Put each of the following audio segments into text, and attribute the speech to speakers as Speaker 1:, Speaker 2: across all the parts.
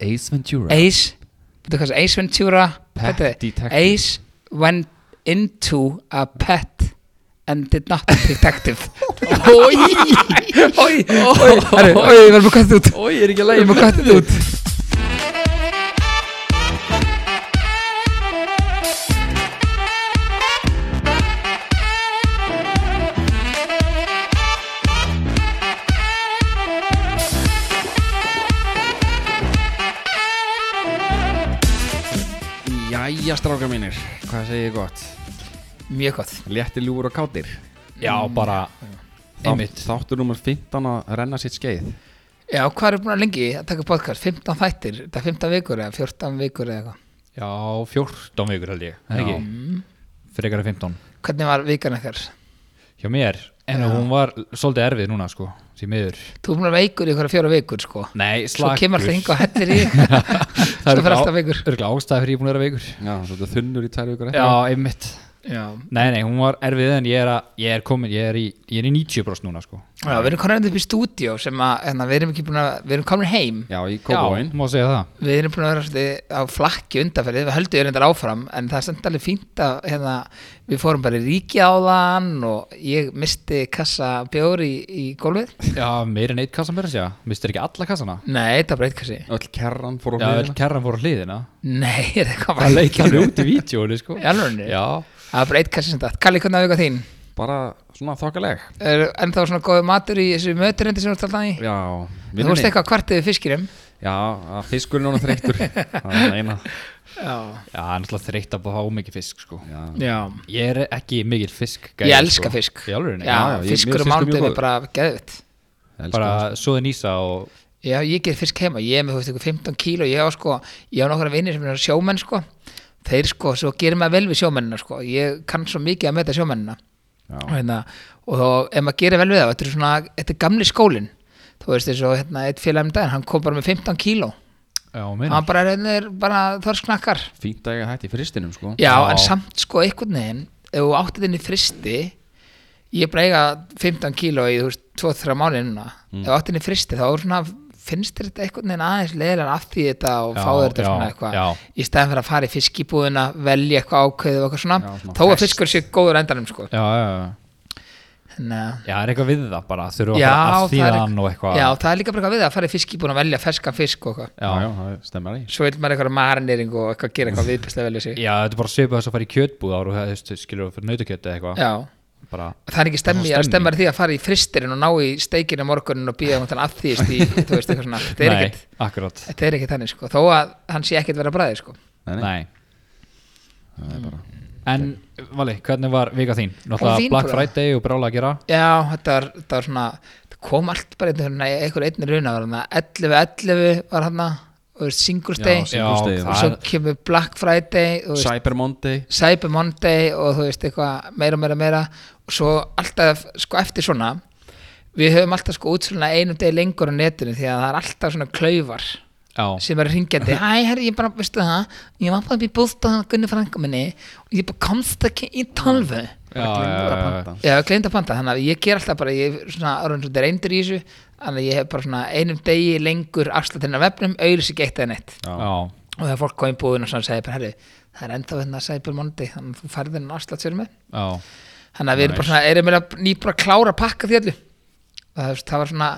Speaker 1: Ace Ventura
Speaker 2: Ace, veitu hvað það er Ace Ventura
Speaker 1: Pet
Speaker 2: hvað er það?
Speaker 1: Detective.
Speaker 2: Ace went into a pet and did not a detective
Speaker 1: Ói Ói Ói
Speaker 2: Herru, oi, Um ég verður bara kvættið út
Speaker 1: Ói, er ekki að
Speaker 2: Ég verður bara kvættið út
Speaker 1: Jæja, strákar mínir Hvað segir ég gott?
Speaker 2: Mjög gott
Speaker 1: Létti ljúfur og kátir Já, bara
Speaker 2: Einmitt.
Speaker 1: Þá- Þáttur nummer 15 að renna sitt skeið
Speaker 2: Já, hvað er búin að lengi að taka podcast? 15 þættir, það er 15 vikur eða 14 vikur eða eitthvað
Speaker 3: Já, 14 vikur held ég, er
Speaker 1: Já.
Speaker 3: ekki? Fyrir ekkert 15
Speaker 2: Hvernig var vikan ekkert?
Speaker 3: Hjá mér, en
Speaker 2: Já.
Speaker 3: hún var svolítið erfið núna sko, því miður
Speaker 2: Þú er búin að vera veikur í hverja fjóra vikur sko
Speaker 3: Nei,
Speaker 2: Svo
Speaker 3: slakur
Speaker 2: kemur alltaf yngu og hellir í þig.
Speaker 3: Það
Speaker 2: Svo fer alltaf veikur
Speaker 3: Örgla ástæði fyrir ég er búin að vera veikur
Speaker 1: Já, svolítið þunnur í tær vikur eftir.
Speaker 3: Já, einmitt
Speaker 2: Já,
Speaker 3: Nei, nei, hún var erfið en ég er, að, ég er komin, ég er í, ég er í 90 núna sko
Speaker 2: Já, við erum komin hérna upp í stúdíó sem að hérna, við erum ekki búin að, við erum komin heim
Speaker 1: Já, í kópáin
Speaker 3: má segja það
Speaker 2: við erum búin að vera svolítið á flakki undanferðið, við höldum við reyndar áfram en það er samt alveg fínt að hérna, við fórum bara í ríki á þann og ég misti kassa bjóri í, í gólfið
Speaker 3: Já, meir en eitt kassa meira að segja, mistur ekki alla kassana
Speaker 2: Nei, það breyt kassi
Speaker 1: Öll kerran fór á
Speaker 3: Já,
Speaker 1: hliðina.
Speaker 3: öll kerran fór á hliðina
Speaker 2: Nei, er það kom
Speaker 3: Það leik hann út í vídjónu sko
Speaker 2: Í alvörunni?
Speaker 3: Já,
Speaker 2: Það breyt kassi sem þetta Kalli, hvernig að vika þín?
Speaker 1: Bara svona þokkaleg
Speaker 2: Er ennþá svona góði matur í þessu möturindi sem þú ert alltaf í?
Speaker 1: Já
Speaker 2: Þú veist eitthvað kvartið við um? fiskinum
Speaker 1: Já, að fiskurinn hún er þreyttur Það er eina
Speaker 2: Já,
Speaker 3: já, náttúrulega þreytt að fá mikið fisk sko
Speaker 1: Já,
Speaker 2: já
Speaker 3: Ég er ekki mikil fisk sko.
Speaker 2: Ég elska fisk
Speaker 3: Í alveg,
Speaker 2: Já,
Speaker 1: Já, já, ég- mér finnst
Speaker 2: fiskur og
Speaker 1: fiskur mjög
Speaker 2: mándið er
Speaker 1: góður.
Speaker 2: bara geðvitt
Speaker 1: elsku
Speaker 3: bara svoðin ísa og
Speaker 2: Já, ég get fisk heima, ég er með þú veist ykkur 15 kíló, ég á sko, ég á nokkra vinnir sem er sjómenn sko, þeir sko, svo gerir maður vel við sjómennina sko, ég kann svo mikið að meta sjómennina og,
Speaker 1: Já,
Speaker 2: hérna, og þá, ef maður gerir vel við það, þetta er svona, þetta er gamli skólinn, þú veist eins og hérna, eitt félag um daginn, hann kom bara með 15 kíló,
Speaker 3: já,
Speaker 2: hann bara er, er bara þorsknakkar,
Speaker 1: fínt að ég hætti í fristinum sko
Speaker 2: já,
Speaker 3: Já.
Speaker 2: en samt sko einhvern veginn, ef þú áttið inn í fristi, ég er bara að eiga 15 kíló í, þú veist, 2-3 mánuði núna,
Speaker 3: Mm.
Speaker 2: ef þú áttið inn í fristi, þá er svona, finnst þér þetta einhvern veginn aðeins leðilega af því þetta og
Speaker 3: Já,
Speaker 2: fá þér þetta
Speaker 3: já,
Speaker 2: svona eitthvað
Speaker 3: já.
Speaker 2: í staðan fyrir að fara í fiskibúðina, velja eitthvað ákveðið og eitthvað svona,
Speaker 1: Já, svona
Speaker 2: þó að
Speaker 1: fest.
Speaker 2: fiskur sé góður á endanum sko.
Speaker 3: já, já,
Speaker 2: Þannig að-
Speaker 3: já, er eitthvað við það bara þurfa að
Speaker 2: Já,
Speaker 3: fara
Speaker 2: það
Speaker 3: að
Speaker 2: er
Speaker 3: þýða
Speaker 2: eitthvað-
Speaker 3: hann og eitthvað
Speaker 2: Já, það er líka bara eitthvað við það, að fara í fiskibúðina og velja ferskan fisk og eitthvað,
Speaker 1: já,
Speaker 3: já,
Speaker 1: já, það stemmar í
Speaker 2: svo vil maður eitthvað marinering og eitthvað gera eitthvað viðbæslega velja sig
Speaker 3: Já, þetta er bara svipað þess að fara í kjötbúð ára og það, þú veist, skilur þú fyrir nautakjöt eða eitthvað
Speaker 2: Já.
Speaker 3: bara,
Speaker 2: það er ekki stemmi,
Speaker 3: Það
Speaker 2: það
Speaker 3: er
Speaker 2: er stemmar því að fara í fristirinn og ná í steikinu morgunin og býða hann að þýst í, þú veist, eitthvað svona þetta er
Speaker 3: nei,
Speaker 2: ekkert-
Speaker 3: akkurat
Speaker 2: þetta er ekkert þannig sko, þó að hann sé ekkert vera bræði sko.
Speaker 3: Nei,
Speaker 1: Það er bara
Speaker 3: en Vali, hvernig var vika þín?
Speaker 2: fín
Speaker 3: Náttúrulega Black
Speaker 2: bara.
Speaker 3: Friday og brála að gera
Speaker 2: Já, þetta var, þetta var svona þetta kom allt bara einhvern veginn einhver einnig raun að vera 11.11 var hann og þú veist, Singles Day
Speaker 3: Já, já,
Speaker 1: Singles Day,
Speaker 2: og svo
Speaker 3: það,
Speaker 2: kemur Black Friday og þú veist,
Speaker 1: Cyber Monday
Speaker 2: Cyber Monday og þú veist eitthvað meira, meira, meira og svo alltaf, sko eftir svona við höfum alltaf sko útsöluna einum degi lengur á netinu því að það er alltaf svona klaufar
Speaker 3: já,
Speaker 2: sem er ringjandi Æ, herri, ég bara, veistu það, ég var bara upp í búðstofan Gunni frænka minni og ég bara komst ekki í tölvu
Speaker 3: já, já, já,
Speaker 2: Já, ég gleymd að panta, þannig að ég ger alltaf bara, ég er svona orðin svolítið reyndur í þessu þannig að ég hef bara svona einum degi lengur afslutinna vefnum, auðlis ekki eitt eða neitt
Speaker 1: Já,
Speaker 3: já,
Speaker 2: og þegar fólk kom í búðin og svona segi bara, herri, það er ennþá hérna Cyber Monday, þannig að þú færði hennan afslut sér með
Speaker 3: já,
Speaker 2: þannig að við erum bara svona, erum meira nýbúin að klára að pakka því allu það, þú veist, það var svona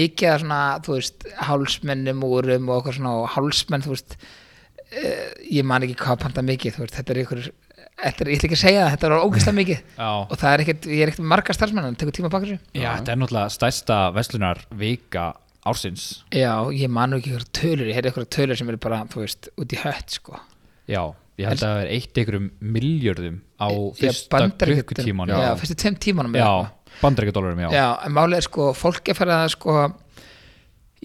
Speaker 2: mikið af svona, þú veist, hálsmennum úrum og eitthvað svona og hálsmenn, þú veist eh, ég man ekki hvað panta mikið, þú veist, þetta er ykkur þetta er, ég ætla ekki að segja það, þetta var ógeðslega mikið
Speaker 3: já.
Speaker 2: og það er ekkert, ég er ekkert með marga starfsmenn en tekur tíma að baka þessu
Speaker 3: Já, þetta er náttúrulega stærsta veslunar vika ársins
Speaker 2: já, ég man nú ekki ykkur tölur, ég heyrði ykkur tölur sem eru bara, þú veist, út í hött sko.
Speaker 3: Já, ég held að það er eitt einhverjum miljörðum á
Speaker 2: Ég-
Speaker 3: fyrsta
Speaker 2: Bandaríkjunum-
Speaker 3: klukkutíman
Speaker 2: já, fyrstu tveim tímanum eða eitthvað.
Speaker 3: já bandaríkjadólarum, já.
Speaker 2: já. en málið er sko, fólk er farið að sko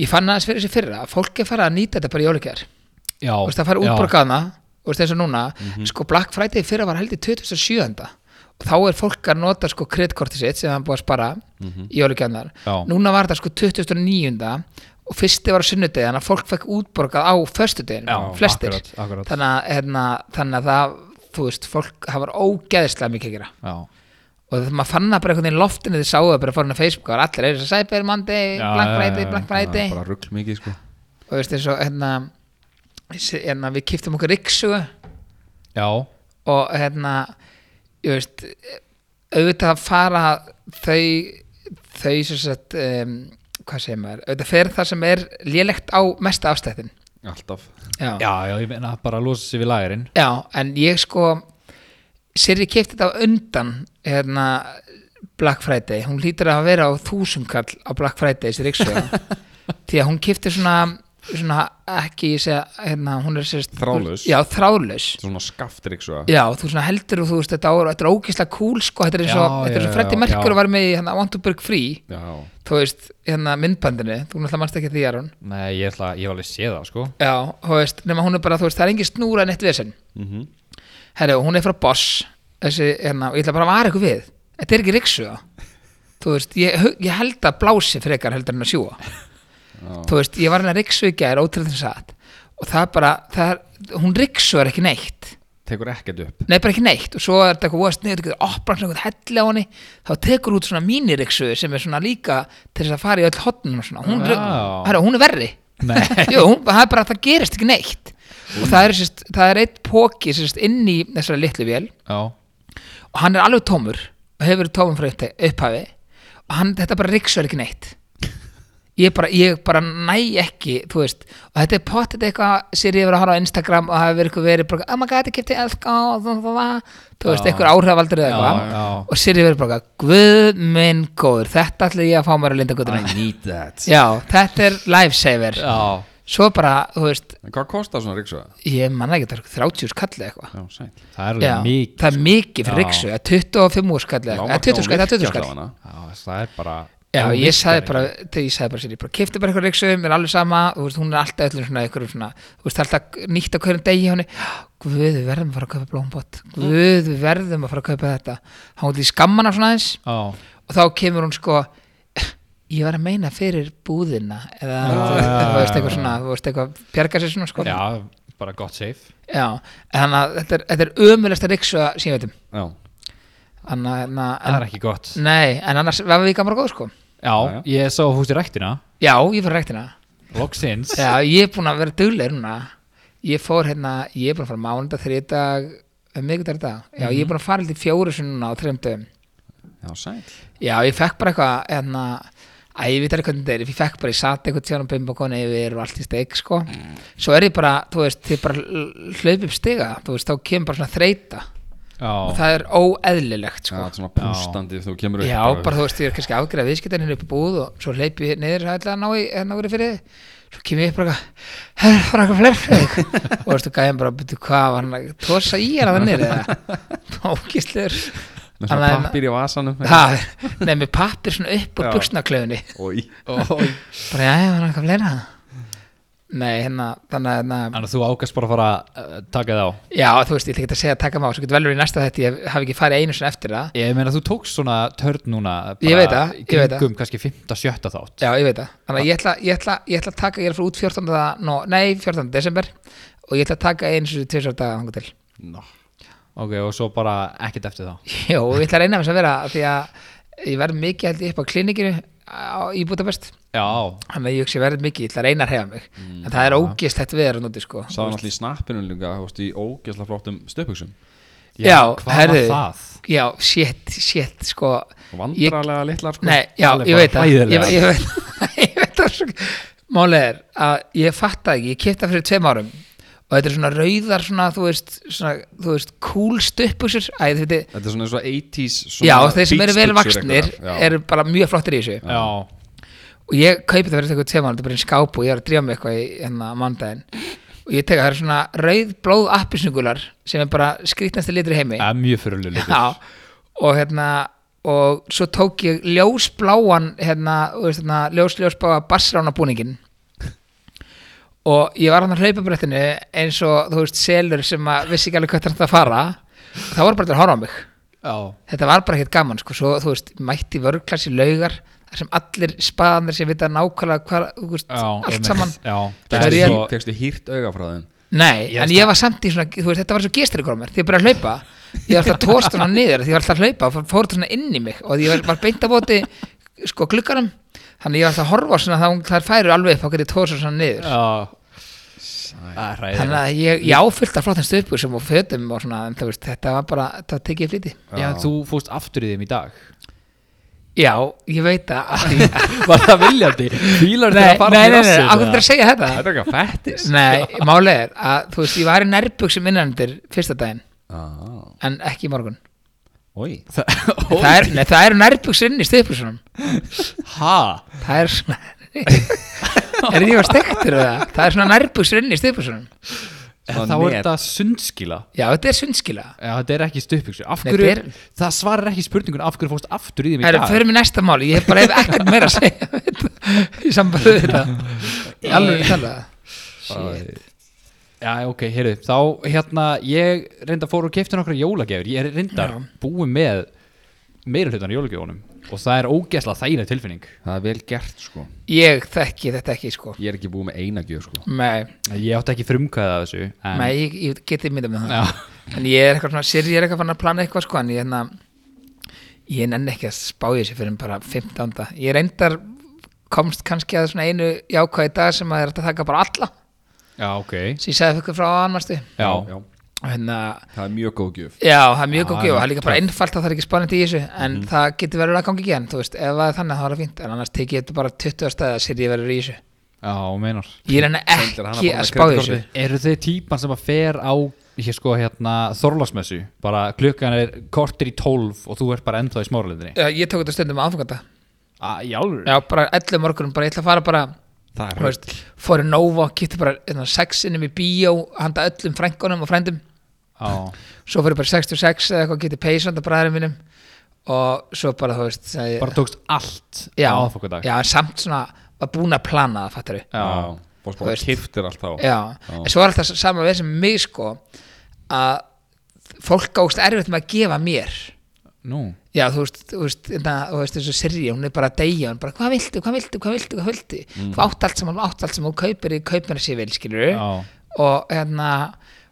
Speaker 2: ég fann aðeins fyrir þessi fyrra að fólk er farið að nýta þetta bara í jólugjær
Speaker 3: já
Speaker 2: þú veist, það farið
Speaker 3: já, Mhm.
Speaker 2: útborgaðna þú veist, eins og núna, sko Black Friday í fyrra var heldur 2007 og þá er fólk að nota sko kreditkortið sitt sem hann búið að spara í jólugjærnar
Speaker 3: Mhm. Já.
Speaker 2: núna var þetta sko 2009 og fyrsti var á sunnudegi þannig að fólk fekk útborgað á föstudegin
Speaker 3: Já,
Speaker 2: flestir,
Speaker 3: akkurat, akkurat.
Speaker 2: þannig að hérna, þannig að það, þú veist, fólk það var ógeðislega mikið að gera
Speaker 3: já,
Speaker 2: og það maður fann það bara einhvern veginn í loftinu þið sáu það bara fórin á Facebook og allir er þess að Cyber Monday,
Speaker 3: Já,
Speaker 2: Black
Speaker 3: já, já,
Speaker 2: Friday,
Speaker 3: já,
Speaker 2: Black
Speaker 1: það
Speaker 2: Friday
Speaker 1: er bara rugl mikið sko
Speaker 2: og veist eins og hérna s- hérna, við kiptum okkur riksuga
Speaker 3: já,
Speaker 2: og hérna ég veist auðvitað fara þau þau sem sagt um, hvað segir maður, auðvitað fer það sem er lélegt á mesta afstættin
Speaker 1: Alltaf
Speaker 2: já.
Speaker 3: já, já, ég meina bara að losa sig við lægirinn
Speaker 2: Já, en ég sko Siri kefti þetta á undan hérna Black Friday, hún lítur að hafa verið á þúsundkall á Black Friday sér ykkur því að hún kefti svona, svona ekki, ég segja, hérna hún er sérst,
Speaker 1: Þráðlaus.
Speaker 2: Já, þrálaus
Speaker 1: Svona skaftir ykkur svo
Speaker 2: Já, þú svona heldur og þú veist þetta á þetta er ógeðslega cool sko, þetta er eins og
Speaker 3: Já,
Speaker 2: þetta er
Speaker 3: já,
Speaker 2: svo Freddy
Speaker 3: já,
Speaker 2: Merkur
Speaker 3: já.
Speaker 2: var með í hérna Want to Break Free,
Speaker 1: Já,
Speaker 2: þú veist hérna myndbandinu, þú náttúrulega manst ekki því að hún
Speaker 3: nei, ég ætla, ég hef alveg séð það sko
Speaker 2: Já, þú veist, nema hún er bara, þú veist, það er engin snúra en eitt vesinn
Speaker 1: mhm
Speaker 2: herru, hún er frá Boss þessi, hérna, og ég ætla bara að vara ykkur við þetta er ekki riksuga þú veist, ég, hu- ég held að blási frekar heldur en að sjúa þú veist, ég var hérna riksuga í gær ótrúðin satt og það er bara, það er, hún riksugar ekki neitt
Speaker 1: Tekur ekkert upp
Speaker 2: nei, bara ekki neitt, og svo er þetta eitthvað voðast niður, þú getur opnað svona eitthvað helli á henni þá tekur út svona míniriksugu sem er svona líka til þess að fara í öll hotnum og svona, hún,
Speaker 3: Já.
Speaker 2: herru, hún er verri
Speaker 3: nei,
Speaker 2: Jú, hún- það er bara að það gerist ekki neitt og það er, sérst, það er eitt póki sérst, inn í þessari litlu vél
Speaker 3: já,
Speaker 2: og hann er alveg tómur og hefur verið tómur frá uppte- upphafi og hann, þetta bara riksuður ekki neitt ég bara, ég bara næ ekki þú veist, og þetta er pottet eitthvað sér ég verið að horfa á Instagram og það hefur verið eitthvað verið bara, oh my god, ég kipti elka og þú- þú þú- þú veist,
Speaker 3: Já.
Speaker 2: eitthvað áhrifaldur eða
Speaker 3: Já, já.
Speaker 2: eitthvað og sér ég verið bara, guð minn góður þetta ætla ég að fá mér að linda guðuna
Speaker 1: need that
Speaker 2: já, þetta er lifesaver
Speaker 3: já
Speaker 2: svo bara, þú veist,
Speaker 1: En hvað kostar svona ríksuða?
Speaker 2: ég manna ekki þetta er 30 skallið eitthvað
Speaker 1: Já, sæl
Speaker 3: það er
Speaker 2: Já,
Speaker 3: alveg mikið sko.
Speaker 2: það er mikið fyrir
Speaker 3: Já.
Speaker 2: riksu, eða 25 skallið eða 20 skallið, það er 20 skallið
Speaker 3: já, það er bara
Speaker 2: Já,
Speaker 3: það
Speaker 2: ég
Speaker 3: virkar
Speaker 2: sagði
Speaker 3: ekki.
Speaker 2: bara, þegar ég sagði bara sér, ég bara kefti bara eitthvað riksu, mér er alveg sama, þú veist, hún er alltaf öllum svona, eitthvað svona, þú veist, alltaf nýtt á hverjum degi hún er, guð, við verðum að fara að kaupa blómbott,
Speaker 3: Mm.
Speaker 2: guð, við verðum að fara að kaupa þetta, þá hún til skammana svona aðeins
Speaker 3: já,
Speaker 2: og þá kemur hún sko, ég var að meina fyrir búðina, eða,
Speaker 3: Já.
Speaker 2: þú veist, eitthvað svona, þú veist, eitthvað, bjarga sér svona, sko,
Speaker 3: Ah. já, bara gott safe
Speaker 2: Já, en þannig að þetta er, þetta er ömulegsta riksu sem ég veit um,
Speaker 1: Já,
Speaker 2: þannig að,
Speaker 3: það
Speaker 2: en-
Speaker 3: er ekki gott
Speaker 2: nei, en annars, var við gamla góð, sko,
Speaker 3: já, ég sá húst í ræktina
Speaker 2: já, ég fyrir rektina,
Speaker 3: loksins
Speaker 2: Já, ég er búin að vera duglegur núna Ég fór hérna, ég er búin að fara mánunda þrið dag, miðgudagur í dag Já, ég er búin að fara til fjóru sinni núna á þreim dögum
Speaker 1: já, sæl
Speaker 2: Já, ég fekk bara eitthvað, hérna Æ, ég veit ekki hvernig þetta er, ég fekk bara, ég sat eitthvað tíðan og bimba konu yfir og allt í steg, sko Svo er ég bara, þú veist, ég bara hlaup upp stiga, þú veist, þá kemur bara svona þreita
Speaker 3: já,
Speaker 2: og það er óeðlilegt,
Speaker 1: Já,
Speaker 2: sko
Speaker 1: þetta er svona pústandi þegar þú kemur upp
Speaker 2: Já, bara þú veist, ég er kannski afgreða viðskiptin hérna upp í búð og svo hleyp ég niður að ætla að ná í hérna úr fyrir þið, svo kem ég upp bara eitthvað, herra, það var eitthvað fleir fyrir þig og veistu, gæðin bara, betur hvað, var hann að tósa í hérna það niður eða ógislegur
Speaker 1: Með svona
Speaker 2: Þannig að-
Speaker 1: pappir í vasanum
Speaker 2: ha, Nei, með pappir svona upp úr
Speaker 1: Já.
Speaker 2: buksnaklefni
Speaker 1: Ói
Speaker 2: bara, já, var hann eitthvað fleira Nei, hérna, þannig að hérna,
Speaker 3: þannig að þú ákast bara að fara að uh, taka það á
Speaker 2: já, þú veist, ég ætla ekki að segja að taka má svo getur vel verið í næsta þetta, ég hafi ekki farið einu sinni eftir það
Speaker 3: Ég meina þú tókst svona törn núna bara
Speaker 2: Ég veit það,
Speaker 3: í
Speaker 2: ég veit það.
Speaker 3: kringum kannski 5-7 þátt
Speaker 2: Já, ég veit það. Þannig að ég ætla, ég ætla, ég ætla að taka, ég er að fara út 14. No, nei, 14. desember og ég ætla að taka eins og tvisar daga þangar til.
Speaker 1: Ná
Speaker 3: Ok, og svo bara ekkert eftir þá
Speaker 2: Jó, og ég ætla að reyna þess að vera því að ég verð mikið held ég upp á klinikinu á, í Budapest.
Speaker 3: Já,
Speaker 2: Þannig að ég hugsi ég verð mikið, ég ætla að reyna að reyfa mig. en það er ógislegt veður að núti, sko.
Speaker 1: Sáðan alltaf í snappinu líka, þú veist, í ógeðslega flottum stöpuksum
Speaker 2: Já,
Speaker 3: hvað
Speaker 2: herðu.
Speaker 3: var það?
Speaker 2: Já, shit, shit, sko.
Speaker 1: Vandralega litlar sko
Speaker 2: Nei, já,
Speaker 3: Alveg
Speaker 2: ég
Speaker 3: bara
Speaker 2: veit það. Ég,
Speaker 3: hræðilega.
Speaker 2: ég veit, ég veit það svo. Málið er að ég fatta ekki, ég kipta fyrir tveim árum og þetta er svona rauðar svona, þú veist, svona, þú veist, cool stuppusur, æ, þetta er,
Speaker 1: Þetta er svona eins og 80s
Speaker 2: já,
Speaker 1: svona
Speaker 2: þeir sem
Speaker 1: beach
Speaker 2: eru vel
Speaker 1: picture
Speaker 2: vaksnir
Speaker 1: einhverjar. Já.
Speaker 2: eru bara mjög flottir í þessu
Speaker 3: Já,
Speaker 2: og ég kaupi það fyrir eitthvað tveim árum, þetta er bara einn skáp og ég er að drífa mig eitthvað í hérna mandaginn og ég teka það er svona rauð blóð appisnugular sem er bara skrýtnasti litur í heimi
Speaker 3: það er mjög fyrirlulegur
Speaker 2: Já, og hérna og svo tók ég ljósbláan hérna, þú veist, hérna ljós, ljósbláa bassrána búningin og ég var hann að hlaupa brettinu eins og þú veist selur sem að vissi ekki alveg hvað þetta að fara það voru bara til að horfa á mig
Speaker 3: Já,
Speaker 2: þetta var bara ekkert gaman sko, svo þú veist mætti vörglassi laugar þar sem allir spaðanir sem vita nákvæmlega hvað, þú veist,
Speaker 3: já
Speaker 2: allt
Speaker 3: einmitt.
Speaker 2: saman
Speaker 3: Já, það
Speaker 2: Það
Speaker 3: er
Speaker 2: er
Speaker 3: svo
Speaker 1: Fegstu hýrt auga frá þeim
Speaker 2: Nei,
Speaker 3: Ég
Speaker 2: en
Speaker 3: veist
Speaker 2: ég var samt í svona, þú veist, þetta var svo gestur ykkur á mér, því ég byrjaði að hlaupa ég var alltaf að tósta svona niður, því ég var alltaf að hlaupa og fór þetta svona inn í mig og ég var, var beint að bóti sko gluggarum, þannig ég var alltaf að horfa á svona þá þær færu alveg upp og getið tósta svona niður
Speaker 3: Já, Það er
Speaker 2: þannig
Speaker 3: hræðilegt.
Speaker 2: að ég, ég áfyllt að flottin stöðbúr sem og fötum og svona, en þú veist, þetta var bara það tekið í flýti
Speaker 3: Já, þú fóst aftur í þeim í dag
Speaker 2: já, ég veit að nei,
Speaker 3: Var það viljandi? Fílar
Speaker 2: nei,
Speaker 3: þeirra fara
Speaker 2: nei,
Speaker 3: til
Speaker 2: nei,
Speaker 3: rassinn,
Speaker 2: nei, akkur
Speaker 3: eða?
Speaker 2: til að segja þetta
Speaker 1: Þetta er ekki að fættis
Speaker 2: Nei, málið er að þú veist, ég var í nærbuxum innanundir fyrsta daginn,
Speaker 1: Ah,
Speaker 2: en ekki í morgun
Speaker 1: Ói
Speaker 3: Það-
Speaker 2: það, er, nei, það eru nærbuxur inn í stöðbúrsunum
Speaker 3: Ha?
Speaker 2: það er svona er ég var stektur það það er svona nærbuxur inn í stöðbúrsunum
Speaker 1: Svona
Speaker 3: Þá er
Speaker 1: net.
Speaker 3: þetta sundskila
Speaker 2: já, þetta er sundskila
Speaker 3: Já, þetta er ekki stuppbyggsur Af
Speaker 2: Nei,
Speaker 3: hverju,
Speaker 2: þetta er-
Speaker 3: það svarar ekki spurningun Af hverju fórst aftur í þeim í
Speaker 2: Herru,
Speaker 3: dag
Speaker 2: förum í næsta mál, ég hef bara hef ekkert meira að segja um þetta í sambandi við þetta alveg við tala
Speaker 1: Shit
Speaker 3: Já, ok, heyrðu, þá hérna ég reynda fór og kefti nokkra jólagjafir ég er reyndar
Speaker 2: Já.
Speaker 3: búið með meira hlutan jólagjöfunum og það er ógeðslega þægileg tilfinning
Speaker 1: Það er vel gert sko
Speaker 2: ég þekki þetta ekki sko
Speaker 1: Ég er ekki búið með eina gjöf sko
Speaker 2: nei,
Speaker 3: ég átti ekki frumkvæða af þessu en,
Speaker 2: nei ég, ég geti myndað með
Speaker 3: Já.
Speaker 2: það en ég er eitthvað svona, sér ég er eitthvað fann að plana eitthvað sko en ég hérna ég nenni ekki að spá í þessu fyrir bara 15. ég reyndar komst kannski að svona einu jákvæði dag sem að er hægt að taka bara alla
Speaker 3: Já, ok
Speaker 2: sem ég sagði fyrir frá annarstu
Speaker 3: Já,
Speaker 2: og hérna
Speaker 1: Það er mjög góð gjöf
Speaker 2: Já, það er mjög
Speaker 3: Já,
Speaker 2: góð gjöf, það er líka bara
Speaker 3: töff.
Speaker 2: einfalt að það er ekki spánandi í þessu, en það getur verið að gangi ekki en þú veist, ef það er þannig þá er það fínt en annars tekið þetta bara 20 stæði að sér ég verið í þessu
Speaker 3: já, meinar
Speaker 2: Ég reyna
Speaker 1: Sendir hana bara
Speaker 2: ekki að
Speaker 1: með
Speaker 2: spá í þessu
Speaker 1: kreditkorti.
Speaker 3: Eru þið típan sem að fer á hér sko hérna Þorlásmessu bara klukkan er kortir í tólf og þú ert bara ennþá í smáralindinni
Speaker 2: Já, Ég tók þetta stundum á aðfangata
Speaker 3: Já, alveg
Speaker 2: Já, bara 11 morgunum, bara ég ætla að fara bara
Speaker 1: Það
Speaker 2: þú veist, fór í Nova, kýtti bara hérna, sexinum í bíó, handa öllum frængunum og frændum,
Speaker 3: Já,
Speaker 2: svo fór ég bara 66 eða eitthvað, kýtti peysanda bræðurinn mínum og svo bara, þú veist, sagði, ég-
Speaker 3: bara tókst allt
Speaker 2: já,
Speaker 3: á aðfokadag
Speaker 2: já, en samt svona, var búin að plana það, fattar
Speaker 3: já,
Speaker 1: Bóðs
Speaker 2: Þú
Speaker 1: bara
Speaker 2: veist.
Speaker 1: kiftir allt þá
Speaker 2: Já, en svo er alltaf sama við sem mig sko að fólk ást erfitt með að gefa mér
Speaker 3: nú
Speaker 2: Já, þú veist, þú veist, na, þú veist þessu Sirri, hún er bara að deyja, hún er bara hvað viltu, hvað viltu, hvað viltu, hvað viltu
Speaker 3: Mm.
Speaker 2: þú átt allt sem hún átt allt sem hún kaupir í kaupinu sér vel, skilur
Speaker 3: Já.
Speaker 2: og hérna,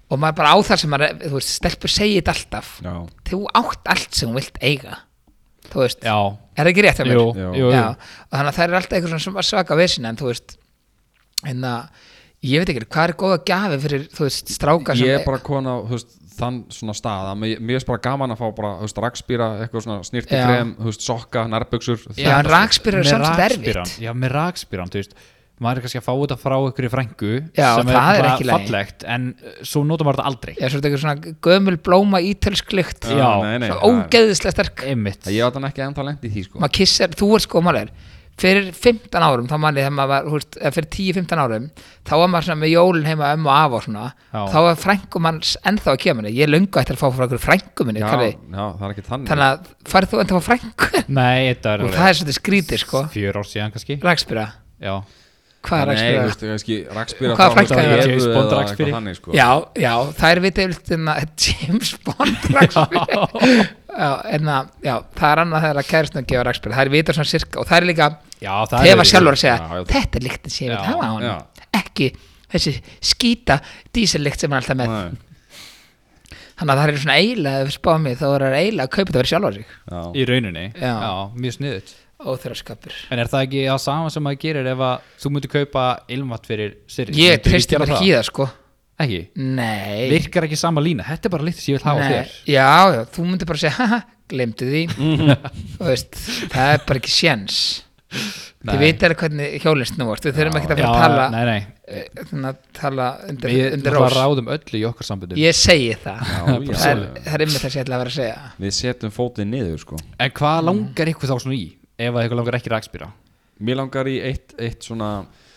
Speaker 2: og maður bara á þar sem maður, er- þú veist, stelpur segið þetta alltaf
Speaker 1: Já
Speaker 2: þú átt allt sem hún vilt eiga þú veist,
Speaker 3: Já,
Speaker 2: er það ekki rétt að mér?
Speaker 3: jú,
Speaker 1: Já.
Speaker 3: jú,
Speaker 2: Já,
Speaker 3: jú.
Speaker 2: og þannig að það er alltaf eitthvað svona svaka vesin en þú veist en að, ég veit ekki, hvað er góða gjafi fyrir, þú veist, stráka sem
Speaker 1: Ég er bara kona á þú veist, þann svona stað að mér mér finnst bara gaman að fá bara þú veist, rakspýra, eitthvað svona snýrti
Speaker 2: Já.
Speaker 1: krem þú veist, sokka, nærbuxur
Speaker 2: Já, en rakspyrir er
Speaker 3: Með
Speaker 2: samt
Speaker 3: rakspíran,
Speaker 2: erfitt
Speaker 3: Já, með rakspíran, þú veist maður er kannski að fá þetta frá ykkur í frængu
Speaker 2: Já, það
Speaker 3: sem
Speaker 2: er
Speaker 3: bara
Speaker 2: ekki í lagi.
Speaker 3: fallegt en uh, svo notar maður þetta aldrei
Speaker 2: ég er svolítið eitthvað svona gömul blóma ítölsk lykt
Speaker 3: Já,
Speaker 1: nei, nei,
Speaker 2: svo
Speaker 1: það er-
Speaker 2: ógeðislega sterk
Speaker 3: einmitt
Speaker 1: Ég var þannig ekki ennþá lent í því sko
Speaker 2: maður kissar, þú er sko málir fyrir 15 árum, þá manni þegar maður var, þú veist, eða fyrir 10-15 árum þá var maður svona með jólin heima ömmu og af og svona,
Speaker 3: Já.
Speaker 2: þá var frængum hans ennþá að kemur, ég löngu eftir að fá frá einhverju frængum minni,
Speaker 1: já,
Speaker 2: Kalli.
Speaker 1: já, það er ekki þannig
Speaker 2: þannig að farið þú ennþá frá frængu
Speaker 3: Nei, þetta er
Speaker 2: og það er svolítið skrítið sko
Speaker 3: fjör ár síðan kannski
Speaker 2: Rækspýra,
Speaker 3: Já,
Speaker 2: hvað er
Speaker 1: Nei, þú
Speaker 2: rækspýra?
Speaker 1: veist, kannski rakspýra
Speaker 2: Hvað frænka
Speaker 1: frænka
Speaker 2: er það?
Speaker 1: er
Speaker 3: James Bond rakspíri.
Speaker 1: Þannig sko
Speaker 2: Já, já, það er vitið yfirleitt en að James Bond rækspýra Já, en að, já, það er annað þegar að kæristnum gefa rækspýra, það er vitað svona sirka og það er líka,
Speaker 3: já það
Speaker 2: þefa
Speaker 3: er-
Speaker 2: sjálfur að segja
Speaker 1: Já, já.
Speaker 2: þetta er líktin sem ég
Speaker 3: Já,
Speaker 2: vil hafa á
Speaker 1: já.
Speaker 2: hann ekki þessi skýta dísillikt sem hann er alltaf með
Speaker 1: Nei,
Speaker 2: þannig að það er svona eiginlega, ef við spáum mig þá er það eiginlega að kaupa þetta verið sjálfur sig
Speaker 1: já.
Speaker 3: Í rauninni, já,
Speaker 2: Já.
Speaker 3: mjög sniðut
Speaker 2: óþjóðarskapur
Speaker 3: En er það ekki það sama sem maður gerir ef að þú myndir kaupa ilmvatt fyrir Sirri
Speaker 2: Ég
Speaker 3: Myndirðu
Speaker 2: treysti
Speaker 3: gera
Speaker 2: mér
Speaker 3: það?
Speaker 2: ekki í það sko
Speaker 3: Ekki,
Speaker 2: Nei
Speaker 3: virkar ekki sama lína, þetta er bara lítið sem ég vil hafa á
Speaker 2: Nei,
Speaker 3: þér
Speaker 2: já, já, þú myndir bara segja haha, glemdu því
Speaker 3: Mhm.
Speaker 2: Þú veist, það er bara ekki sjens
Speaker 3: Nei.
Speaker 2: þið veit alveg hvernig hjólinn snúast við þurfum ekkert að
Speaker 3: Já,
Speaker 2: fara að tala
Speaker 3: nei, nei,
Speaker 2: eh, svona, tala undir,
Speaker 3: við
Speaker 2: undir
Speaker 3: náttúrulega
Speaker 2: rós
Speaker 3: ráðum öllu í okkar sambundum
Speaker 2: ég segi það
Speaker 1: Já,
Speaker 2: það er,
Speaker 1: já.
Speaker 2: það er ymmið það sem ég ætla að vera að segja
Speaker 1: Við setjum fótið niður sko
Speaker 3: En
Speaker 2: Mm.
Speaker 3: hvað langar ykkur þá svona í ef að ykkur langar ekki rakspýra?
Speaker 1: Mér langar í eitt, eitt svona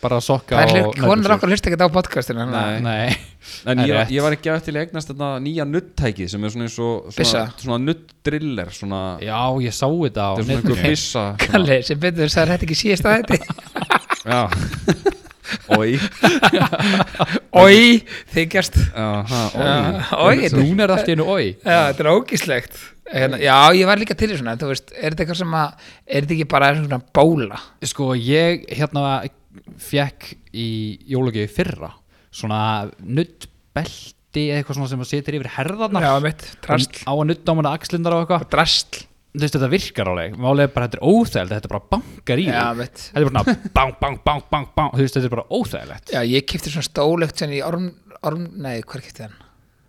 Speaker 3: Bara að sokka
Speaker 2: það er
Speaker 3: og
Speaker 2: hlut, konur okkar hlusta ekkert á podcastinu þannig að-
Speaker 1: Nei.
Speaker 3: Nei,
Speaker 1: En
Speaker 3: Það er
Speaker 1: ég,
Speaker 3: rétt.
Speaker 1: ég var ekki eftir að eignast þetta nýja nuttæki sem er svona eins og svona,
Speaker 2: Byssa.
Speaker 1: svona nuttdriller svona,
Speaker 3: já ég sá þetta á
Speaker 1: þetta er svona einhver
Speaker 3: netinu.
Speaker 1: byssa svona,
Speaker 2: Kalli, sem betur þess að þetta ekki síðast að þetta
Speaker 1: Já Ói
Speaker 2: Ói, þykjast
Speaker 1: Aha,
Speaker 2: Já,
Speaker 1: ói
Speaker 2: oj.
Speaker 1: Einmitt svo.
Speaker 3: Núna er allt í einu oi
Speaker 2: Já, þetta er ógíslegt hérna, Já, ég var líka til í svona, þú veist Er þetta eitthvað sem að, er þetta ekki bara svona bóla?
Speaker 3: Sko ég hérna fekk í jólagjöfi í fyrra svona nuttbelti eða eitthvað svona sem að setir yfir herðarnar
Speaker 2: Já, mitt,
Speaker 3: á að nutta á manna axlindar og eitthvað
Speaker 2: drastl
Speaker 3: þú veist þetta virkar alveg málega bara þetta er óþægilegt, þetta bara bankar í
Speaker 2: Já,
Speaker 3: þig.
Speaker 2: mitt.
Speaker 3: þetta er bara svona bang, bang, bang, bang, bang þú veist þetta er bara óþægilegt
Speaker 2: Já, ég kipti svona stólegt sem í orm, orm nei, hvað kipti hann?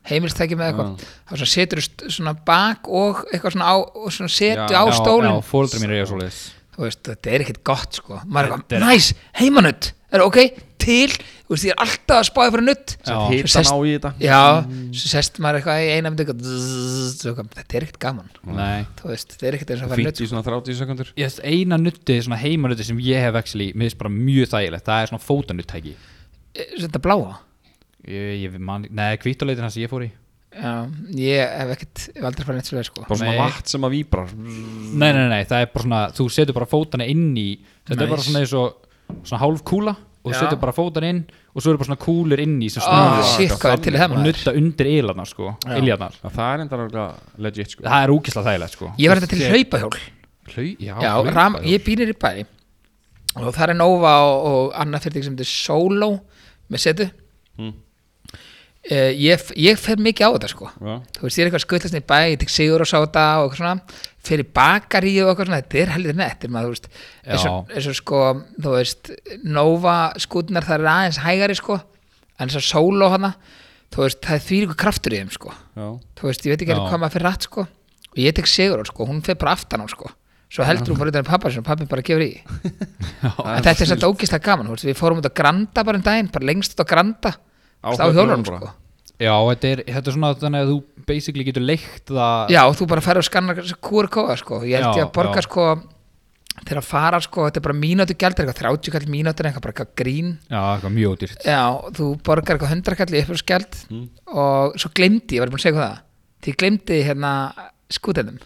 Speaker 2: Heimilstæki með eitthvað. Það var svona setur svona bak og eitthvað svona á, og svona setu á stólinn.
Speaker 3: já, fóldra mín er ég svo leiðis
Speaker 2: Þú veist, þetta er ekkert gott, sko. Maður er
Speaker 3: Þetta
Speaker 2: eitthvað, næs, heimanutt, er það ok, til, þú veist, ég er alltaf að spáði fyrir nutt.
Speaker 1: Sett
Speaker 3: Já.
Speaker 2: Svo
Speaker 1: hitan
Speaker 2: sest-
Speaker 1: á í þetta
Speaker 2: Já, svo sest maður eitthvað í eina myndi eitthvað, zzzz, svo eitthvað, þetta er ekkert gaman.
Speaker 3: nei
Speaker 2: Þú veist, þetta er sko. ekkert eins og að fara í nutt.
Speaker 1: Fínt í svona 30 sekundur
Speaker 3: Ég veist, eina nutti, svona heimanutti sem ég hef actually, mér finnst bara mjög þægilegt, það er svona fótanuttæki.
Speaker 2: Eh, Þetta bláa.
Speaker 3: Ég, ég man, nei, kvítuleitin hans sem ég fór í.
Speaker 2: Já, ég hef ekkert, ég hef aldrei farið neitt svolítið, sko.
Speaker 1: Bara svona
Speaker 3: Nei.
Speaker 1: vatn sem að víbrar
Speaker 2: Mm.
Speaker 3: Nei, nei, nei, það er bara svona, þú setur bara fótana inn í, þetta er
Speaker 2: Nice.
Speaker 3: bara svona eins og, svona hálf kúla og þú
Speaker 2: Já.
Speaker 3: setur bara fótana inn og svo eru bara svona kúlur inn í sem
Speaker 2: Ah,
Speaker 3: snúður
Speaker 2: shit, hvað er til í það
Speaker 3: og
Speaker 2: maður?
Speaker 3: nutta undir iljarnar, sko, iljarnar.
Speaker 1: Já, Það er enda alveg legit sko
Speaker 3: Það er úkislega þægilegt, sko.
Speaker 2: Ég var þetta til hlaupahjól
Speaker 3: Hlau, já,
Speaker 2: Já,
Speaker 3: hlaupa,
Speaker 2: ram,
Speaker 3: já.
Speaker 2: ég býnir í bæri og það er Nova og, og annað fyrirtæki sem þetta er Solo með setu
Speaker 3: Hmm.
Speaker 2: uh, ég, ég fer mikið á þetta sko
Speaker 1: Já.
Speaker 2: þú veist, ég er eitthvað að skuttast í bæ ég tek sigur og sáta og eitthvað svona fer í bakarí og eitthvað svona, þetta er heldur nett maður, þú veist, eins og,
Speaker 3: Já.
Speaker 2: eins og sko þú veist, Nova skutnar það er aðeins hægari sko en þess að Solo hana, þú veist, það er því ykkur kraftur í þeim sko
Speaker 1: Já
Speaker 2: þú veist, ég veit ekki
Speaker 3: Já.
Speaker 2: alveg hvað maður fyrir rætt sko og ég tek sigur á sko, hún fer bara aftan á sko svo heldur hún bara utan að pappa sinni og pappi bara gefur í en þetta er samt ógislega gaman þú veist, við fórum út á Granda bara um daginn bara lengst út á Granda
Speaker 1: Á
Speaker 2: á hjólunum
Speaker 1: hjólunum
Speaker 2: sko
Speaker 1: bara.
Speaker 3: Já, þetta er, þetta er svona þannig að þú basically getur leikt það.
Speaker 2: já, og þú bara ferð og skannar kúrkóða sko ég held
Speaker 3: Já,
Speaker 2: ég að borga
Speaker 3: já.
Speaker 2: sko til að fara sko, þetta er bara mínútu gældir eitthvað 30 gæld mínútur, eitthvað bara eitthvað grín
Speaker 3: Já, eitthvað mjög ódýrt.
Speaker 2: Já, þú borgar eitthvað hundrakalli upp og skjald
Speaker 1: Mm,
Speaker 2: og svo glemdi, ég var búin að segja ykkur það því glemdi hérna skútenum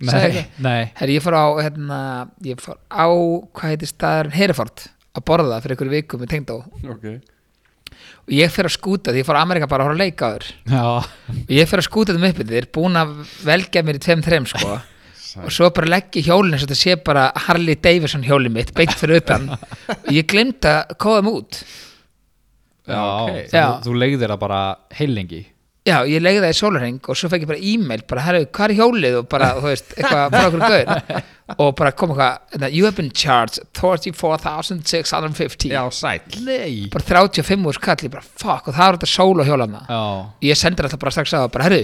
Speaker 3: Nei, nei.
Speaker 2: Herri, ég fór á, hérna, ég fór á hvað heitir staðarinn Hereford að borða fyrir ykkur viku með tengdó
Speaker 1: Ok
Speaker 2: og ég fer að skúta því ég fór á Amerika bara að horfa að leika á þér
Speaker 3: Já,
Speaker 2: og ég fer að skúta þeim upp þeir er búin að velja mér í tveim þreim sko og svo bara legg ég hjólinn eins og þetta sé bara Harley Davidson hjólið mitt beint fyrir utan og ég glemdi að kóða þeim út
Speaker 3: já,
Speaker 1: ok.
Speaker 3: Þú,
Speaker 2: Já.
Speaker 3: þú leigðir það bara heilengi.
Speaker 2: Já, ég legði það í sólarheng og svo fekk ég bara e-mail bara, herru, hvað er hjólið og bara, þú veist, eitthvað bara okkur gaur og bara kom eitthvað, hérna, you have been charged 34.650
Speaker 1: sæll
Speaker 3: Nei.
Speaker 2: bara 35 úr skall, ég bara, fuck og það var þetta sól og hjólana
Speaker 3: Já.
Speaker 2: ég sendir alltaf bara strax að það, bara, herru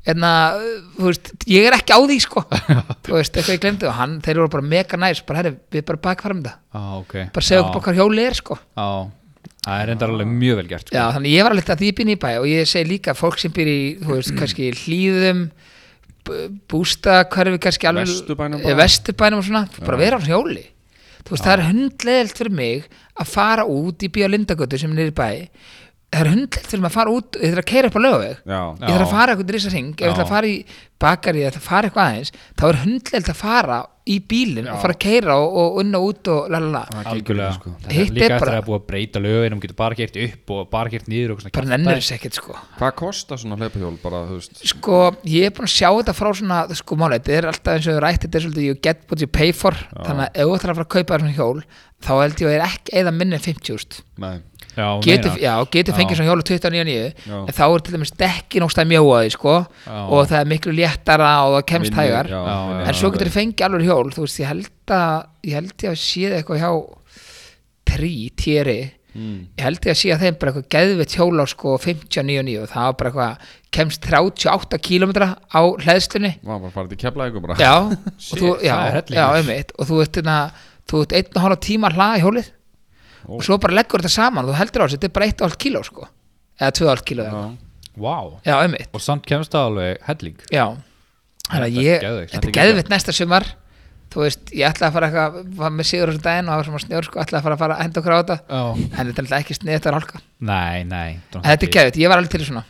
Speaker 2: hérna, uh, þú veist, ég er ekki á því sko, þú veist, eitthvað ég glemdi og hann, þeir voru bara mega næs, bara, herru, við bara bakfarum það,
Speaker 3: ah, okay.
Speaker 2: bara segja
Speaker 3: Já,
Speaker 2: okkur bara hvað hjólið er sko
Speaker 3: já. það er reyndar alveg mjög vel gert sko.
Speaker 2: Já, þannig ég var alveg að því ég býr í bæ og ég segi líka að fólk sem býr í, þú veist, kannski hlýðum bústakörfi kannski alveg
Speaker 1: Vesturbænum bara.
Speaker 2: bara. vesturbænum og svona, þú bara vera á svona hjóli þú veist, það er hundlegelt fyrir mig að fara út í bíó Lindagötu sem er niður í bæ það er hundlegelt fyrir mig að fara út ég þarf að keira upp á lögaveg
Speaker 1: Já
Speaker 2: ég þarf að
Speaker 3: Já.
Speaker 2: fara eitthvað risa ring, ef ég
Speaker 3: Já.
Speaker 2: ætla að fara í bakari eða ætla að fara eitthvað aðeins, þá er hundlegelt að fara í bílinn og fara að keira og, og unna út og lalala
Speaker 3: algjörlega sko. Þetta
Speaker 2: Hitt
Speaker 3: er líka
Speaker 2: er
Speaker 3: eftir
Speaker 2: bara-
Speaker 3: að það er búið að breyta lögunum getur bara gert upp og bara gert niður og svona
Speaker 2: bara
Speaker 3: kjaftaði.
Speaker 2: nennir þess ekkert sko
Speaker 1: Hvað kostar svona hlaupahjól bara, þú veist
Speaker 2: sko, ég er búin að sjá þetta frá svona, sko máli, þetta er alltaf eins og við rætt þetta er svolítið, you get what you pay for þannig að ef þú ætlar að fara að kaupa þér svona hjól þá held ég að ég er ekki eða minni en 50 úst
Speaker 1: Nei
Speaker 3: Já, þú
Speaker 2: getur,
Speaker 3: meinar.
Speaker 2: já, getur
Speaker 3: Já.
Speaker 2: fengið svona hjólu 29.9
Speaker 1: Já.
Speaker 2: en þá er til dæmis dekkin ógst að mjóa því, sko
Speaker 3: Já.
Speaker 2: og það er miklu léttara og það kemst
Speaker 1: Minni-
Speaker 2: hægar
Speaker 1: já,
Speaker 3: Já,
Speaker 1: minni-
Speaker 2: en svo getur þið fengið alveg hjól þú veist, ég held að ég held ég að séð eitthvað hjá trí, týri
Speaker 1: Mm.
Speaker 2: ég held ég að sé að þeim bara eitthvað geðveitt hjóla sko 59.9 og það var bara eitthvað kemst 38 km á hleðslunni
Speaker 1: Vá, bara farið til kefla ykkur bara
Speaker 2: já, og þú,
Speaker 3: Ah, Shit,
Speaker 2: já,
Speaker 3: það er hellingur.
Speaker 2: já, einmitt og þú ert, einna, þú ert einn og hálfa tíma að hlaða hjólið
Speaker 1: Ó.
Speaker 2: og svo bara leggur þetta saman og þú heldur á þessu, þetta er bara 1,5 kg sko, eða 2,5 kg já.
Speaker 1: Já.
Speaker 3: Vá,
Speaker 2: já, einmitt,
Speaker 3: og samt kemst það alveg helling
Speaker 2: já þannig
Speaker 3: Þetta
Speaker 2: að
Speaker 3: er
Speaker 2: ég,
Speaker 3: geðveikt.
Speaker 2: þetta er geðvitt næsta sumar þú veist, ég ætla að fara eitthvað var með sigur á þessu daginn og það var svona snjór sko, ætla að fara að fara að henda okkur á þetta
Speaker 3: Já.
Speaker 2: en þetta er alltaf ekki snið, þetta er hálka
Speaker 3: Nei, nei
Speaker 2: En þetta er geðvitt, ég var alveg til í svona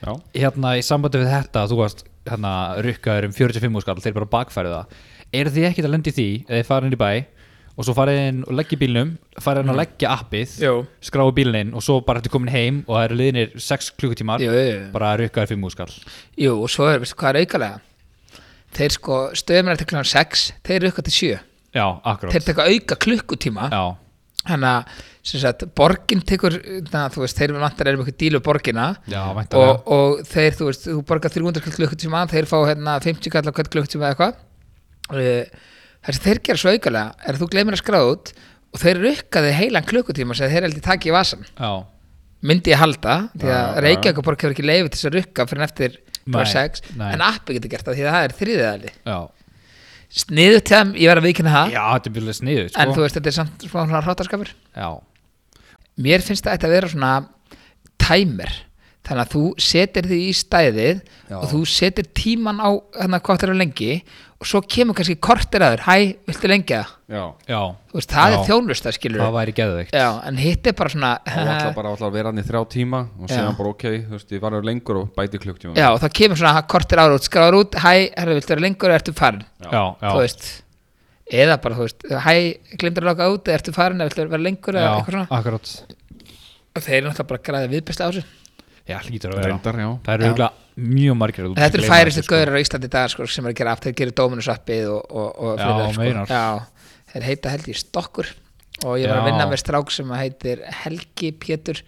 Speaker 1: Já.
Speaker 3: Hérna í sambandi við þetta, þú varst hérna rukkaður um 45 skall, þeir bara bakfærið það Er þið ekkert að lendi því eða þið farið inn í bæ og svo farið inn og leggja í bílnum farið
Speaker 2: Mhm.
Speaker 3: inn og leggja appið
Speaker 2: Jú.
Speaker 3: skráðu bílnin og svo bara ertu komin heim og það eru liðinir 6 klukkutímar
Speaker 2: Jú, jú, jú.
Speaker 3: bara rukkaður 5 skall
Speaker 2: Jú, og svo er, veistu hvað er aukalega þeir sko, stöðum er til klukkan 6 þeir eru ykkur til 7,
Speaker 3: Já, akkurát
Speaker 2: þeir teka auka klukkutíma
Speaker 3: Já,
Speaker 2: þannig að, sem sagt, borgin tekur, na, þú veist, þeir vantar erum ykkur dílu borgina
Speaker 3: já, væntanlega
Speaker 2: og, og þeir, þú veist, þú borgar 300 kall klukkutíma þeir fá hérna 50 kall á kall klukkutíma eða eitthvað uh, það sem þeir gera svo aukalega er að þú gleymir að skráða út og þeir rukkaði heilan klukkutíma sem þeir heldur taki í vasan
Speaker 3: já,
Speaker 2: myndi ég halda, því
Speaker 1: Já,
Speaker 2: að
Speaker 1: já.
Speaker 2: Reykjavíkaborg hefur ekki leiði til þess að rukka fyrir eftir
Speaker 3: Nei,
Speaker 2: 6,
Speaker 3: nei.
Speaker 2: en appi getur gert það því að það er þriðiðali
Speaker 3: já
Speaker 2: sniðu til þeim, ég verð að viðkynna það
Speaker 3: já, þetta er mjög sniðu sko.
Speaker 2: en þú veist þetta er samt smá svona hrátaskapur
Speaker 3: já,
Speaker 2: mér finnst þetta að vera svona timer þannig að þú setir þig í stæðið
Speaker 1: Já.
Speaker 2: og þú setir tíman á þannig að hvað það er lengi og svo kemur kannski kortir aður, hæ, viltu lengja það
Speaker 1: já
Speaker 3: já
Speaker 2: Þú veist, það
Speaker 3: Já.
Speaker 2: er þjónusta skilur
Speaker 3: það væri geðveikt
Speaker 2: Já, en hitt er bara svona
Speaker 1: þá ætla bara ætla að vera hann í þrjá tíma og
Speaker 2: Já.
Speaker 1: segja hann bara ok, þú veist, ég var að vera lengur og bæti klukktíma
Speaker 2: Já, og það kemur svona kortir ára út, skráður út hæ, herra, viltu vera lengur, ertu farin
Speaker 3: já, já,
Speaker 2: þú veist, eða bara, þú veist hæ, glimtur að loka út, ertu farin eða viltu vera lengur, eða eitthvað
Speaker 3: já
Speaker 2: svona
Speaker 3: akkurat
Speaker 2: og þeir eru náttúrulega bara að græða viðbæsla á þessu
Speaker 3: já, hlýtur að vera
Speaker 1: reyndar, já
Speaker 3: það eru
Speaker 2: Já.
Speaker 3: auðvitað mjög margir að þú
Speaker 2: En Þetta eru
Speaker 3: gleyma
Speaker 2: færistu
Speaker 3: þessu, sko.
Speaker 2: gaurar á Íslandi í dag sko, sem er að gera app, þeir gerir Dominus-appið og, og, og
Speaker 3: Já,
Speaker 2: fleira, sko.
Speaker 3: meinar.
Speaker 2: Já, þeir heita held ég Stokkur og ég var að
Speaker 3: Já.
Speaker 2: vinna með strák sem að heitir Helgi Pétur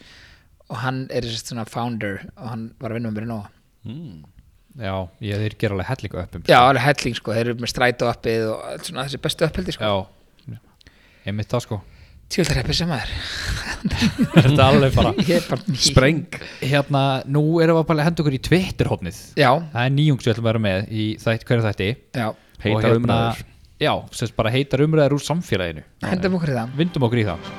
Speaker 2: og hann er þessi svona founder og hann var að vinna með mér í nóa
Speaker 1: Mm.
Speaker 3: já, ég þeir gera alveg hellingu uppum
Speaker 2: Já, alveg helling sko, þeir eru með strætóappið og allt svona þessi bestu uppheldi sko
Speaker 3: já, ég mitt það sko
Speaker 2: Tjóðarreppið sem maður
Speaker 3: þetta er alveg bara
Speaker 2: Ég er bara
Speaker 1: spreng
Speaker 3: hérna, nú erum við bara að henda okkur í Twitter-hófnið
Speaker 2: Já,
Speaker 3: það er nýjung sem við ætlum að vera með í þætt, hverju þætti
Speaker 2: já,
Speaker 3: Og hérna-
Speaker 1: heitar umræður
Speaker 3: já, sem sagt bara heitar umræður úr samfélaginu
Speaker 2: hendum okkur í það
Speaker 3: vindum okkur í það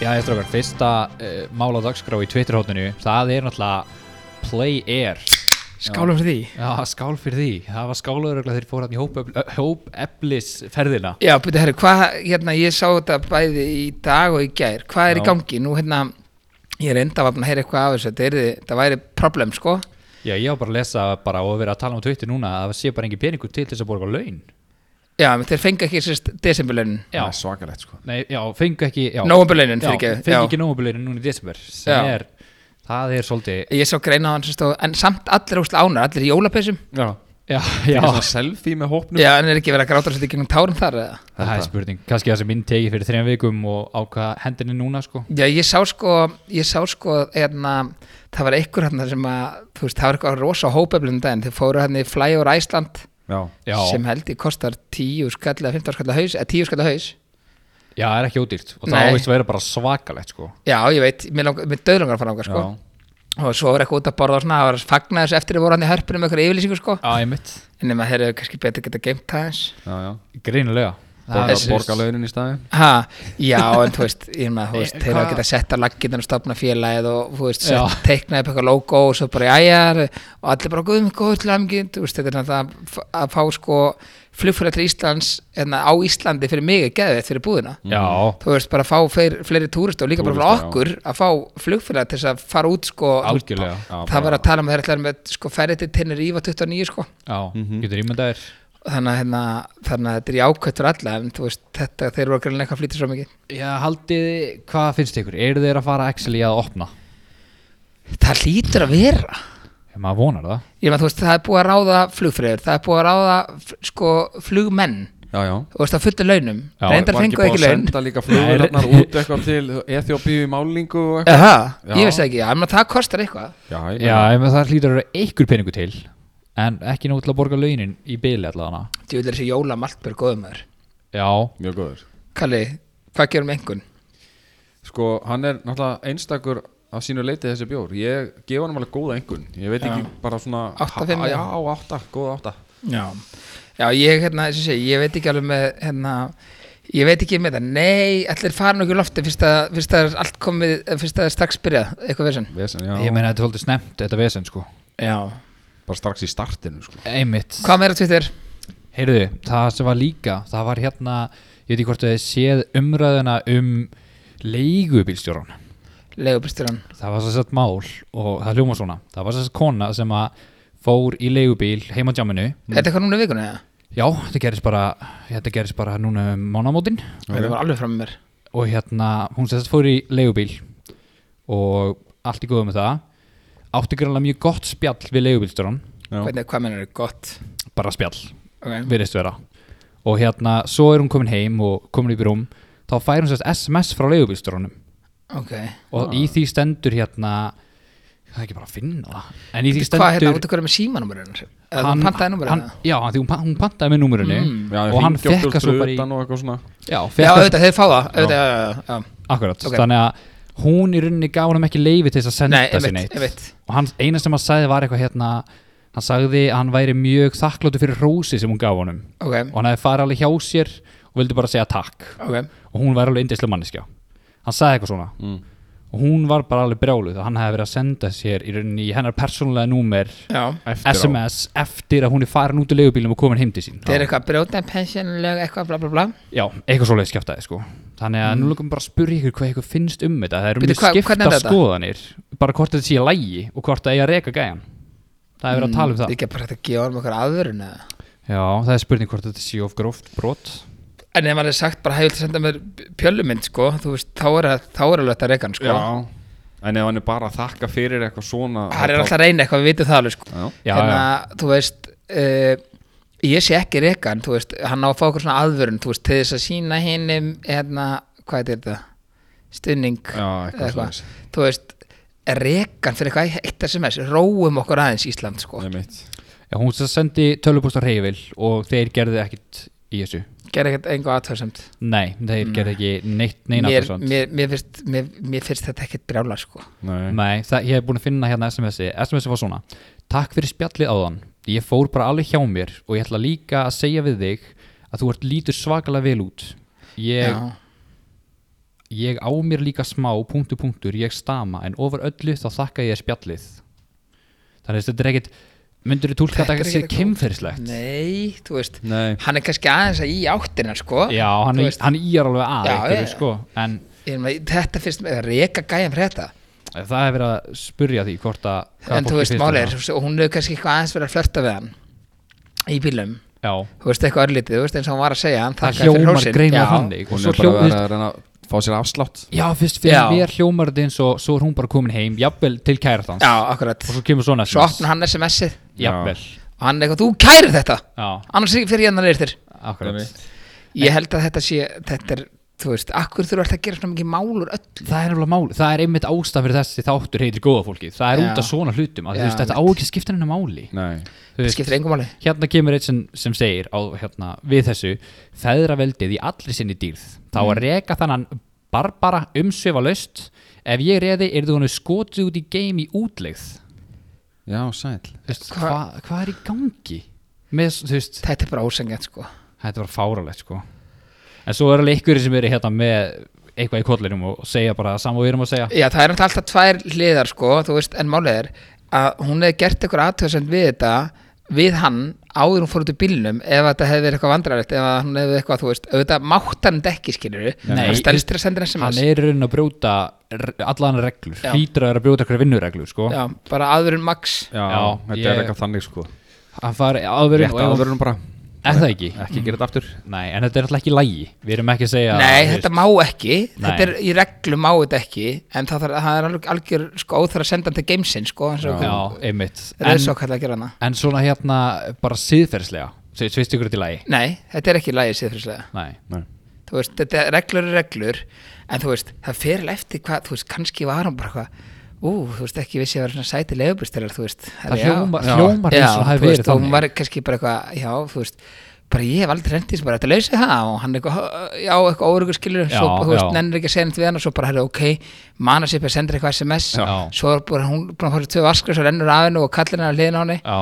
Speaker 3: Já, ég strókar, fyrsta uh, mál á dagskrá í Twitter-hóttinu það er náttúrulega Play Air
Speaker 2: Skálum fyrir því
Speaker 3: Já, skál fyrir því, það var skálaður þegar þeir fóru hann í hópeflis hóp ferðina
Speaker 2: Já, byrja, herri, hvað, hérna, ég sá þetta bæði í dag og í gær, hvað er í
Speaker 3: Já.
Speaker 2: gangi? Nú, hérna, ég er enda að heyra eitthvað af þessu, þetta, er, þetta væri problem, sko.
Speaker 3: Já, ég var bara að lesa bara og verið að tala um á Twitter núna að það sé bara engin peningur til þess að borga laun
Speaker 2: Já, menn þeir fengi ekki sérst desemberlaunin,
Speaker 3: Já,
Speaker 1: það er svakalegt sko
Speaker 3: nei, já, fengu ekki já,
Speaker 2: nóvemberlaunin,
Speaker 3: já,
Speaker 2: fyrir ekki.
Speaker 3: fengu ekki nómubilurinn núna í desember sem
Speaker 2: Já.
Speaker 3: er, það er svolítið
Speaker 2: Ég sá greina á hann, sérst, og, en samt allir ósla ánar, allir í jólapessum.
Speaker 1: já,
Speaker 3: Já,
Speaker 1: já.
Speaker 3: já
Speaker 1: svona selfie með hópnum
Speaker 2: Já, en er ekki verið að gráta svolítið gegnum tárum þar, eða?
Speaker 3: Það er spurning, kannski það sem minn tegi fyrir þrejum vikum og ákvaða hendinni núna sko
Speaker 2: Já, ég sá sko, ég sá sko, hérna, það var einhver hérna sem að, þú veist, það var eitthvað rosa hópeflum daginn, þeir fóru hérna í Flyover Æsland
Speaker 1: já,
Speaker 3: Já,
Speaker 2: sem held ég kostar 10 skall eða 15 skall að haus, eða 10 skall að haus.
Speaker 3: já það er ekki ódýrt og það
Speaker 2: Nei.
Speaker 3: ávist að vera bara svakalegt sko
Speaker 2: Já, ég veit, mér, lang, mér döðlangar að fara langar sko.
Speaker 1: já.
Speaker 2: og svo var eitthvað út að borða og svona, það var að fagna þessu eftir að voru hann í hörpunum með eitthvað yfirlýsingu sko.
Speaker 3: Já, einmitt,
Speaker 2: en nema þeir eru kannski betur geta geimt það eins
Speaker 1: já, já.
Speaker 3: greinilega Það
Speaker 1: Borga,
Speaker 3: er-
Speaker 1: borga launin í staði
Speaker 2: ha, Já, en þú veist, ég meina, þú veist
Speaker 3: Eh,
Speaker 2: þeir eru að
Speaker 3: hvað-
Speaker 2: geta sett að lagginn og stopna félagið og þú veist,
Speaker 3: Já.
Speaker 2: sett, teikna upp eitthvað logo og svo bara jæjar og allir bara guðum góð til hamingin, þú veist, þetta er náttúrulega að- að fá sko flugfæra til Íslands hérna, á Íslandi fyrir mig er geðveitt fyrir búðina
Speaker 3: Já,
Speaker 2: þú veist, bara að fá fleiri, fleiri túrist og líka bara
Speaker 1: Túrista,
Speaker 2: fyrir
Speaker 1: já.
Speaker 2: okkur að fá flugfélag til þess að fara út sko,
Speaker 3: algjörlega
Speaker 1: Já,
Speaker 2: það var
Speaker 1: bara-
Speaker 2: að tala um að þeir ætlaði með sko, ferði til Tenerife á 29 sko.
Speaker 3: Já, getur ímyndaðir
Speaker 2: Og þannig, að, hérna, þannig að þetta er jákvætt fyrir alla en þú veist, þetta, þeir voru greinlega eitthvað að flýta svo mikið
Speaker 3: Já, haldið, hvað finnst ykkur? Eru þeir að fara actually að opna?
Speaker 2: það hlýtur að vera
Speaker 3: Ef maður vonar það
Speaker 2: ég maður, þú veist, það er búið að ráða flugfröður það er búið að ráða f- sko, flugmenn
Speaker 1: já, já
Speaker 2: þú veist, að fulla launum
Speaker 3: Já,
Speaker 2: reyndar
Speaker 1: Var
Speaker 2: fengu
Speaker 1: búið
Speaker 2: ekki
Speaker 1: að
Speaker 2: laun
Speaker 1: senda líka flugurnar út eitthvað til Eþjópíu í málingu og eitthvað
Speaker 2: Aha,
Speaker 1: Já.
Speaker 2: ég veist það ekki, já, en það kostar eitthvað
Speaker 1: já, ég
Speaker 3: Já,
Speaker 1: meina,
Speaker 3: ef það hlýtur að vera einhver peningur til en ekki nóg til að borga launin í byli allavega
Speaker 2: Þú vil þessi jóla maltbjörg góðum maður
Speaker 3: Já,
Speaker 1: mjög góður
Speaker 2: Kalli, hvað gerum engun?
Speaker 1: sko, hann er náttúrulega einstakur að sínu leiti þessi bjór ég gefa hann alveg góða engun ég veit ekki bara svona
Speaker 2: Átta, fimm,
Speaker 1: Ha-
Speaker 2: já.
Speaker 1: já, átta, góða átta
Speaker 2: Já, já ég, hérna, eins og segi, ég veit ekki alveg með, hérna, ég veit ekki með það, nei, allir farin okkur lofti fyrst að, fyrst að allt komið, fyrst að það er strax byrjað, eitthvað veginn.
Speaker 1: Vesen, já,
Speaker 3: ég meina þetta er svolítið snemt, þetta vesen sko
Speaker 2: Já.
Speaker 1: bara strax í startinu sko.
Speaker 3: Einmitt
Speaker 2: Hvað meira Twitter?
Speaker 3: Heyrðu, það sem var líka, það var hérna ég veit ekki hvort þið séð umræðuna um leigubílstjóran
Speaker 2: Leigubýsturinn.
Speaker 3: það var svo sett mál og það hljóma svona það var svo sett kona sem að fór í leigubíl heim á djáminu
Speaker 2: Er þetta eitthvað núna í vikunni eða?
Speaker 3: já, þetta gerist bara þetta gerist bara núna um mánamótin
Speaker 2: Þetta var alveg fram með mér.
Speaker 3: og hérna, hún sem sett fór í leigubíl og allt í góðu með það átti grannlega mjög gott spjall við leigubílstjóran
Speaker 1: Já.
Speaker 2: Hvernig, hvað meina er gott?
Speaker 3: bara spjall
Speaker 2: Ok.
Speaker 3: virðist vera og hérna, svo er hún komin heim og komin upp í rúm þá fær hún sérst SMS frá leigubílstjóranum
Speaker 2: Ok.
Speaker 3: og í því stendur hérna það er ekki bara að finna það en í því
Speaker 2: Hvað hérna,
Speaker 3: stendur
Speaker 2: út af hverju með símanúmerið hennar? Eða hann pantaði númerið hérna?
Speaker 3: hann,
Speaker 2: hennar? Mm.
Speaker 3: já, hann- því hún, pa- hún pantaði með númurinu
Speaker 1: Já,
Speaker 3: og hann
Speaker 1: hringja á
Speaker 3: fekka svo bara í
Speaker 1: utan og eitthvað svona
Speaker 3: já,
Speaker 2: Já,
Speaker 3: fekka,
Speaker 2: auðvitað, þeir fá það auðvitað, já, já, já, já.
Speaker 3: akkurat,
Speaker 2: Ok.
Speaker 3: þannig að hún í rauninni gaf hann ekki leifi til þess að senda
Speaker 2: Nei,
Speaker 3: sér
Speaker 2: einmitt,
Speaker 3: neitt
Speaker 2: einmitt
Speaker 3: og hann, eina sem hann sagði var eitthvað hérna hann sagði að hann væri mjög þakkláttu fyrir hrósi sem hún gaf honum
Speaker 2: Ok,
Speaker 3: og hann hefði farið alveg hjá sér og vildi bara segja takk
Speaker 2: ok,
Speaker 3: og hún var alveg indislega manneskja hann sagði eitthvað svona
Speaker 1: Mm.
Speaker 3: og hún var bara alveg brjáluð að hann hefði verið að senda sér í rauninni í hennar persónulega númer
Speaker 2: já
Speaker 1: Eftir á.
Speaker 3: SMS eftir að hún er farin út úr leigubílum og komin heim til sín
Speaker 2: Þeir eru eitthvað að brjóta pensjónuleg, eitthvað bla bla bla
Speaker 3: Já, eitthvað svoleiðis skjátaði sko Þannig að nú lókum bara að spyrja ykkur hvað ykkur finnst um þetta Það eru
Speaker 2: Bíddu,
Speaker 3: mjög
Speaker 2: hvað- hvernig er
Speaker 3: skipta
Speaker 2: þetta?
Speaker 3: skoðanir Bara hvort þetta sé í lægi og hvort það eigi að reka gæjan Það er verið að tala um
Speaker 2: Þetta
Speaker 3: það
Speaker 2: er ekki Mm, bara hægt að gefa um eitthvað aðvörun eða
Speaker 3: Já, það er spurning hvort þetta sé of gróft brot
Speaker 2: En ef maður er sagt bara hefur til að senda mér pjöllumynd sko, þú veist, þá er, þá er alveg þetta reygan sko.
Speaker 1: Já, en ef hann er bara að þakka fyrir eitthvað svona
Speaker 2: Það er alltaf að reyna eitthvað, við vitum það alveg sko.
Speaker 1: Já,
Speaker 3: Já,
Speaker 2: hérna, þú veist uh, ég sé ekki reygan, þú veist hann á að fá eitthvað svona aðvörun, þú veist til þess að sína hinnum, hérna, hvað heitir þetta stuðning
Speaker 1: já eitthvað
Speaker 2: eitthvað.
Speaker 1: svona
Speaker 2: þú veist, reygan fyrir eitthvað eitt SMS, róum okkur aðeins Ísland sko,
Speaker 1: Nei mitt
Speaker 3: Já, hún sem sendi tölupúst á reyfil og þeir gerðu ekkit í þessu
Speaker 2: gera ekkert engu aðtöðsamt
Speaker 3: Nei, þeir gerðu ekki neitt neina
Speaker 2: mér,
Speaker 3: athugasemd.
Speaker 2: mér, mér, finnst- mér, mér finnst þetta ekkert brjálar sko
Speaker 1: Nei,
Speaker 3: Nei, það, ég hef búin að finna hérna SMS-i SMS-i var svona Takk fyrir spjallið áðan Ég fór bara alveg hjá mér og ég ætla líka að segja við þig að þú ert lítur svakalega vel út Ég,
Speaker 2: Já.
Speaker 3: ég á mér líka smá punktur punktur, ég stama en ofar öllu þá þakka ég þér spjallið Þannig að þetta er ekkit myndur þú tólka
Speaker 2: Þetta er
Speaker 3: þetta sé
Speaker 2: ekkit eitthvað-
Speaker 3: kemferðislegt
Speaker 2: Nei, þú veist
Speaker 1: Nei.
Speaker 2: hann er kannski aðeins að í áttina sko
Speaker 3: Já, hann,
Speaker 2: Þú
Speaker 3: í-
Speaker 2: veist.
Speaker 3: hann íjar alveg að
Speaker 2: Já,
Speaker 3: einhverju,
Speaker 2: já, já.
Speaker 3: sko, en
Speaker 2: Ég er með- þetta finnst mér að reka gæjan fyrir þetta
Speaker 3: það hefur verið að spurja því hvort að hvað
Speaker 2: en þú
Speaker 3: fólki
Speaker 2: veist
Speaker 3: finnst um
Speaker 2: málið
Speaker 3: það.
Speaker 2: er, og hún hefur kannski eitthvað aðeins verið að flörta við hann í bílum,
Speaker 3: Já,
Speaker 2: þú veist eitthvað örlítið þú veist eins og hann var að segja, hann
Speaker 3: það
Speaker 2: þakkaði fyrir
Speaker 3: hljómar
Speaker 2: hrósin.
Speaker 3: greinlega
Speaker 2: Já.
Speaker 3: þannig og
Speaker 1: hún
Speaker 3: svo
Speaker 1: er bara að
Speaker 3: hljómar
Speaker 1: vera að reyna að fá sér afslátt
Speaker 3: Já, fyrst fyrir
Speaker 2: Já.
Speaker 3: mér hljómar þetta eins og svo er hún bara komin heim, jafnvel til kærastans
Speaker 2: Já, akkurat,
Speaker 3: og svo kemur svona
Speaker 2: svo opna hann SMS-ið
Speaker 3: jafnvel,
Speaker 2: og hann eitthvað, þú kærir þetta
Speaker 3: já,
Speaker 2: annars fyrir ég hann að leirtir
Speaker 3: akkurat
Speaker 2: ég held að þetta sé, þetta er þú veist, akkur þurfa alltaf að gera svona mikið málur öll
Speaker 3: Það er nefnilega máli, það er einmitt ástaf fyrir þessi þáttur heitir góða fólki, það
Speaker 2: Já.
Speaker 3: er út af svona hlutum að
Speaker 2: Já,
Speaker 3: þú veist, þetta á ekki að skipta henni máli
Speaker 1: Nei,
Speaker 2: það
Speaker 3: Þú veist,
Speaker 2: skiptir engum máli
Speaker 3: hérna kemur eitt sem, sem segir á, hérna, við þessu, feðraveldið í allri sinni dýrð, þá
Speaker 2: Mm.
Speaker 3: að reka þannan barbara umsvefa löst ef ég reði, er þú hann skotið út í geim í útlegð
Speaker 1: já, sæl
Speaker 3: Þú veist,
Speaker 2: Hva-
Speaker 3: hvað hvað er í gangi með, þú veist,
Speaker 2: þetta er bara ósengjant sko
Speaker 3: Þetta var fáralegt sko En svo er alveg ykkur sem eru hérna með eitthvað í kollinum og segja bara það sama og við erum að segja
Speaker 2: Já, það er náttúrulega alltaf tvær hliðar sko, þú veist, en málið er að hún hefði gert eitthvað aðtöðsend við þetta við hann áður hún fór út í bílnum ef þetta hefði verið eitthvað vandrarlegt ef að hún hefði eitthvað, þú veist, auðvitað mátt hann þetta ekki skilur
Speaker 3: Nei.
Speaker 2: hann stelstir að senda hann
Speaker 3: Hann
Speaker 2: SMS
Speaker 3: er í raunin að brjóta allan reglur
Speaker 2: Já.
Speaker 3: Hlýtur að vera að brjóta eitthvað vinnureglur sko
Speaker 2: Já, bara aðurinn max
Speaker 1: Já,
Speaker 3: Já,
Speaker 1: þetta
Speaker 3: ég-
Speaker 1: er eitthvað þannig sko
Speaker 3: Hann fari áðurinn
Speaker 1: Rétt aðverjum bara
Speaker 3: Er það ekki?
Speaker 1: Ekki gera þetta aftur
Speaker 3: Nei, en þetta er alltaf ekki lægi Við erum ekki að segja
Speaker 2: Nei,
Speaker 3: þú
Speaker 2: þetta
Speaker 3: veist,
Speaker 2: má ekki, þetta er
Speaker 3: Nei.
Speaker 2: í reglu má þetta ekki en það, þarf, það er alveg algjör sko óþar að senda hann til gamesinn sko eins og
Speaker 3: Já, einmitt en,
Speaker 2: reyðsókallega að gera hana
Speaker 3: en svona hérna bara siðferðslega Sveist ykkur þetta í lægi?
Speaker 2: Nei, þetta er ekki lægið síðfrislega
Speaker 3: Nei
Speaker 1: Nei,
Speaker 2: þú veist, þetta er reglur er reglur en þú veist, það fer alveg eftir hvað þú veist, kannski var hann bara hvað ú, þú veist, ekki vissi að vera svona sæti leifubristar þú veist,
Speaker 3: Það
Speaker 2: herra, já.
Speaker 3: hljómar,
Speaker 1: Já.
Speaker 3: hljómar
Speaker 2: já,
Speaker 3: eins og það
Speaker 2: þú
Speaker 3: hefur verið
Speaker 2: veist, og hún
Speaker 3: þannig
Speaker 2: var kannski bara eitthvað já, þú veist, bara ég hef aldrei reyndið sem bara, þetta lausið það og hann eitthvað, já, eitthvað órugur skilur
Speaker 3: Já,
Speaker 2: svo, þú veist,
Speaker 3: já.
Speaker 2: nennir ekki að segja neitt við hann og svo bara, herra, ok manna sér bara sendir eitthvað SMS
Speaker 3: Já.
Speaker 2: svo er bara hún, bara hún fór í tvö vaskur svo rennur af hennu og kallir hennar hliðin á henni
Speaker 3: Já,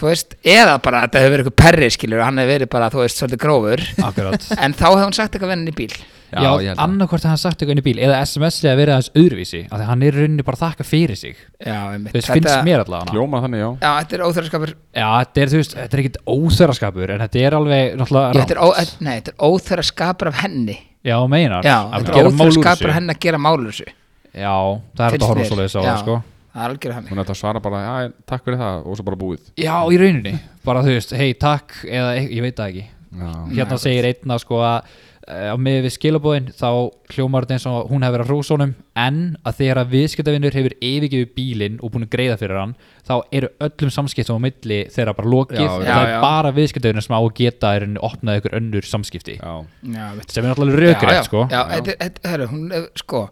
Speaker 2: þú veist, eða bara, þetta hefur verið eitthvað perri skilur, hann hefur verið bara, þú veist, svolítið grófur
Speaker 3: akkurat
Speaker 2: en þá hefði hún sagt eitthvað vennin í bíl
Speaker 1: Já,
Speaker 3: Já,
Speaker 1: ég held
Speaker 3: já
Speaker 1: það.
Speaker 3: annarkvort að hann sagt eitthvað inn í bíl eða SMS-ið að vera aðeins öðruvísi af því að hann er í rauninni bara að þakka fyrir sig þú
Speaker 2: Já, einmitt.
Speaker 3: veist, finnst mér allavega hana.
Speaker 1: hljóma þannig, já
Speaker 2: Já, þetta er óþörfarskapur
Speaker 3: Já, þetta er, þú veist, þetta er ekkit óþöraskapur en þetta er alveg náttúrulega
Speaker 2: Þetta er,
Speaker 3: rangt.
Speaker 2: ó, nei, þetta er óþörfarskapur af henni
Speaker 3: Já, meinar
Speaker 2: Já,
Speaker 3: Að
Speaker 2: þetta er
Speaker 3: gera mál úr
Speaker 2: óþörfarskapur af
Speaker 3: þessu.
Speaker 2: henni að gera málur þessu
Speaker 3: Já, það er þetta að
Speaker 2: finnst
Speaker 3: horfa
Speaker 2: mér.
Speaker 3: svoleiðis á það,
Speaker 2: Já,
Speaker 3: sko
Speaker 2: Það er algjörð hann
Speaker 1: Hún ætti að svara bara, já, en takk fyrir það og svo bara búið
Speaker 3: Já, í rauninni, bara þú veist, hei, takk eða, e- ég veit það ekki
Speaker 1: Já,
Speaker 3: Hérna segir einna, sko, að eh, á með við skilabóðin þá hljómar þetta eins og hún hefur verið að hrósónum en að þegar að viðskiptavinnur hefur yfirgefið bílinn og búin að greiða fyrir hann þá eru öllum samskiptum á milli þeirra bara lokið
Speaker 1: Já,
Speaker 3: og
Speaker 2: já,
Speaker 3: það er
Speaker 2: já.
Speaker 3: bara viðskiptavinnur sem á að geta er henni opnað ykkur önnur samskipti
Speaker 1: já
Speaker 2: Já, veit
Speaker 3: sem er náttúrulega rökrið sko
Speaker 2: Já, já, þetta er, þetta- herru, hún er, sko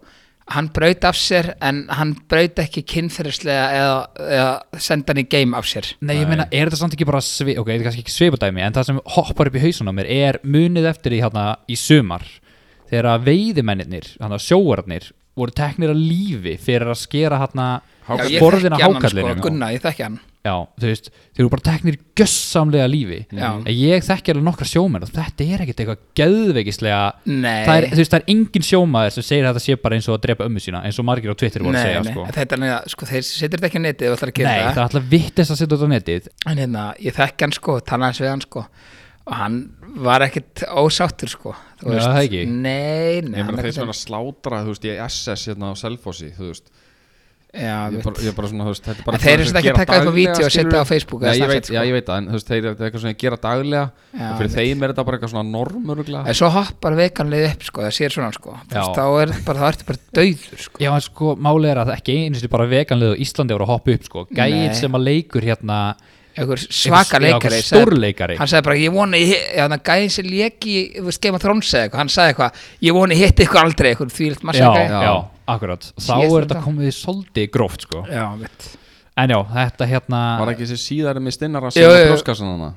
Speaker 2: hann braut af sér en hann braut ekki kynferðislega eða, eða senda hann í game af sér
Speaker 3: Nei, ég
Speaker 1: Nei.
Speaker 3: meina, er þetta samt ekki bara svi, ok, þetta er kannski ekki svipadæmi, en það sem hoppar upp í hausun á mér er munið eftir því hérna í sumar þegar að veiðimennirnir, hérna sjóarnir voru teknir að lífi fyrir að skera hérna
Speaker 2: Já,
Speaker 1: Hákarl.
Speaker 2: ég
Speaker 3: borðin af
Speaker 2: þekki hann,
Speaker 3: hákallinu
Speaker 2: sko, Gunna, ég þekki hann
Speaker 3: Já, þú veist, þeir eru bara teknir gössamlega lífi
Speaker 2: Já.
Speaker 3: en ég þekki alveg nokkra sjómenn og þetta er ekkert eitthvað geðveikislega
Speaker 2: Nei,
Speaker 3: það er, þú veist, það er engin sjómaður sem segir að þetta sé bara eins og að drepa ömmu sína eins og margir á Twitter voru
Speaker 2: nei,
Speaker 3: að segja
Speaker 2: nei.
Speaker 3: sko.
Speaker 2: þetta er nega, sko, þeir setur þetta ekki á netið og ætlar að
Speaker 3: Nei,
Speaker 2: gera það
Speaker 3: það er alltaf vittist að setja þetta á netið
Speaker 2: en hérna, ég þekki hann sko, talaðis við hann sko og hann var ekkit ósáttur sko þú
Speaker 3: Já,
Speaker 2: veist.
Speaker 3: það ekki.
Speaker 2: Nei, nei
Speaker 1: Ég meina
Speaker 2: hann
Speaker 1: þeir sem er
Speaker 2: ekkert-
Speaker 1: að slátra, þú veist, ég SS hérna á Selfossi, þú veist
Speaker 2: Já,
Speaker 1: Ég
Speaker 2: mitt.
Speaker 1: bara, ég bara svona, þú veist, þetta er bara
Speaker 2: En þeir eru
Speaker 1: eitthvað
Speaker 2: samt
Speaker 1: sem
Speaker 2: ekki að taka
Speaker 1: gera
Speaker 2: eitthvað
Speaker 1: daglega,
Speaker 2: vídeó og setja
Speaker 1: skilurðu.
Speaker 2: á Facebook eða
Speaker 1: Nei, ég
Speaker 2: Snapchat,
Speaker 1: veit,
Speaker 2: sko.
Speaker 1: já, ég veit það, en þú veist, þeir eru þetta er eitthvað sem þeir gera daglega
Speaker 2: Já,
Speaker 1: og fyrir
Speaker 2: mitt.
Speaker 1: þeim er þetta bara eitthvað svona normurugla
Speaker 2: En svo hoppar veikanlið upp sko, það sér svona sko Þú veist,
Speaker 3: Já.
Speaker 2: þá er þetta bara, þá ertu bara dauður sko
Speaker 3: Já, en sko, málið er að ekki einu sinni bara veganlið og Íslandi voru að hoppa upp, sko. Gæinn
Speaker 2: Nei.
Speaker 3: sem að leikur hérna...
Speaker 2: einhver svaka leikari
Speaker 3: einhver- já, einhver
Speaker 2: sagði-
Speaker 3: Stórleikari.
Speaker 2: hann sagði bara, ég vona ég hi- já, þannig að gæðin sem leki, þú veist, Game of Thrones eða eitthvað, hann sagði eitthvað, ég vona ég hitti ykkur aldrei eitthvað þvílitt
Speaker 3: Já,
Speaker 2: massa
Speaker 3: já,
Speaker 1: Já.
Speaker 3: akkurat. Þá
Speaker 2: Síðast
Speaker 3: er þetta
Speaker 2: þetta.
Speaker 3: komið í svolítið gróft, sko.
Speaker 2: já, mitt
Speaker 3: En já, þetta hérna...
Speaker 1: Var ekki þessi síðar með stinnara
Speaker 2: Jú,
Speaker 1: sem
Speaker 2: jú.
Speaker 1: að brjóskassan hana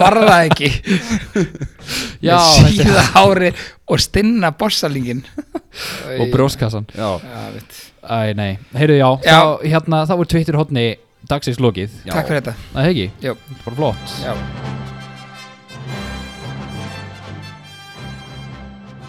Speaker 2: var það ekki
Speaker 3: Já,
Speaker 2: Með
Speaker 3: þetta-
Speaker 2: síða hári og stinna borsalingin
Speaker 3: Og bróskassan.
Speaker 1: Já,
Speaker 2: já, mitt.
Speaker 3: Æ, nei. Heyrðu, já,
Speaker 2: Já.
Speaker 3: Þá, hérna, þá voru Twitter hotni dagsins lokið.
Speaker 1: Já.
Speaker 2: takk fyrir þetta
Speaker 3: Það er ekki?
Speaker 2: Jú.
Speaker 3: Þetta er bara flott.
Speaker 2: já.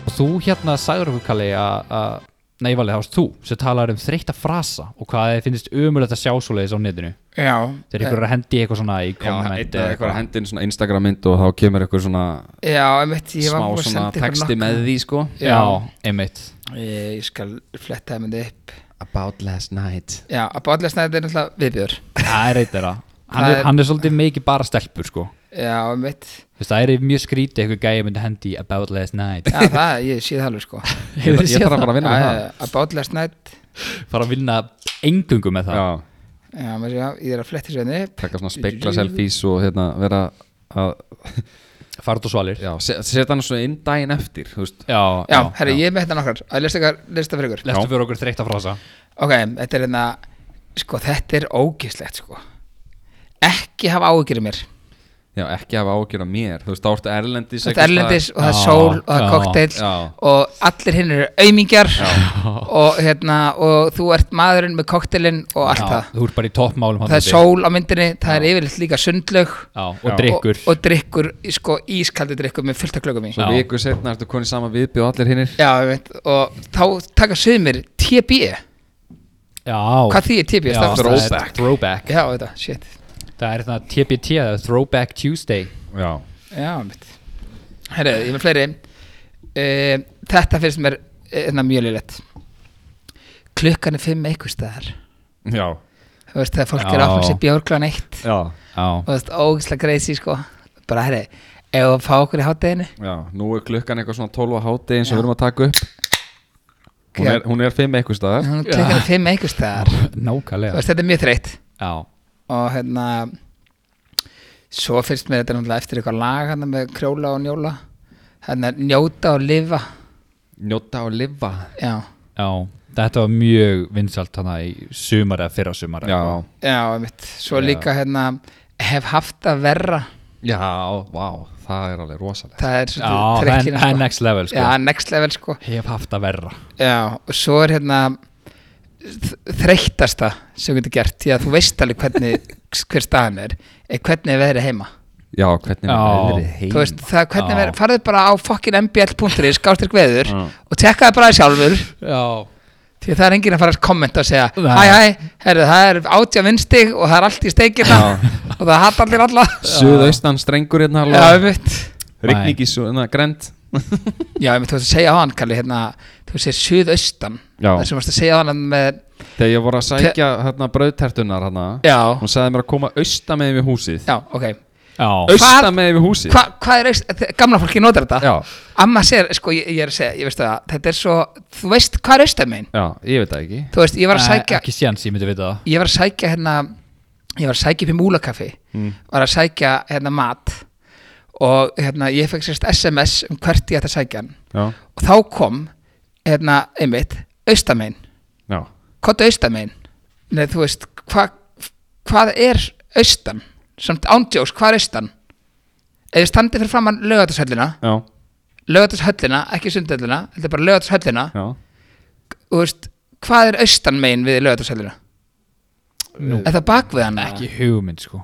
Speaker 3: Og þú hérna sagður okkur kalli að að- Nei, valið, það varst þú sem talar um þreytta frasa og hvað þið finnist umulegt að sjá svoleiðis á netinu.
Speaker 2: já,
Speaker 3: Þegar ykkur er að hendi eitthvað svona í
Speaker 1: já
Speaker 2: hérna.
Speaker 3: komment.
Speaker 1: einn eða eitthvað hendin svona Instagram mynd og þá kemur eitthvað svona
Speaker 2: Eh, já, einmitt, ég var
Speaker 1: smá
Speaker 2: búin að
Speaker 1: svona
Speaker 2: senda ykkur
Speaker 1: texti
Speaker 2: nokkuð.
Speaker 1: með því, sko
Speaker 2: já,
Speaker 3: Já, einmitt
Speaker 2: ég, ég skal fletta það myndi upp
Speaker 1: About last night
Speaker 2: já, að báðlega snæði þetta er náttúrulega viðbjör
Speaker 3: Það er eitt þeirra hann,
Speaker 2: Það
Speaker 3: er-
Speaker 2: er-
Speaker 3: hann er svolítið mikið bara stelpur sko
Speaker 2: já, einmitt,
Speaker 3: Þess, Það er mjög skrítið eitthvað gæja myndi hendi í About last night
Speaker 2: já, það, ég sé það alveg sko
Speaker 1: Ég
Speaker 3: Hefurðu séð
Speaker 1: þarf bara
Speaker 3: það?
Speaker 1: að vinna með
Speaker 2: Já,
Speaker 1: það
Speaker 2: já, að báðlega snæði
Speaker 3: Fara að vinna engungu með það
Speaker 1: Já,
Speaker 2: Já, maður sé, já, ég er að fletta sér henni upp
Speaker 1: taka svona spekla selfies og hérna vera að
Speaker 3: Fart og svalir Já,
Speaker 1: Já, se- setja hann svona inn daginn eftir, þú veist
Speaker 3: já,
Speaker 2: Já, herri, ég er með þetta nokkar Að lesta ykkar, lesta fyrir ykkur
Speaker 3: Lestu fyrir okkur þreytta frasa
Speaker 2: Ok, þetta er hérna Sko, þetta er ógislegt, sko Ekki hafa áhyggjur í mér
Speaker 1: Já, ekki hafa ágjör af mér Þú veist, þá ertu erlendis
Speaker 2: Þetta er erlendis og það er
Speaker 3: Já,
Speaker 2: sól og það
Speaker 3: já,
Speaker 2: er kokteil
Speaker 1: já.
Speaker 2: Og allir hinn eru aumingjar Og hérna, og þú ert maðurinn með kokteilinn og allt
Speaker 3: Já,
Speaker 2: það
Speaker 3: Þú ert bara í toppmálum
Speaker 2: Það er sól á myndinni, það er yfirleitt líka sundlaug
Speaker 3: Já, og
Speaker 1: Já.
Speaker 3: drikkur
Speaker 2: Og, og drikkur, sko, ískaldi drikkur með fullt af klökum í
Speaker 1: Svo
Speaker 3: Já.
Speaker 1: viku setna ertu konið sama viðbjóð allir hinnir
Speaker 2: Já, ég veit, og þá taka sögumir TB,
Speaker 3: Já,
Speaker 2: hvað því er TB? Já,
Speaker 3: Já, það er
Speaker 1: Throwback.
Speaker 3: Throwback
Speaker 2: já þetta, shit
Speaker 3: Það er það TBT, það er Throwback Tuesday
Speaker 1: Já
Speaker 2: Já, mitt Herru, ég er með fleiri uh, Þetta finnst mér enna mjög lillet Klukkan er fimm eitthvað staðar
Speaker 1: Já
Speaker 2: Þú veist, þegar fólk er
Speaker 3: Já.
Speaker 2: áfram sér bjórklan eitt
Speaker 1: Já,
Speaker 3: Já
Speaker 2: og þú veist, ógislega greiðsi, sko Bara, herru, ef að fá okkur í hátteginu
Speaker 1: já Nú er klukkan eitthvað svona 12 á háti eins
Speaker 2: Já.
Speaker 1: og við erum að taka upp Hún
Speaker 2: Já.
Speaker 1: er, hún er fimm eitthvað staðar
Speaker 2: Klukkan er fimm eitthvað staðar Þú
Speaker 3: Nákvæmlega
Speaker 2: veist, þetta er mjög þreytt
Speaker 3: Já
Speaker 2: og hérna svo finnst mér þetta náttúrulega eftir eitthvað lag hérna með krjóla og njóla hérna njóta og lifa
Speaker 1: Njóta og lifa
Speaker 2: já,
Speaker 3: Já, þetta var mjög vinsalt hana í sumar eða fyrra sumar
Speaker 1: Já
Speaker 2: já, einmitt svo
Speaker 1: Já.
Speaker 2: líka hérna hef haft að verra
Speaker 1: Já, vá, það er alveg rosalega
Speaker 2: það er
Speaker 3: Já, það er-
Speaker 2: trikkina,
Speaker 3: það er next level sko.
Speaker 2: já, next level sko
Speaker 3: Hef haft að verra
Speaker 2: já, og svo er hérna þ- þreyttasta sem þú getur gert því að þú veist alveg hvernig hver staðan er, er hvernig er veðrið heima
Speaker 1: Já, hvernig
Speaker 3: Já.
Speaker 1: er verið heima
Speaker 2: þú veist, það, hvernig
Speaker 3: Já.
Speaker 2: verður, farðu bara á fokkin mbl.is, gástir veður og tekkaðu bara sjálfur
Speaker 3: Já,
Speaker 2: Því að það er enginn að fara að kommenta og segja
Speaker 3: Nei.
Speaker 2: Hæ, hæ, herru, það er átja vinstig og það er allt í steikina og það hatt allir alla
Speaker 1: Suðaustan strengur hérna
Speaker 2: Já,
Speaker 1: alveg
Speaker 2: einmitt
Speaker 1: Rigning í svona grend
Speaker 2: Já, einmitt, þú veist að segja á hann, Kalli, hérna þú veist að suðaustan
Speaker 1: Já.
Speaker 2: Það sem varst að segja á hann hérna með
Speaker 1: Þegar ég voru að sækja hérna brauðtertunar hérna
Speaker 2: Já,
Speaker 1: Hún sagði mér að koma austa með við húsið
Speaker 2: já, ok
Speaker 3: já,
Speaker 1: Austa með við húsið
Speaker 2: Hva, Hvað er, aust- gamla fólki notar þetta?
Speaker 1: Já,
Speaker 2: Amma segir, sko, ég, ég er að segja, ég veist það Þetta er svo, þú veist hvað er austan megin?
Speaker 1: já, ég veit það ekki
Speaker 2: Þú veist, ég var að
Speaker 3: Nei,
Speaker 2: sækja
Speaker 3: Ekki séns, ég myndi vita það
Speaker 2: ég var að sækja hérna ég var að sækja upp í múlakaffi var að sækja hérna mat og hérna, ég fekk sérst SMS um hvert ég ætti að sækja hann
Speaker 1: já,
Speaker 2: og þá kom, hérna, einmitt austamein,
Speaker 1: já,
Speaker 2: hvað er austamein? Nei, þú veist, hva, hvað er austan? Samt ándjós, hvað er austan? Ef þið standið fyrir framann lögatarsöllina
Speaker 1: já,
Speaker 2: lögatarsöllina, ekki sundhöllina þetta er bara lögatarsöllina
Speaker 1: já.
Speaker 2: og þú veist, hvað er austan megin við lögatarsöllina?
Speaker 3: Nú.
Speaker 2: Er það bak við hana?
Speaker 3: ekki hugmynd sko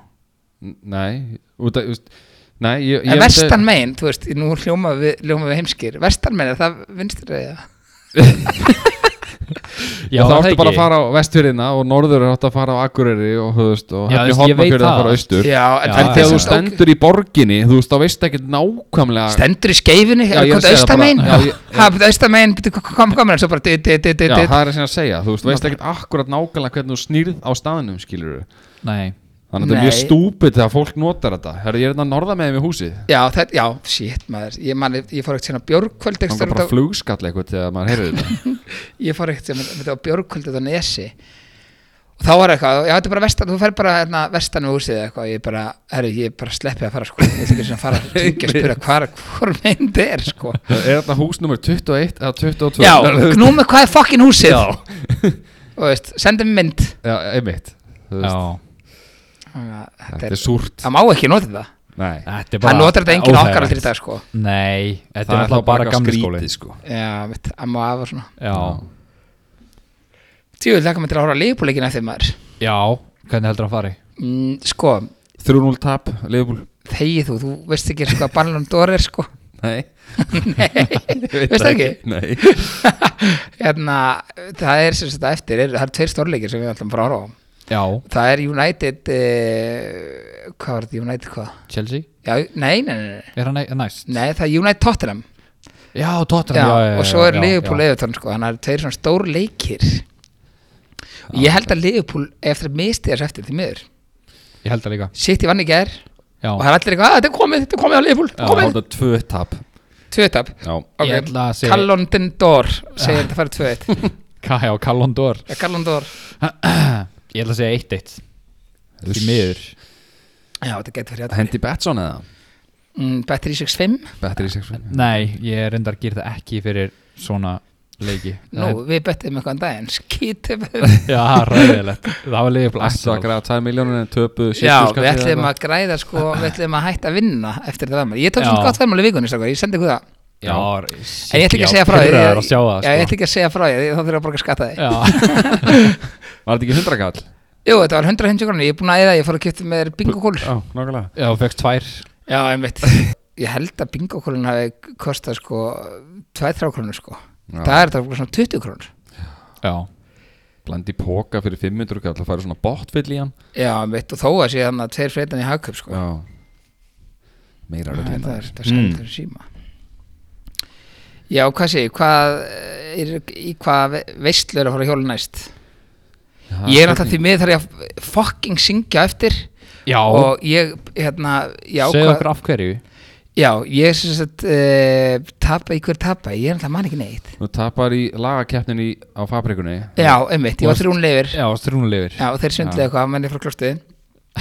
Speaker 1: N- Nei, út að, just, nei ég, ég
Speaker 2: En vestan megin, þú veist, nú hljóma við, hljóma við heimskir Vestan megin, er það vinstri eða?
Speaker 1: Já,
Speaker 3: það
Speaker 1: þá
Speaker 3: er
Speaker 1: ertu
Speaker 3: ekki.
Speaker 1: bara að fara á vestfyrðina og norður er átt að fara á Akureyri og, þú veist, og
Speaker 3: Já,
Speaker 1: hefði
Speaker 3: þú veist, ég veit
Speaker 1: hopnafyrði að
Speaker 3: það.
Speaker 1: fara austur
Speaker 2: Já, en,
Speaker 1: En
Speaker 3: Já,
Speaker 1: þegar þú
Speaker 3: já.
Speaker 1: stendur í borginni, þú veist, þá veist ekki nákvæmlega
Speaker 2: Stendur í skeifinni,
Speaker 1: Já,
Speaker 2: er
Speaker 1: ég
Speaker 2: hvað
Speaker 1: segi það
Speaker 2: austan
Speaker 1: bara-
Speaker 2: megin?
Speaker 1: já, ég-
Speaker 2: Ha, betur austan megin, betur kom, kom, kom Svo bara, dit, dit,
Speaker 1: Já,
Speaker 2: dit, dit, dit
Speaker 1: það er sem að segja, þú veist, veist ekkert akkurat nákvæmlega hvernig þú snýrð á staðnum, skilur
Speaker 3: nei,
Speaker 1: Þannig að þetta er mjög
Speaker 2: Nei.
Speaker 1: stúpid þegar fólk notar þetta Herra, ég er þetta norða með þeim í húsið
Speaker 2: Já, það, já, shit maður Ég, man, ég fór ekkert sérna björgkvöld
Speaker 1: Það er
Speaker 2: ekstra,
Speaker 1: bara flugskall eitthvað þegar maður heyrir þetta
Speaker 2: Ég fór ekkert sem þetta var björgkvöld þetta á Nesi og þá var eitthvað, já þetta er bara vestan þú fer bara hérna, vestan við húsið eða eitthvað ég bara, herru, ég bara sleppi að fara sko ég þykir svona að fara að ringja og spyrja hvað hvor meginn þetta er sko
Speaker 1: Er þetta hús nummer 21 eða 22?
Speaker 2: já, gnúmi hvað er fokkin húsið
Speaker 1: Já.
Speaker 2: og veist, sendi mér mynd
Speaker 1: Já, einmitt Þú veist,
Speaker 3: já
Speaker 2: Þannig að þetta
Speaker 1: Þetta
Speaker 2: er,
Speaker 1: er súrt
Speaker 2: það má ekki nota þetta
Speaker 1: Nei,
Speaker 3: þetta er bara
Speaker 2: það notar þetta enginn
Speaker 3: óþægilegt.
Speaker 2: okkar allir í dag sko
Speaker 3: nei, þetta
Speaker 1: það
Speaker 3: er
Speaker 1: er þá
Speaker 3: alltaf bara
Speaker 1: bara
Speaker 3: gamli skóli
Speaker 1: skrítið sko
Speaker 2: já, mitt, amma og afa svona
Speaker 3: já,
Speaker 2: tíu, lakka mig til að horfa að leifbúleikin eftir maður
Speaker 3: já, hvernig heldur hann fari
Speaker 2: mm, sko,
Speaker 1: 3-0 tap, Liverpool
Speaker 2: þegið þú, þú veist ekki sko að Ballon d'Or er sko
Speaker 1: Nei,
Speaker 2: nei, veist ekki
Speaker 1: Nei
Speaker 2: hérna, það er sem þetta eftir er, það er tveir stórleikir sem við ætlum bara að horfa á
Speaker 3: já,
Speaker 2: það er United uh, hvað var þetta United hvað?
Speaker 3: Chelsea,
Speaker 2: Já, nei, nei, nei, nei,
Speaker 3: er hann e- næst
Speaker 2: nei það er United Tottenham
Speaker 3: já, Tottenham,
Speaker 2: já,
Speaker 3: já, já, já
Speaker 2: og svo er
Speaker 3: já,
Speaker 2: Liverpool
Speaker 3: já.
Speaker 2: Everton sko, þannig að það eru tveir svona stór leikir og ég held að Liverpool eftir að misti þessu eftir því miður
Speaker 3: ég held það líka,
Speaker 2: sitt í vann í gær
Speaker 3: já
Speaker 2: og það er allir eitthvað, að þetta er komið, þetta er komið á Liverpool þetta
Speaker 1: Já,
Speaker 2: er komið,
Speaker 1: þetta er 2 tap
Speaker 2: tvöðtap
Speaker 1: Já,
Speaker 3: Ég ætla að segja-
Speaker 2: Callon Dindor segir þetta farið tvöðt
Speaker 3: Ka- já, Callon d'Or
Speaker 2: Callon Dindor,
Speaker 3: ég ætla að segja 1-1 því miður
Speaker 2: já þetta getur fyrir
Speaker 1: Hendi Betsson eða?
Speaker 2: mm, Betri 65
Speaker 1: Betri í 6
Speaker 3: nei, ég reyndar að gera það ekki fyrir svona leiki
Speaker 2: Nú,
Speaker 3: það
Speaker 2: við bettum eitthvað en daginn Skítum
Speaker 3: er- já, ræðilegt, það var Liverpool
Speaker 1: Ættu að
Speaker 3: Arsenal.
Speaker 1: græða 2 miljónir en töpu
Speaker 2: Já, við ætlum að græða sko Við ætlum að hætta að vinna eftir þetta verðmál Ég tók
Speaker 3: Já.
Speaker 2: svona gott verðmál í vikunni, strákar, ég sendi ykkur það
Speaker 3: já,
Speaker 2: En ég ætla ekki að segja frá því
Speaker 3: pirraður að sjá það,
Speaker 2: Já, ég
Speaker 3: sko.
Speaker 2: ætla ekki að segja frá því, þá þurfum við að borga skatta því
Speaker 3: já,
Speaker 1: Var þetta ekki 100 kall?
Speaker 2: Jú, þetta var 150 krónir, ég er búin að eða Ég fór að kipta mér bingokólur
Speaker 1: Já, nákvæmlega
Speaker 3: já, fegst tvær
Speaker 2: Já, einmitt Ég held að bingokólun hafi kostað sko 2-3 krónur sko
Speaker 1: Já.
Speaker 2: Það er þetta svona 20 krónur
Speaker 3: já,
Speaker 1: Blandi póka fyrir 500 kall að fara svona botfill í hann
Speaker 2: Já, einmitt, og þó að sé þannig að tveir freitan í hagkaup sko
Speaker 1: Já Meira
Speaker 2: Já,
Speaker 1: röglega
Speaker 2: Það er Ah, Mm. þetta sældur síma Já, hvað sé ég, hvað er, í hvað ve- veislu er að fara að hjóla næst? ég er alltaf því miður þar ég að fucking syngja eftir
Speaker 3: já,
Speaker 2: og ég, hérna, já,
Speaker 3: segja okkur af hverju
Speaker 2: já, ég er sem sagt uh, tapa í hver tapa, ég er alltaf mann ekki neitt
Speaker 1: Þú tapar í lagakeppninni á fabrikunni
Speaker 2: Já, einmitt, ég var
Speaker 3: Varst-
Speaker 2: þrúnleifir
Speaker 3: já, strúnulegur
Speaker 2: Já, og þeir svindlega eitthvað, menn er frá klostuðin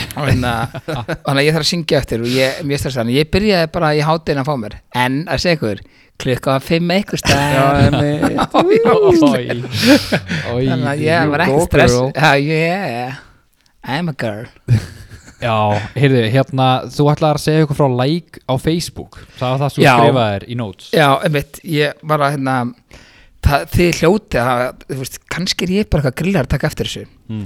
Speaker 2: og hérna- og þannig að ég þarf að syngja eftir og ég, mjög stressað, þannig að ég byrjaði bara í hátinn að fá mér, en að segja ykkur klukka var fimm eitthvað stær
Speaker 3: Oj. Oj.
Speaker 2: þannig að ég var ekki stress já, yeah, I'm a girl
Speaker 3: Já, heyrðu, hérna, þú ætlaði að segja eitthvað frá like á Facebook Það var það sem þú
Speaker 2: Já.
Speaker 3: skrifaðir í notes
Speaker 2: já, einmitt, ég var að hérna það, þið hljóti að, þú veist, kannski er ég bara eitthvað grillar að taka eftir þessu
Speaker 1: Mm.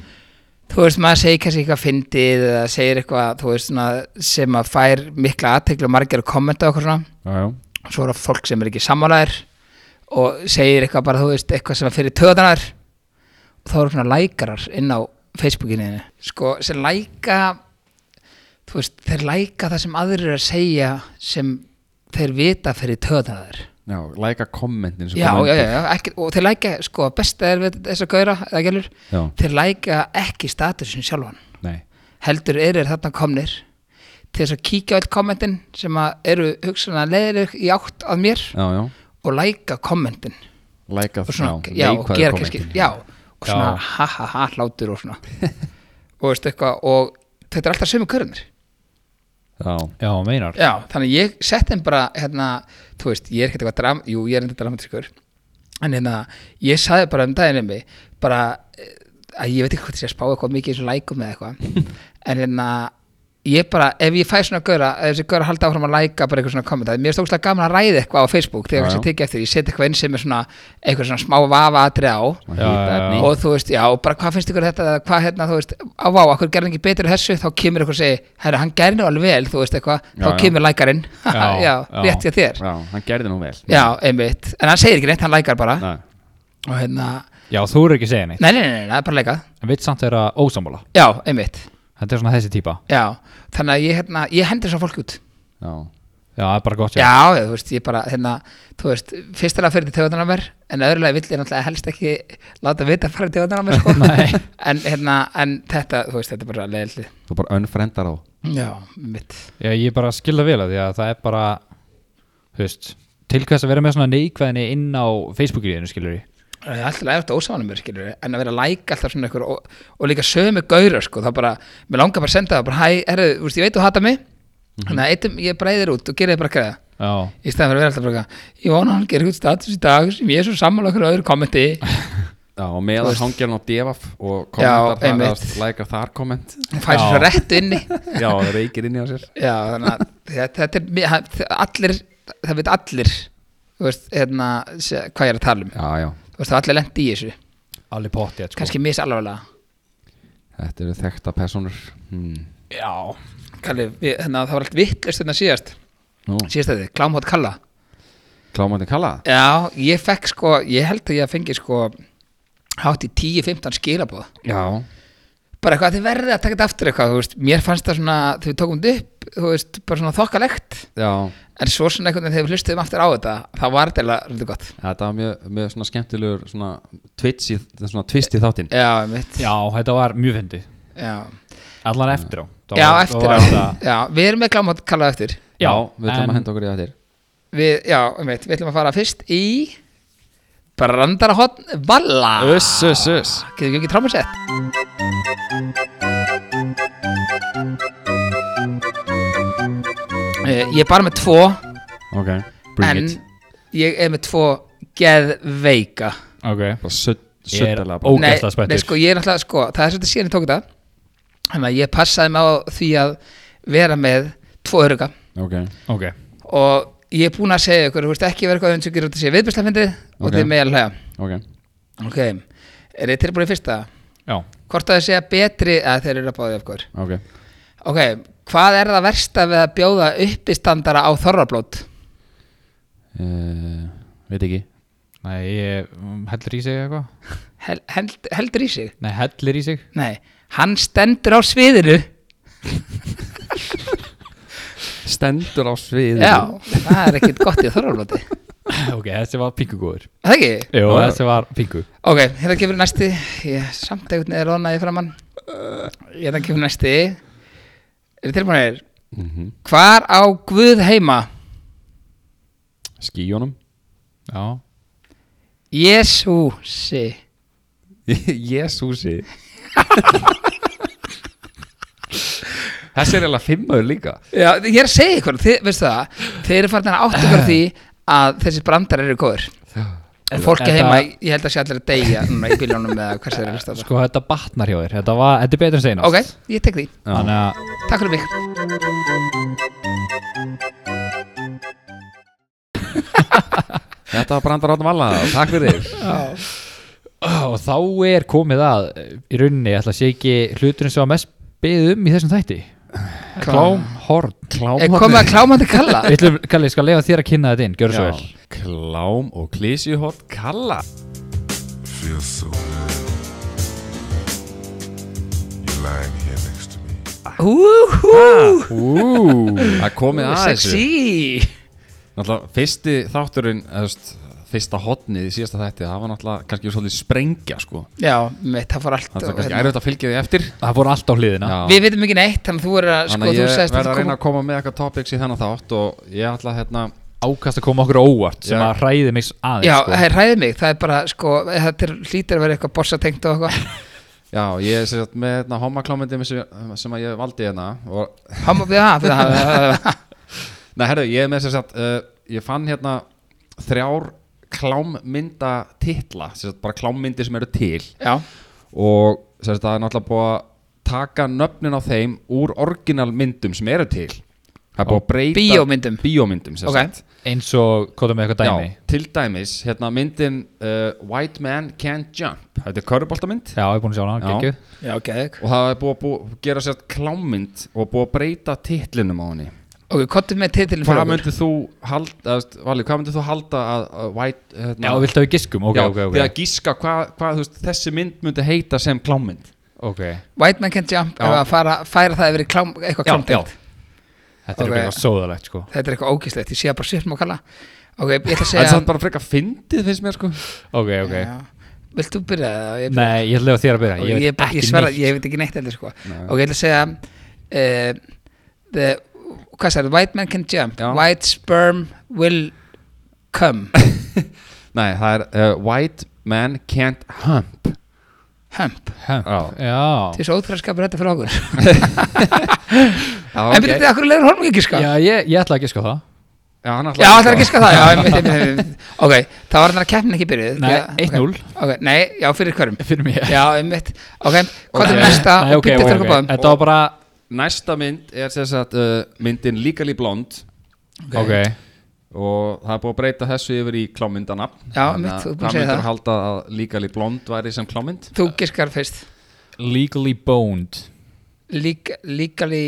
Speaker 2: þú veist, maður segir kannski eitthvað fyndið eða segir eitthvað, þú veist, svona, sem að fær mikla aðtekli og margir að kommenta og eitthvað svona,
Speaker 1: Já, já
Speaker 2: svo er það fólk sem er ekki sammálaðir og segir eitthvað bara, þú veist, eitthvað sem er fyrir töðanar og þá eru svona lækarar inn á Facebookinu þínu. sko, sem læka þú veist, þeir læka það sem aðrir eru að segja sem þeir vita fyrir töðanar
Speaker 1: Já, læka kommentin sem
Speaker 2: já,
Speaker 1: kom
Speaker 2: já, já,
Speaker 1: undir.
Speaker 2: já ekki, og þeir læka, sko, besta er við þess að gauðra, eða gælur,
Speaker 1: Já,
Speaker 2: þeir læka ekki statusin sjálfan,
Speaker 1: nei
Speaker 2: heldur eru þeir þarna komnir til þess að kíkja á öll kommentin sem að eru hugsanlega leiðir í átt að mér
Speaker 1: Já, já
Speaker 2: og læka kommentin
Speaker 1: Læka
Speaker 2: og svona, já, og
Speaker 1: neikvæðu
Speaker 2: gera
Speaker 1: kommentin.
Speaker 2: kannski já, og svona
Speaker 3: Já.
Speaker 2: ha ha ha hlátur og svona og veistu eitthvað og þetta er alltaf sömu körunir
Speaker 1: Já,
Speaker 3: Já, meinar
Speaker 2: Já, þannig að ég sett þeim bara hérna, þú veist, ég er ekkert eitthvað dram, jú, ég er eitthvað dramatiskur en hérna, ég saði bara um daginn um mig bara, eh, að ég veit ekki hvað þessi að spá eitthvað mikið eins og lækum eða eitthvað en hérna, ég bara ef ég fæ svona gauðra, þessi gauðra halda áfram að læka bara eitthvað svona kommentaði, mér er stókslega gaman að ræða eitthvað á Facebook
Speaker 1: Já,
Speaker 2: þegar
Speaker 1: já.
Speaker 2: þessi tekið eftir, ég set eitthvað inn sem er svona eitthvað svona smá vafa atri á
Speaker 1: já, já, já.
Speaker 2: og þú veist, já, bara hvað finnst ykkur þetta eða hvað hérna, þú veist, á vá, akkur gerði ekki betur í þessu, þá kemur ykkur og segir, herra, hann gerði nú alveg vel, þú veist eitthvað,
Speaker 1: Já,
Speaker 2: þá
Speaker 1: já.
Speaker 2: kemur lækarinn já,
Speaker 3: Já,
Speaker 2: já,
Speaker 3: já.
Speaker 2: rétt ég þér,
Speaker 1: já, hann gerði nú vel
Speaker 2: já, einmitt en hann segir ekki neitt, hann lækar bara
Speaker 1: Nei.
Speaker 2: og hérna,
Speaker 3: Já, þú eru ekki að segja neitt
Speaker 2: nei, nei, nei, nei, nei, það er bara leikað
Speaker 3: En vill samt þeirra ósammála
Speaker 2: já, einmitt,
Speaker 3: Þetta er svona þessi típa
Speaker 2: já þannig að ég, hérna, ég hendur svo fólk út
Speaker 1: Já,
Speaker 3: Já, það er bara gott
Speaker 2: já, já, þú veist, ég bara, hérna þú veist, fyrstilega fyrir til tegundan á mér en öðrulega vill ég náttúrulega helst ekki láta vita að fara til tegundan á mér,
Speaker 3: Nei.
Speaker 2: sko en hérna, en þetta, þú veist, þetta er bara leiðildi,
Speaker 1: þú bara önfrendar á
Speaker 2: já, mitt
Speaker 3: Já, ég bara skil það vel að því að það er bara Þú veist Til hvers að vera með svona neikvæðinni inn á Facebookinu skilur ég
Speaker 2: Það er alltaf lægt ósáðanum mér, skilur við, en að vera að læka alltaf svona ykkur og, og líka sömu gauðra, sko, þá bara, mér langar bara að senda það, bara, hæ, herru, þú veist, ég veit þú hata mig,
Speaker 3: Mhm.
Speaker 2: þannig að eittum, ég breiðir út og gerir þið bara greiða,
Speaker 3: Já,
Speaker 2: í stæðan fyrir að vera alltaf bara, eitthvað, ég vona að hann gerir út status í dag sem ég er svo sammála okkur öðru kommenti,
Speaker 1: Já, og meðan hangir hann á devaf og
Speaker 2: Já,
Speaker 1: kommentar þar,
Speaker 2: einmitt.
Speaker 1: eða lækar þar komment
Speaker 2: hann fæsir
Speaker 3: Já.
Speaker 2: svo rétt inni,
Speaker 1: Já, það reykir inn í á sér
Speaker 2: já, þannig að þetta, þetta er, mér- það- það- allir, það veit allir, þú veist, hérna, sé- hvað ég er að tala um,
Speaker 1: Já, já,
Speaker 2: þú veist, það er allir lendi í þessu,
Speaker 3: Sko. alveg pottið sko.
Speaker 2: kannski misalvarlega.
Speaker 1: þetta eru þekta personur hmm.
Speaker 3: Já,
Speaker 2: Kalli, við- hérna, það var allt vitlaust hérna síðast,
Speaker 1: Nú,
Speaker 2: síðast að þið, klámhótt kalla
Speaker 1: klámandi kalla
Speaker 2: Já, ég fekk sko, ég held að ég fengi sko hátt í 10-15 skilabóð
Speaker 1: Já,
Speaker 2: bara eitthvað þið verðið að taka þetta aftur eitthvað þú veist, mér fannst það svona, þegar við tókum þetta upp þú veist, bara svona þokkalegt
Speaker 1: já,
Speaker 2: en svo svona einhvern veginn þegar við hlustuðum aftur á þetta það var þetta eiginlega svolítið gott
Speaker 1: þetta var mjög, mjög svona skemmtilegur svona twitch í, svona twist í þáttinn
Speaker 2: Já, mitt Já,
Speaker 3: já þetta var mjög fyndið
Speaker 2: já.
Speaker 3: Allan eftir á Það var-
Speaker 2: eftir
Speaker 3: það
Speaker 2: á
Speaker 3: var þetta-
Speaker 2: Já, við erum með klámat kallað eftir
Speaker 3: Já,
Speaker 1: við ætlum
Speaker 3: en-
Speaker 1: að henda okkur í það til
Speaker 2: við, Já, mitt, við ætlum að fara fyrst í Brandarahotn Valla
Speaker 1: Öss, öss, öss
Speaker 2: Getur ekki trámasett? Eh, Ég er bara með tvo
Speaker 1: Ok, bring
Speaker 2: En
Speaker 1: it
Speaker 2: ég er með tvo geðveika
Speaker 3: Ok
Speaker 1: Bara sudd-
Speaker 3: Ég er
Speaker 1: suddalega
Speaker 3: ó-
Speaker 1: bara
Speaker 2: Nei,
Speaker 3: Ógeðslega spenntur.
Speaker 2: nei, sko, ég er alltaf, sko, það er svolítið síðan ég tók þetta Þannig að ég passaði mig á því að vera með tvo öruga
Speaker 1: Ok,
Speaker 3: Ok
Speaker 2: Og ég er búinn að segja ykkur, þú veist ekki vera eitthvað öðvinsugir út að sé viðbjörnslafindið og
Speaker 1: Ok.
Speaker 2: þið með að hlæja
Speaker 1: ok
Speaker 2: Ok, er þið tilbúin í fyrsta?
Speaker 3: Já
Speaker 2: Hvort að þið segja betri að þeir eru að báði af hver?
Speaker 1: Ok,
Speaker 2: Ok, hvað er það versta við að bjóða uppistandara á þorrablót?
Speaker 1: uh, veit ekki
Speaker 3: Nei, ég mm, hellir í sig eitthvað
Speaker 2: Hel, held, heldur í sig?
Speaker 3: Nei, hellir í sig
Speaker 2: Nei, hann stendur á sviðinu.
Speaker 1: Stendur á sviðinu
Speaker 2: Já, það er ekkit gott í þorrablóti.
Speaker 3: Ok, þessi var pingugóður
Speaker 2: Það ekki?
Speaker 3: Jú,
Speaker 1: Já.
Speaker 3: þessi var pingu
Speaker 2: Ok, hérna gefur næsti. Ég samt eitthvað neður ónaði framann. Hérna gefur næsti. Er tilbúinir?
Speaker 1: Mhm.
Speaker 2: Hvar á Guð heima?
Speaker 1: Skýjónum
Speaker 3: Já
Speaker 2: Jésúsi.
Speaker 1: Jésúsi Þessi er eiginlega fimmaður líka
Speaker 2: Já, ég er að segja ykkur, þið, veistu það, þeir eru farin að átta ykkur á því að þessi brandar eru góður. En fólki
Speaker 3: Þetta-
Speaker 2: heima, ég held að sé allir að deyja núna í bíljónum eða hvers þeir eru að hlusta á það.
Speaker 3: Sko, þetta batnar hjá þér Þetta, var, þetta er betur en seinast
Speaker 2: Ok, ég tek því.
Speaker 3: Þannig að
Speaker 2: Takk fyrir mig.
Speaker 1: Þetta var Brandar Áttum Alla, takk fyrir
Speaker 3: Og þá er komið að eh, Í rauninni, ég ætla að sé ekki hluturinn sem var mest beðið um í þessum þætti Klám, horn Klám,
Speaker 2: Er komið að kláma þetta kalla?
Speaker 3: Við ætlum, Kalli, ég skal leifa þér að kynna þetta inn, gjör svo
Speaker 1: Já.
Speaker 3: vel
Speaker 1: Klám og klísjuhótt Kalla
Speaker 4: Feels so good. You're lying here next to me.
Speaker 2: Úhú,
Speaker 1: Ú, Það komið að þessu
Speaker 2: sexy.
Speaker 1: Náttúrulega fyrsti þátturinn eðust, Fyrsta hotnið í síðasta þætti Það var náttúrulega kannski svolítið sprengja sko.
Speaker 2: Já, mitt, það fór allt.
Speaker 1: Það
Speaker 2: og-
Speaker 1: er kannski erfitt að fylgja því eftir
Speaker 3: Það fór allt á hliðina
Speaker 1: Já.
Speaker 2: Við veitum ekki neitt, þannig að þú er að, sko,
Speaker 1: Þannig að
Speaker 2: þú
Speaker 1: ég
Speaker 2: sagðist
Speaker 1: verð að reyna
Speaker 2: koma-
Speaker 1: að koma með eitthvað topics í þennan þátt Og ég ætla hérna
Speaker 3: Ákast að koma okkur á óvart sem
Speaker 1: Já.
Speaker 3: að hræði mig aðeins
Speaker 2: Já,
Speaker 3: sko.
Speaker 2: það er ræðið mig, það er bara, sko, þetta er- hlýtur að vera eitthvað borsatengt og eitthvað.
Speaker 1: Já, ég er sem sagt með hérna, homaklámyndum sem, sem að ég valdi hérna og,
Speaker 2: Háma við það, fyrir það, það, það, það.
Speaker 1: Eh, Nei, herru, ég er með sem sagt uh, Ég fann hérna þrjár klámmynda titla sem sagt bara klámmyndir sem eru til
Speaker 2: Já,
Speaker 1: og sem sagt það er náttúrulega búið að taka nöfnin á þeim úr orginalmyndum sem eru til Það er búið að breyta
Speaker 2: Bíómyndum.
Speaker 1: Bíómyndum, sem
Speaker 2: Ok.
Speaker 1: sagt
Speaker 3: eins og kóta með eitthvað dæmi
Speaker 1: Já, til dæmis, hérna myndin uh, White Man Can't Jump Þetta er körfuboltamynd
Speaker 3: Já, ég er búin að sjá hana,
Speaker 1: Já.
Speaker 3: geggjuð
Speaker 2: já, geðug
Speaker 1: og það er búið að búið, gera sér klámynd og búið að breyta titlinum á henni
Speaker 2: Ok, kottum með titilin
Speaker 1: hvað myndið þú halda eða, Valli, hvað myndið þú halda að, að white, hérna,
Speaker 3: Já, viltu að við giskum? Ok,
Speaker 1: já,
Speaker 3: ok, ok,
Speaker 1: því að gíska hvað, hvað þú veist, þessi mynd myndi heita sem klámynd
Speaker 3: okay.
Speaker 2: White Man Can't Jump
Speaker 1: Já.
Speaker 2: ef að fara, færa það yfir í klám, eitthvað
Speaker 1: Já,
Speaker 2: klámtild
Speaker 3: Þetta er
Speaker 2: Ok.
Speaker 3: okay. eitthvað sóðalegt sko
Speaker 2: Þetta er eitthvað ógæslegt, ég sé það bara sér sem að kalla Ok, ég ætla að
Speaker 1: það er
Speaker 2: segja
Speaker 1: samt bara frekar fyndið finnst mér sko
Speaker 3: Ok, ok
Speaker 2: Já. Vilt þú byrja það? Ég,
Speaker 3: Nei, ég ætla að þér að byrja
Speaker 2: og
Speaker 3: Ég,
Speaker 2: ég, ég,
Speaker 3: veit ekki
Speaker 2: sverða,
Speaker 3: neitt
Speaker 2: ég veit ekki neitt heldur sko Ok, ég ætla að segja uh, the, Hvað sagði, White Man Can't Jump
Speaker 1: Já.
Speaker 2: White Sperm Will Come
Speaker 1: nei, það er uh, white man can't hump
Speaker 2: Hump
Speaker 3: Hæ,
Speaker 2: Þetta
Speaker 3: Já
Speaker 2: er svo óþræðskapur þetta fyrir okkur
Speaker 1: já,
Speaker 2: En byrja þetta okkur leður honum ekki sko
Speaker 3: Já, ég, ég ætla að giska á það
Speaker 1: já, hann
Speaker 2: Já, það er ekki sko það já, einmitt, einmitt, einmitt. Ok, þá var þannig að keppnin ekki byrjuð
Speaker 3: Nei,
Speaker 2: Já, ok.
Speaker 3: 1-0.
Speaker 2: Ok, Nei, já, fyrir hverjum
Speaker 3: Fyrir mér
Speaker 2: Já, einmitt Ok, hvað er næsta
Speaker 3: Nei,
Speaker 2: og
Speaker 3: ok,
Speaker 2: býttu eftir
Speaker 3: ok, ok
Speaker 2: okkur báðum
Speaker 3: Þetta var bara
Speaker 1: næsta mynd er sem sagt uh, myndin Legally Blonde
Speaker 3: Ok
Speaker 1: og það er búið að breyta þessu yfir í klámyndana
Speaker 2: Já,
Speaker 1: Þannig
Speaker 2: mitt,
Speaker 1: að
Speaker 2: þú er búin að
Speaker 1: hvað
Speaker 2: segja
Speaker 1: myndir
Speaker 2: það.
Speaker 1: halda að Legally Blonde væri sem klámynd
Speaker 2: Þú giskar fyrst
Speaker 3: Legally boned
Speaker 2: Leg- Legally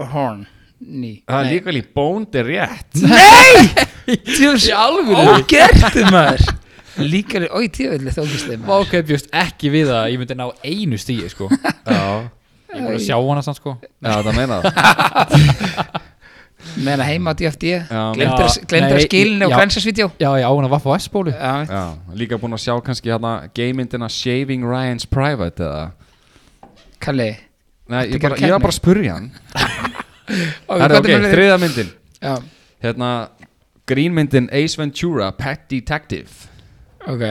Speaker 2: Horn Ný
Speaker 1: Það er líka líf bónd er rétt
Speaker 2: Djús, ógerti maður Legally, oi, djúvillig þá gistið
Speaker 3: Vá,
Speaker 2: maður
Speaker 3: ok, bjóst ekki við að ég myndi ná einu stíi sko Ég
Speaker 1: Já,
Speaker 3: er búin að sjá hana samt sko
Speaker 1: já það meina það
Speaker 2: Meðan að heima á DFD
Speaker 1: Já.
Speaker 3: Já,
Speaker 2: Glemdur að
Speaker 3: nei,
Speaker 2: skilinu og
Speaker 3: já.
Speaker 2: grensasvídeó
Speaker 3: Já, ég á hana vaff á S-bólu
Speaker 2: Já,
Speaker 1: já, Líka búin að sjá kannski hérna geimyndina Shaving Ryan's Private eða
Speaker 2: Kalli
Speaker 1: Nei,
Speaker 2: Þetta
Speaker 1: ég, bara,
Speaker 2: gerir
Speaker 1: ég var
Speaker 2: keppni.
Speaker 1: bara að spurja hann
Speaker 2: Ok,
Speaker 1: Það er ok,
Speaker 2: þrið
Speaker 1: þriða myndin
Speaker 2: Já,
Speaker 1: Hérna, grínmyndin Ace Ventura Pet Detective
Speaker 2: ok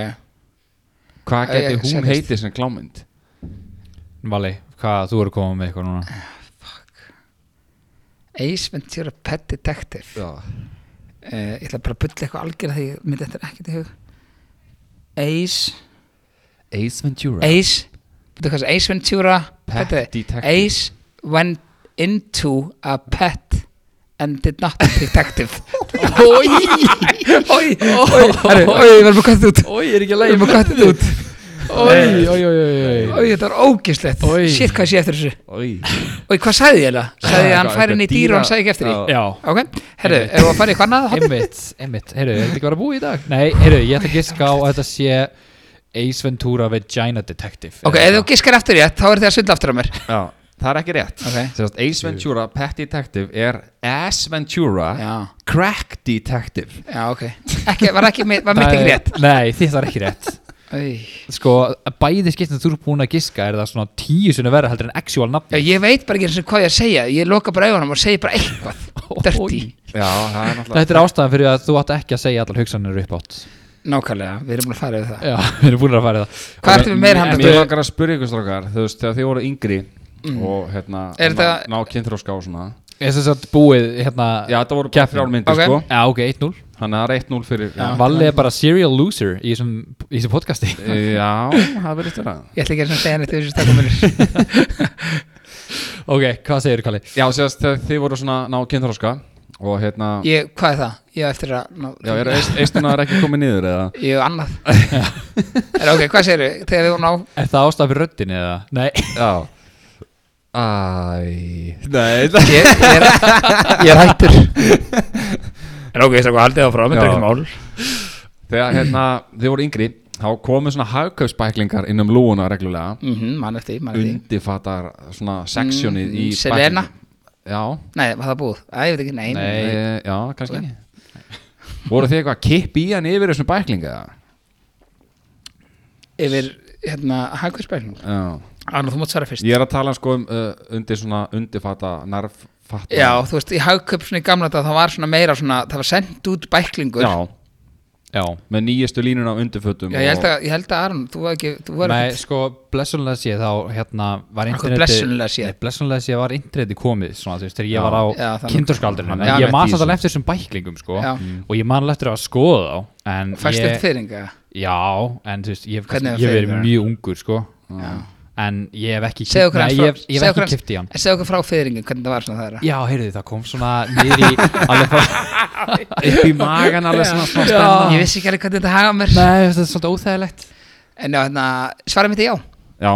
Speaker 1: Hvað
Speaker 2: Æ,
Speaker 1: geti
Speaker 2: ég-
Speaker 1: hún
Speaker 2: sérfist.
Speaker 1: heitið sem klámynd?
Speaker 3: Vali, hvað, þú eru komað með eitthvað núna
Speaker 2: Ace Ventura Pet Detective
Speaker 1: Já,
Speaker 2: uh, Ég ætla bara að bulla eitthvað algjörða því ég myndi þetta er ekkert í hug Ace
Speaker 1: Ace Ventura
Speaker 2: Ace Veitu hvað það er? Ace Ventura
Speaker 1: Pet
Speaker 2: Pet-
Speaker 1: Detective.
Speaker 2: Ace went into a pet and did not detective Oi Oi Oi Herru, Oi, ég verður að kvæta út
Speaker 3: Ói, ég er ekki að
Speaker 2: Ég verður að kvæta út
Speaker 3: Ói, ói, ói, ói
Speaker 2: Oi, þetta var ógislegt
Speaker 3: Oi.
Speaker 2: Shit, hvað sé eftir þessu
Speaker 1: Ói
Speaker 2: Oi, hvað sagði ég eiginlega? Sagði ég að hann
Speaker 1: Eitthvað-
Speaker 2: færi inn í
Speaker 1: eitthvað
Speaker 2: dýr og hann
Speaker 1: dýra-
Speaker 2: sagði ekki eftir því
Speaker 3: Já,
Speaker 2: Ok, herru, erum við að fara í hvað annað? horn?
Speaker 3: Emmitt, Emmitt, heyrðu, er þetta ekki bara að búa í dag? Nei, heyrðu, ég ætla að giska á að þetta sé Ace Ventura Vagina Detective
Speaker 2: Ok, ef þú giskar eftir ég, þá er þið að sunda aftur á mér
Speaker 1: Já, það er ekki rétt
Speaker 2: Ok.
Speaker 1: Sérst, Ace Ventura Pet Detective er Ace Ventura
Speaker 2: Já.
Speaker 1: Crack Detective
Speaker 2: Já, ok ekki, Var, ekki, mi- var mitt ekki rétt
Speaker 3: Nei, þitt var ekki rétt
Speaker 2: Oi.
Speaker 3: Sko, bæði skiptin þú eru búin að giska er það svona tíu sinni verra heldur en actual
Speaker 2: Já,
Speaker 3: nafn
Speaker 2: ég veit bara ekki eins og hvað ég að segja Ég loka bara augunum og segi bara eitthvað Dirty
Speaker 1: Já, það er náttúrulega
Speaker 3: Þetta er ástæðan fyrir að þú átt ekki að segja allar hugsanir upp átt
Speaker 2: Nákvæmlega, við erum búin að fara yfir það
Speaker 3: Já, við erum búin að fara í það
Speaker 2: Hvað ertu með meira handa?
Speaker 1: Mér langar að spyrja ykkur strákar Þú veist, þegar þið voru yngri Og hérna,
Speaker 2: Mm. Er
Speaker 1: ná,
Speaker 2: þetta-
Speaker 1: ná kynþróska og svona
Speaker 3: Ég sem sagt búið hérna
Speaker 1: Já, þetta voru bara
Speaker 3: Keppni.
Speaker 1: þrjár myndir
Speaker 2: Ok.
Speaker 1: sko
Speaker 3: Já, ok, 1-0
Speaker 1: Þannig að það er 1-0 fyrir Já,
Speaker 3: Valli er bara serial loser í þessum, í þessum podcasti
Speaker 1: Já það verður störa
Speaker 2: Ég ætla ekki einu sinni að segja neitt við þessu stakkumunir
Speaker 3: Ok, hvað segir Kalli?
Speaker 1: Já, sérst, þegar þið voru svona ná kynþróska Og hérna
Speaker 2: Ég, hvað er það? Ég á eftir að ná,
Speaker 1: Já, er eistunar ekki komið niður eða?
Speaker 2: Ég á annað Er ok, hvað segirðu? Þegar við vorum á
Speaker 3: Er það ástæðan fyrir röddinni eða? Nei
Speaker 1: Já Æ Nei, það
Speaker 2: Ég, ég, er, ég er hættur Er ok, ég stakku haldið á frá
Speaker 1: þetta er ekkert
Speaker 2: mál
Speaker 1: Þegar hérna, þið voru yngri þá komu svona hagkaupsbæklingar inn um lúuna reglulega
Speaker 2: Mann Mhm, eftir, mann eftir
Speaker 1: undirfattar svona seksjónið í
Speaker 2: Mm, Selena?
Speaker 1: bæklingum Já,
Speaker 2: Nei, var það búið? Æ, ég veit ekki, nei, nei.
Speaker 3: Nei.
Speaker 1: e, já, kannski ekki Voru þið eitthvað að kippa í hann yfir þessum bæklinga?
Speaker 2: Yfir, hérna, hagkvæðspælning
Speaker 1: Já
Speaker 2: Arnur, þú mátt svara fyrst
Speaker 1: Ég er að tala sko um uh, undir svona undirfatta nærfatta
Speaker 2: Já, þú veist, í hagköp svona í gamla þetta það var svona meira svona, það var sendt út bæklingur
Speaker 1: Já,
Speaker 3: já
Speaker 1: með nýjustu línuna á undirfötum
Speaker 2: Já, ég held
Speaker 1: og-
Speaker 2: að, ég held að Aron, þú var ekki, þú var
Speaker 3: Nei,
Speaker 2: ekki
Speaker 3: sko, blessunlega sé þá hérna var
Speaker 2: Akkur
Speaker 3: interneti
Speaker 2: blessunlega sé?
Speaker 3: Nei, blessunlega sé var interneti komið svona, þú veist, þegar ég var á
Speaker 2: Já, þannig-
Speaker 3: kindurskaldurinn
Speaker 1: Já,
Speaker 3: ég man
Speaker 1: rétt í
Speaker 3: satt
Speaker 1: þessu.
Speaker 3: alveg eftir þessum bæklingum sko,
Speaker 2: Já.
Speaker 3: og ég man alveg eftir að skoða þá en
Speaker 2: fæst upp
Speaker 3: ég,
Speaker 2: fyrringa
Speaker 3: já, en þú veist, ég hef
Speaker 2: Hvernig
Speaker 3: kannski-
Speaker 2: var
Speaker 3: ég hef
Speaker 2: fyrir
Speaker 3: verið
Speaker 2: þér?
Speaker 3: mjög ungur sko, en ég hef ekki
Speaker 2: Segðu okkur
Speaker 3: nei,
Speaker 2: hans
Speaker 3: ég hef, ég
Speaker 2: segðu
Speaker 3: hef
Speaker 2: okkur
Speaker 3: ekki
Speaker 2: aðeins-
Speaker 3: kipti í hann
Speaker 2: en segðu okkur frá fyrringa, hvernig það var svona þeirra
Speaker 3: já, heyrðu, það kom svona niður í alveg frá
Speaker 1: upp í magan alveg svona smá
Speaker 3: Já.
Speaker 1: spenna
Speaker 2: Ég vissi ekki alveg hvernig þetta haga mér
Speaker 3: nei, þetta er svolítið óþægilegt
Speaker 2: En já, hérna, svara mitt er já
Speaker 1: Já,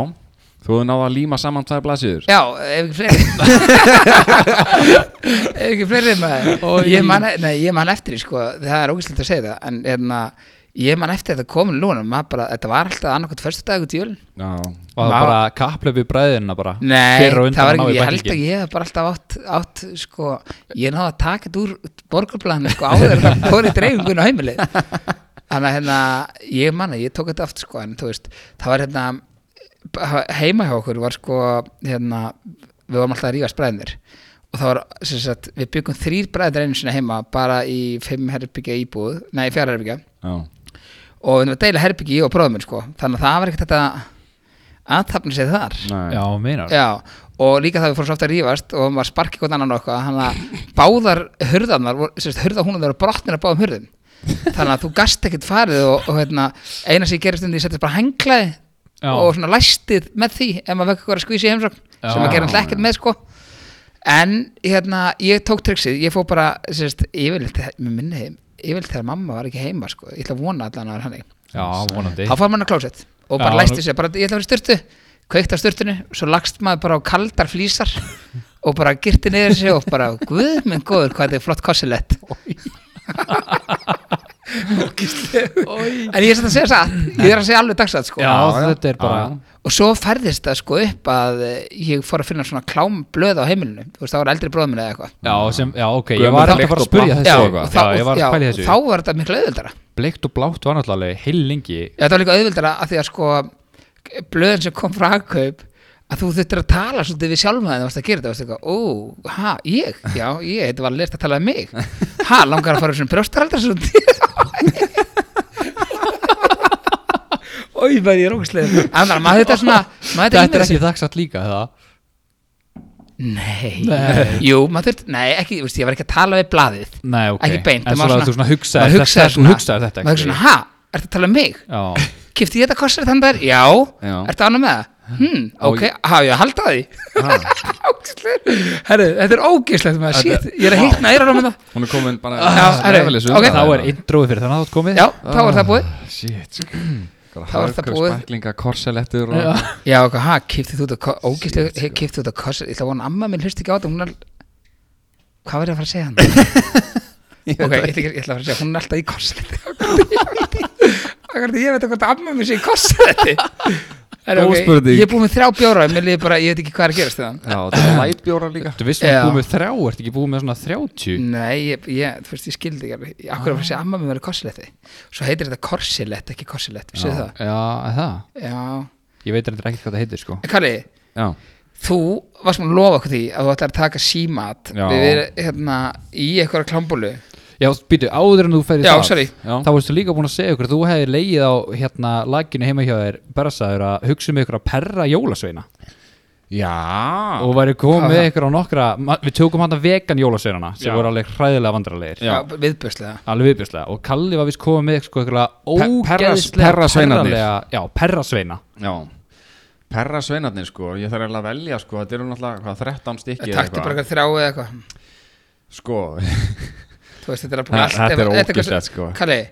Speaker 1: þú hefur náða að líma saman tvær blaðsýður
Speaker 2: Já, ef ekki fleiri Ef ekki fleiri maður Ég man, e- nei, ég man eftir því, sko Það er ógæslega að segja það En hérna, ég man eftir þetta komin lúna Maður bara, þetta var alltaf annarkvæmt föstudag út í jölun
Speaker 1: Já,
Speaker 3: og það
Speaker 2: Má-
Speaker 3: var bara kapplöp í bræðina bara
Speaker 2: Nei,
Speaker 3: Hver á undan
Speaker 2: það var
Speaker 3: að
Speaker 2: ekki,
Speaker 3: ná í
Speaker 2: ég held
Speaker 3: bæklinginn.
Speaker 2: að ég hef bara alltaf átt, átt sko, ég náði að taka þetta úr borgarplaninu sko áður en það fór í dreifingun á heimilið þannig að hérna, ég manna, ég tók þetta aftur sko en þú veist, það var hérna b- heima hjá okkur var sko hérna, við varum alltaf að rífast bræðinir og það var, sem sagt, við byggum þrýr bræðir einu sinni heima bara í fimm herbyggja íbúð, nei, fjara herbyggja
Speaker 1: já,
Speaker 2: og við varum að deila herbyggi ég og bróðum minn sko, þannig að það var ekkert þetta aðtapna sér þar
Speaker 1: nei
Speaker 3: já, meinar
Speaker 2: Já, og líka það við fórum svo aftur að rífast og maður sparki hvort annan og eitthvað þannig að báðar hurðarnar voru- sem sagt, hurðahúnar voru brotnir að báðum hurðum þannig að þú gast ekkert farið og, og hérna, eina sem ég gerist um því settist bara henglaði
Speaker 3: Já.
Speaker 2: og svona læstið með því ef maður vekk eitthvað að skvísi í heimsókn sem maður gerir alltaf ekkert með sko en hérna, ég tók triksið ég fór bara, sérst, yfirleitt mér minni, yfirleitt þegar mamma var ekki heima sko. ég ætla að vona allan að vera hannig
Speaker 3: já, vonandi
Speaker 2: þá fór maður að klósett og bara
Speaker 3: Já,
Speaker 2: læsti
Speaker 3: nú-
Speaker 2: sér, bara ég ætla að vera í styrtu kveikt á styrtunni, svo lagst maður bara á kaldar flísar og bara girti niður sig og bara, guð minn góður hvað þetta er flott kossilett en ég er satt að segja satt ég er að segja alveg dagsatt sko
Speaker 3: já,
Speaker 1: Já, já.
Speaker 3: þetta er bara
Speaker 1: Já, já.
Speaker 2: og svo færðist það sko upp að eh, ég fór að finna svona klámblöð á heimilinu þú veist, það var eldri bróðminni eða eitthvað
Speaker 3: Já, sem, já, ok, ég
Speaker 1: Gömul
Speaker 3: var
Speaker 1: bleikt
Speaker 3: alltaf bara að
Speaker 1: og
Speaker 3: spyrja
Speaker 1: blátt
Speaker 3: þessu
Speaker 1: og
Speaker 3: eitthvað.
Speaker 2: og þá,
Speaker 3: Já, ég var að pæla í þessu
Speaker 2: þá var þetta miklu auðvöldara
Speaker 3: Bleikt og blátt var náttúrulega heil lengi
Speaker 2: Já, þetta var líka auðvildara að því að sko blöðin sem kom frá hagkaup að þú þurftir að tala svolítið við sjálfmaðin varst að gera þetta, varst eitthvað, ó, ha, ég já, ég, þetta var lert að tala um mig ha, langar að fara svona brjóstaraldar svolítið Ói, bara ég er ógustlega Annar, maður þetta er svona maður
Speaker 3: Þetta er
Speaker 2: ímyndar sér-
Speaker 3: ekki þakksatt líka það
Speaker 2: Nei, jú, maður þurft, nei, ekki, þú veist, ég var ekki að tala við blaðið
Speaker 3: Nei, ok
Speaker 2: ekki beint,
Speaker 3: En
Speaker 2: maður
Speaker 3: svona
Speaker 2: svona-
Speaker 3: þú svona hugsaðir
Speaker 2: maður
Speaker 3: þetta
Speaker 2: hugsaði
Speaker 3: Þú
Speaker 2: svona,
Speaker 3: hugsaðir þetta
Speaker 2: maður hugsaði svona, ha, ertu að tala um mig?
Speaker 3: Já,
Speaker 2: Kifti ég þetta kossar þann þær? Já.
Speaker 1: Já.
Speaker 2: Ertu ánum með það? Hmm, ok, hafa ég að halda því? Ógeðslega. Herru, þetta er ógeðslegt með það, shit, ég er að hittna eira á með það.
Speaker 1: Hún er komin bara
Speaker 2: Já, herri, ok.
Speaker 3: þá er introið fyrir þannig að þú komið
Speaker 2: Já, Ah. þá er það búið.
Speaker 1: Shit sko.
Speaker 2: Þá er það búið.
Speaker 1: Spæklinga, korselettur og
Speaker 2: Já, ok, ha, kifti þú þetta, ógeðslega, kifti þú þetta kossar, ég ætla að vona að amma minn hlusti ekki á þetta, hún er, hvað var ég að fara að segja hann? ok, ég ætla, ekki- ég ætla að fara að segja, hún er alltaf í korsletti. Akkur, ég veit ekki hvort að amma minn sé í korsletti. Herru,
Speaker 1: Góð
Speaker 2: ok,
Speaker 1: spurning.
Speaker 2: Ég er búið með þrjá bjóra, mér líður bara, ég veit ekki hvað er að gerast þaðan.
Speaker 1: Já, það er lightbjóra líka
Speaker 3: Þú vissum um að
Speaker 2: Já.
Speaker 3: þú búið með þrjá, ertu ekki búið með svona 30
Speaker 2: Nei, ég, ég, þú veist, ég skildi ekki alveg
Speaker 1: Ah.
Speaker 2: Akkur er að segja amma mér verið korsiletti Svo heitir þetta korsilett, ekki korsilett Vissu það?
Speaker 3: Já, er það
Speaker 2: Já
Speaker 3: Ég veit reyndar ekkert hvað það heitir sko
Speaker 2: En Kalli,
Speaker 1: Já,
Speaker 2: þú varst mér að lofa okkur því að þú ætlar að taka símat
Speaker 1: Já.
Speaker 2: Við erum hérna í einhverja klambólu
Speaker 3: Já, býtu, áður en þú ferði
Speaker 2: Já,
Speaker 3: það
Speaker 2: sorry.
Speaker 1: Já.
Speaker 3: Þá varstu líka búin að segja ykkur að Þú hefði leið á hérna laginu heima hjá þér Bersaður að hugsa um ykkur að perra jólasveina
Speaker 1: já
Speaker 3: og væri komið
Speaker 2: Aha.
Speaker 3: með ykkur á nokkra ma- við tókum hann að vegan jólasveinana sem
Speaker 1: Já.
Speaker 3: voru alveg hræðilega vandralegir
Speaker 1: Já.
Speaker 2: Viðbjörslega
Speaker 3: alveg viðbjörslega og Kalli var vist komið með sko ykkur
Speaker 1: Pe- perras-
Speaker 3: ógeðslega
Speaker 1: perrasveinarnir.
Speaker 3: perralega- já, perrasveina
Speaker 1: Já Perra sveinarnir sko, ég þarf eiginlega að velja sko, þetta eru náttúrulega hvað, 13 stykki eða
Speaker 2: Taktu bara eitthvað þrá eða eitthvað
Speaker 1: Sko,
Speaker 2: Þú veist, þetta er að
Speaker 1: Þa-
Speaker 2: búin
Speaker 1: þetta er
Speaker 2: eitthvað
Speaker 1: ógeðslegt,
Speaker 2: sem-
Speaker 1: sko.
Speaker 2: Kalli, er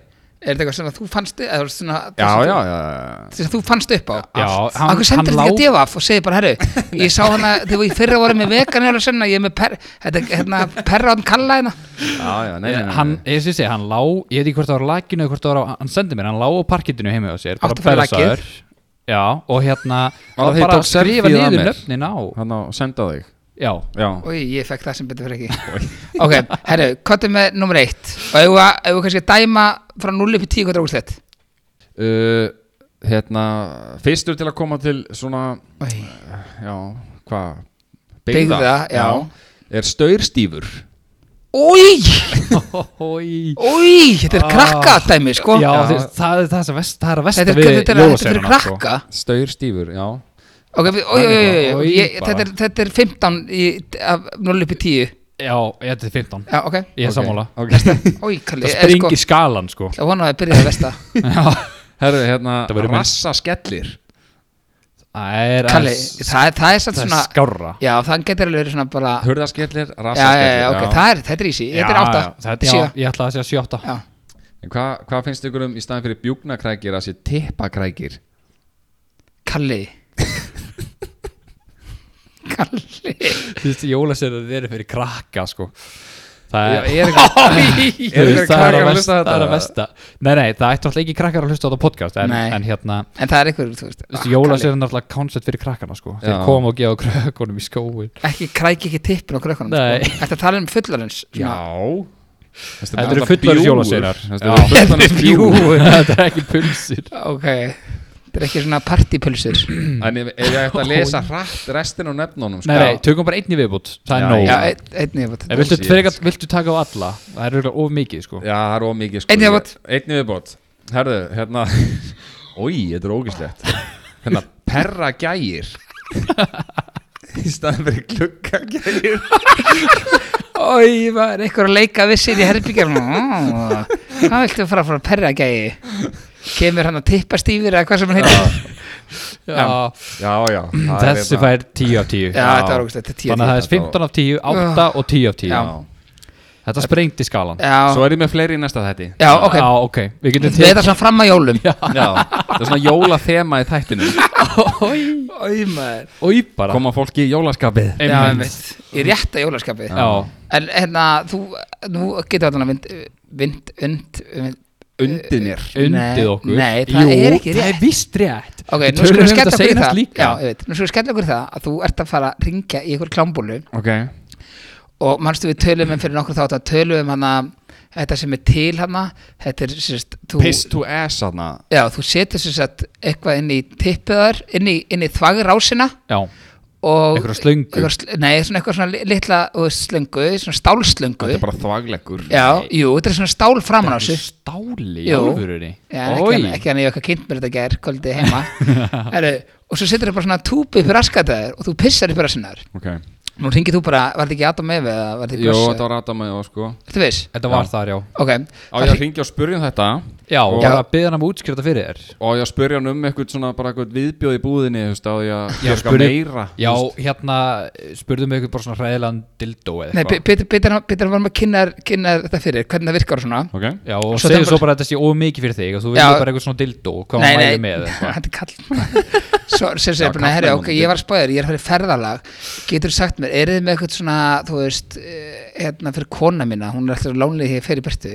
Speaker 2: þetta eitthvað sem að þú fannst eða þú veist svona
Speaker 1: já,
Speaker 2: sem
Speaker 1: já,
Speaker 2: þú-
Speaker 1: já, já
Speaker 2: sem þú fannst upp á
Speaker 3: Já, hann-
Speaker 2: Akkur sendur
Speaker 3: hann
Speaker 2: þetta ekki að
Speaker 3: lá-
Speaker 2: devaf og segir bara herru, ég sá hana þegar ég fyrra voru með vegan eða senna, ég er með per, þetta, hérna, perra á hann kalla hérna
Speaker 1: Já, já, nei, nei, nei,
Speaker 3: Eh, hann, ég sé sé, hann lá ég veit ekki hvort það var á lakinu eða hvort það var á, hann sendi mér, hann lá á parkitinu heima hjá sér bara
Speaker 2: Áttu fyrir
Speaker 3: berrassaður.
Speaker 2: lakið.
Speaker 3: já, og hérna
Speaker 1: Já,
Speaker 3: hann
Speaker 1: því
Speaker 3: bara
Speaker 1: tók selfie
Speaker 3: skrifa
Speaker 1: að
Speaker 3: niður
Speaker 1: mér.
Speaker 3: nöfnin á
Speaker 1: Hann á að senda þig
Speaker 3: já,
Speaker 1: Já,
Speaker 2: Úi, ég fekk það sem betur fyrir ekki Ok, herru, hvað er með nummer eitt og ef við- ef við kannski að dæma frá 0 upp í 10 hvað er úrslett
Speaker 1: uh, hérna, fyrstur til að koma til svona, já, hvað
Speaker 2: Byggða, já.
Speaker 1: er staurstífur
Speaker 2: Új,
Speaker 3: Ói
Speaker 2: új, þetta er
Speaker 3: Ah.
Speaker 2: krakkadæmi sko
Speaker 3: Sko? Já,
Speaker 1: Já.
Speaker 3: þú veist, það, það, er það, vest, það er
Speaker 2: Þetta
Speaker 3: að versta
Speaker 2: er-
Speaker 3: við
Speaker 2: þetta er- þetta er
Speaker 3: jólasenuna,
Speaker 2: fyrir
Speaker 3: sko.
Speaker 2: krakka.
Speaker 1: Staur stífur, já
Speaker 2: Ok, við, oj, oj, oj, oj,
Speaker 3: Oj,
Speaker 2: ég,
Speaker 3: bara.
Speaker 2: þetta, er, þetta er 15 í, af 0 upp í 10
Speaker 3: Já, ég þetta er 15
Speaker 2: Já, ok,
Speaker 3: Ég er sammála
Speaker 1: okay.
Speaker 2: oj, kalli
Speaker 3: Það
Speaker 2: eh,
Speaker 3: springir skalan sko
Speaker 2: Ég vona að það byrjaði að versta
Speaker 1: Herru, hérna,
Speaker 3: Það verður minn-
Speaker 1: rassaskellir
Speaker 3: Það er
Speaker 2: Kalli,
Speaker 3: aðeins-
Speaker 2: það, það er satt
Speaker 3: það er
Speaker 2: svona
Speaker 3: skárra
Speaker 2: Já, það getur alveg verið svona bara
Speaker 3: Ah.
Speaker 2: Já,
Speaker 1: Hurðaskellir,
Speaker 2: já,
Speaker 1: rassaskellir
Speaker 2: já, ok, það er, þetta er ísi, þetta er
Speaker 3: Já,
Speaker 2: 8
Speaker 3: já, þetta- já,
Speaker 2: Sjö.
Speaker 3: Ég ætla að segja sjötta
Speaker 2: Já,
Speaker 1: En Hvað hva finnst ykkur um í staðin fyrir bjúknakrækir að sé tippakrækir?
Speaker 2: Kalli Kalli
Speaker 3: Þú veist, jólasenuna þeir eru fyrir krakka sko Það er
Speaker 1: Ég er ekki
Speaker 2: Oj,
Speaker 1: Eru einhverjir
Speaker 3: Þú veist,
Speaker 1: krakkar
Speaker 3: það er að
Speaker 1: að
Speaker 3: versta-
Speaker 1: hlusta á
Speaker 3: það er að
Speaker 1: þetta?
Speaker 3: versta Nei, nei, það ætti alltaf ekki krakkar að hlusta á þetta podcast En,
Speaker 2: Nei.
Speaker 3: en hérna,
Speaker 2: En það er einhver, þú veist
Speaker 3: ah,
Speaker 2: ah,
Speaker 3: jólasir er náttúrulega koncept fyrir krakkana sko Þeir
Speaker 1: Já.
Speaker 3: koma og gefa krökkunum í skóin
Speaker 2: Kalli. Ekki kræki ekki tippin á krökkunum
Speaker 3: Nei.
Speaker 2: sko. Þetta tala um fullarins
Speaker 1: Þetta
Speaker 3: Þetta eru fullorðis jólaseinar.
Speaker 1: Þetta eru fullorðis bjúgur
Speaker 3: Þetta er ekki pulsir
Speaker 2: Ok, þetta er ekki svona partypulsur
Speaker 1: En ef, ef ég ætti að lesa hratt restin sko. á nefnunum
Speaker 3: Nei, nei, tökum bara einn í viðbútt Það
Speaker 1: Já,
Speaker 3: er nóg
Speaker 2: Já, ein- einni viðbót
Speaker 3: En viltu,
Speaker 1: Shit.
Speaker 3: frekar, viltu taka á alla? Það er auðvitað of mikið sko
Speaker 1: Já, það er ómikið sko
Speaker 2: Einn í viðbót.
Speaker 1: Einni viðbót Herðu, hérna Ói, þetta er ógislegt Hérna, perra gægir Í staðan fyrir klukka gægir
Speaker 2: Ói, það er einhver að leika við sér í herbyggjar Hvað viltu fara frá perragægi? Kemur hann að tippa stífir eða hvað sem hann heitir
Speaker 3: Já,
Speaker 1: Já, já það er
Speaker 3: Þessi
Speaker 1: hérna-
Speaker 3: fær 10 af 10
Speaker 2: Já, þetta var ógust, þetta er tíu
Speaker 3: Þannig að það er
Speaker 1: Þetta
Speaker 3: 15 af 10, 8 og 10 af 10
Speaker 1: Já
Speaker 3: Þetta sprengdi skalan
Speaker 1: Svo
Speaker 2: Já,
Speaker 1: er ég með fleiri í næsta þetti
Speaker 2: já, Eh, ok
Speaker 3: Já, ok, við getum
Speaker 2: Við þetta svona fram að jólum
Speaker 1: Já Það er svona jólathema í þættinu
Speaker 2: Ói, maður
Speaker 3: Új, bara
Speaker 1: Koma fólki í jólaskapið
Speaker 2: Já,
Speaker 3: Einmitt.
Speaker 2: einmitt Í rétta jólaskapi
Speaker 3: Já,
Speaker 2: En hérna, þú, nú getur allan að vind, vind, und, und
Speaker 1: Undið mér
Speaker 3: undið okkur
Speaker 2: Eh, Nei, það er ekki
Speaker 3: það
Speaker 2: rétt
Speaker 3: er vist rétt
Speaker 2: Ok,
Speaker 3: Við
Speaker 2: nú skulum
Speaker 3: töluðum
Speaker 2: við
Speaker 3: um
Speaker 2: skella
Speaker 3: þetta
Speaker 2: okkur í
Speaker 3: seinast
Speaker 2: það
Speaker 3: líka.
Speaker 2: Já, ég veit, nú skulum við skella okkur í það að þú ert að fara að ringja í ykkur klámbólu
Speaker 1: Ok
Speaker 2: og mannstu við tölum um fyrir nokkur þátt að tölum um hana þetta sem er til hana þetta er sérst þú,
Speaker 1: Piss to ass aðna
Speaker 2: já, þú setur sérst eitthvað inn í tippuðar inn í, inn í þvagrásina
Speaker 3: Já,
Speaker 2: og
Speaker 3: Einhverja slöngu?
Speaker 2: einhverja sl- nei, svona eitthvað svona li- litla þú veist, slöngu, svona stálslöngu
Speaker 1: Þetta er bara þvagleggur
Speaker 2: já, jú, þetta er svona stál framan á
Speaker 3: Þetta
Speaker 2: sig
Speaker 3: er stáli í
Speaker 2: Jú.
Speaker 3: alvörunni
Speaker 2: Já, en ekki,
Speaker 3: Oj.
Speaker 2: ekki hann ég okkar kynnt mér þetta gær kvöldið heima Heru, og svo setur þetta bara svona túpi upp í raskataður og þú pissar upp í rassinnar
Speaker 1: Ok
Speaker 2: nú ringir þú bara, var þetta ekki Adam Eve eða var þetta
Speaker 1: Jó, þetta
Speaker 2: ekki
Speaker 1: var Adam og sko
Speaker 2: Þetta viss?
Speaker 3: Þetta var þar, já
Speaker 2: Ok,
Speaker 1: Á ég að ringja og spyrja um þetta
Speaker 3: Já,
Speaker 1: Og-
Speaker 3: og bara að byggja hann um útskrifta fyrir þér
Speaker 1: Og á ég að spyrja hann um eitthvað svona bara eitthvað viðbjóð í búðinni Þú veist, á ég að
Speaker 3: Já,
Speaker 1: gera eitthvað
Speaker 3: spurði-
Speaker 1: meira
Speaker 3: Já,
Speaker 1: þú veist.
Speaker 3: hérna, spurðum við ykkur bara svona hræðilegan dildó eða
Speaker 2: Nei,
Speaker 3: eitthvað
Speaker 2: betur að varum að kynna, þér- kynna þér þetta fyrir, hvernig það virkar og svona
Speaker 1: Ok
Speaker 3: Já, og
Speaker 2: Svo
Speaker 3: segir
Speaker 2: þetta
Speaker 3: svo
Speaker 2: bara-
Speaker 3: bara að þetta sé of mikið fyrir þig og þú
Speaker 2: Já.
Speaker 3: viljum bara eitthvað svona dildó hvað maður mæli með eða eitthvað
Speaker 2: þetta er kall Svo sem
Speaker 1: Já,
Speaker 2: segir bara, herri, ok,
Speaker 1: kallmennandi.
Speaker 2: ég var að spáður, ég er að fara í ferðalag Getur sagt mér, er þið með eitthvað svona, þú veist, eh, hérna fyrir kona mína Hún er alltaf lónlega hér fyrir börtu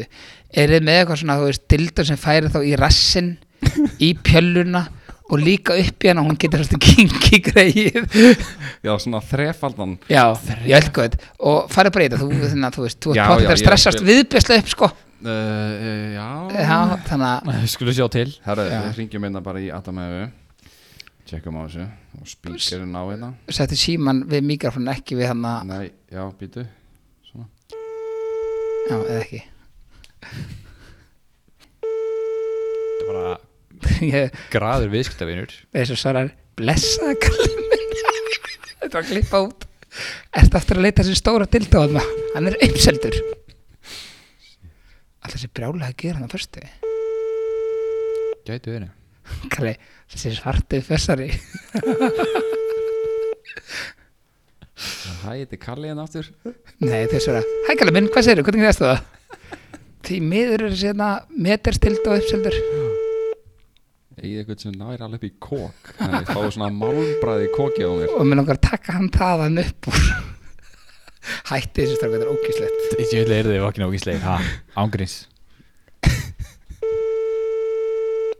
Speaker 2: Er þið með eitthvað svona, þú veist, dildur sem færi þá í rassin, í pjölluna Og líka upp í hana, hún getur alltaf kingi greið
Speaker 1: Já, svona þrefaldan
Speaker 2: Já, ég held gott Og farið bara í þetta, þú, þannig að þú veist, þú
Speaker 1: Já,
Speaker 2: ert potið
Speaker 1: já,
Speaker 2: að
Speaker 1: ég-
Speaker 2: stressast viðbjörslega upp, sko
Speaker 1: uh, uh, Já
Speaker 2: Já,
Speaker 3: Ah.
Speaker 2: þannig að
Speaker 3: Skulum sjá til
Speaker 1: Herra,
Speaker 2: Eh, Já.
Speaker 1: við ringjum einna bara í Adam eða Tjekkum á þessu Og spíkerinn á hérna
Speaker 2: settu síman við mikrofónin ekki við hann að
Speaker 1: Nei, já, býtu
Speaker 2: já, eða ekki
Speaker 3: Þetta er bara
Speaker 2: ég
Speaker 3: graður viðskiptavinur
Speaker 2: veist að svarar blessa kalli minn þetta var að klippa út ertu aftur að leita þessi stóra dildáðna hann er uppseldur alltaf þessi brjálega að gera hann að fyrstu
Speaker 3: Gætu verið
Speaker 2: kalli þessi svartu fessari
Speaker 1: Hæ, þetta er Kalli hérna aftur
Speaker 2: nei þau svara hæ kalli minn hvað segirðu hvernig gæðast þú það því miður er sérna meterstild og uppseldur
Speaker 1: Egið eitthvað sem nær alveg upp í kók Þannig fáið svona málbræði kóki á mér
Speaker 2: og mér langar að taka hann þaðan upp úr hætti þessi strákur þetta er ógíslegt
Speaker 3: Ég vil er þið vakna og íslegin Ángríns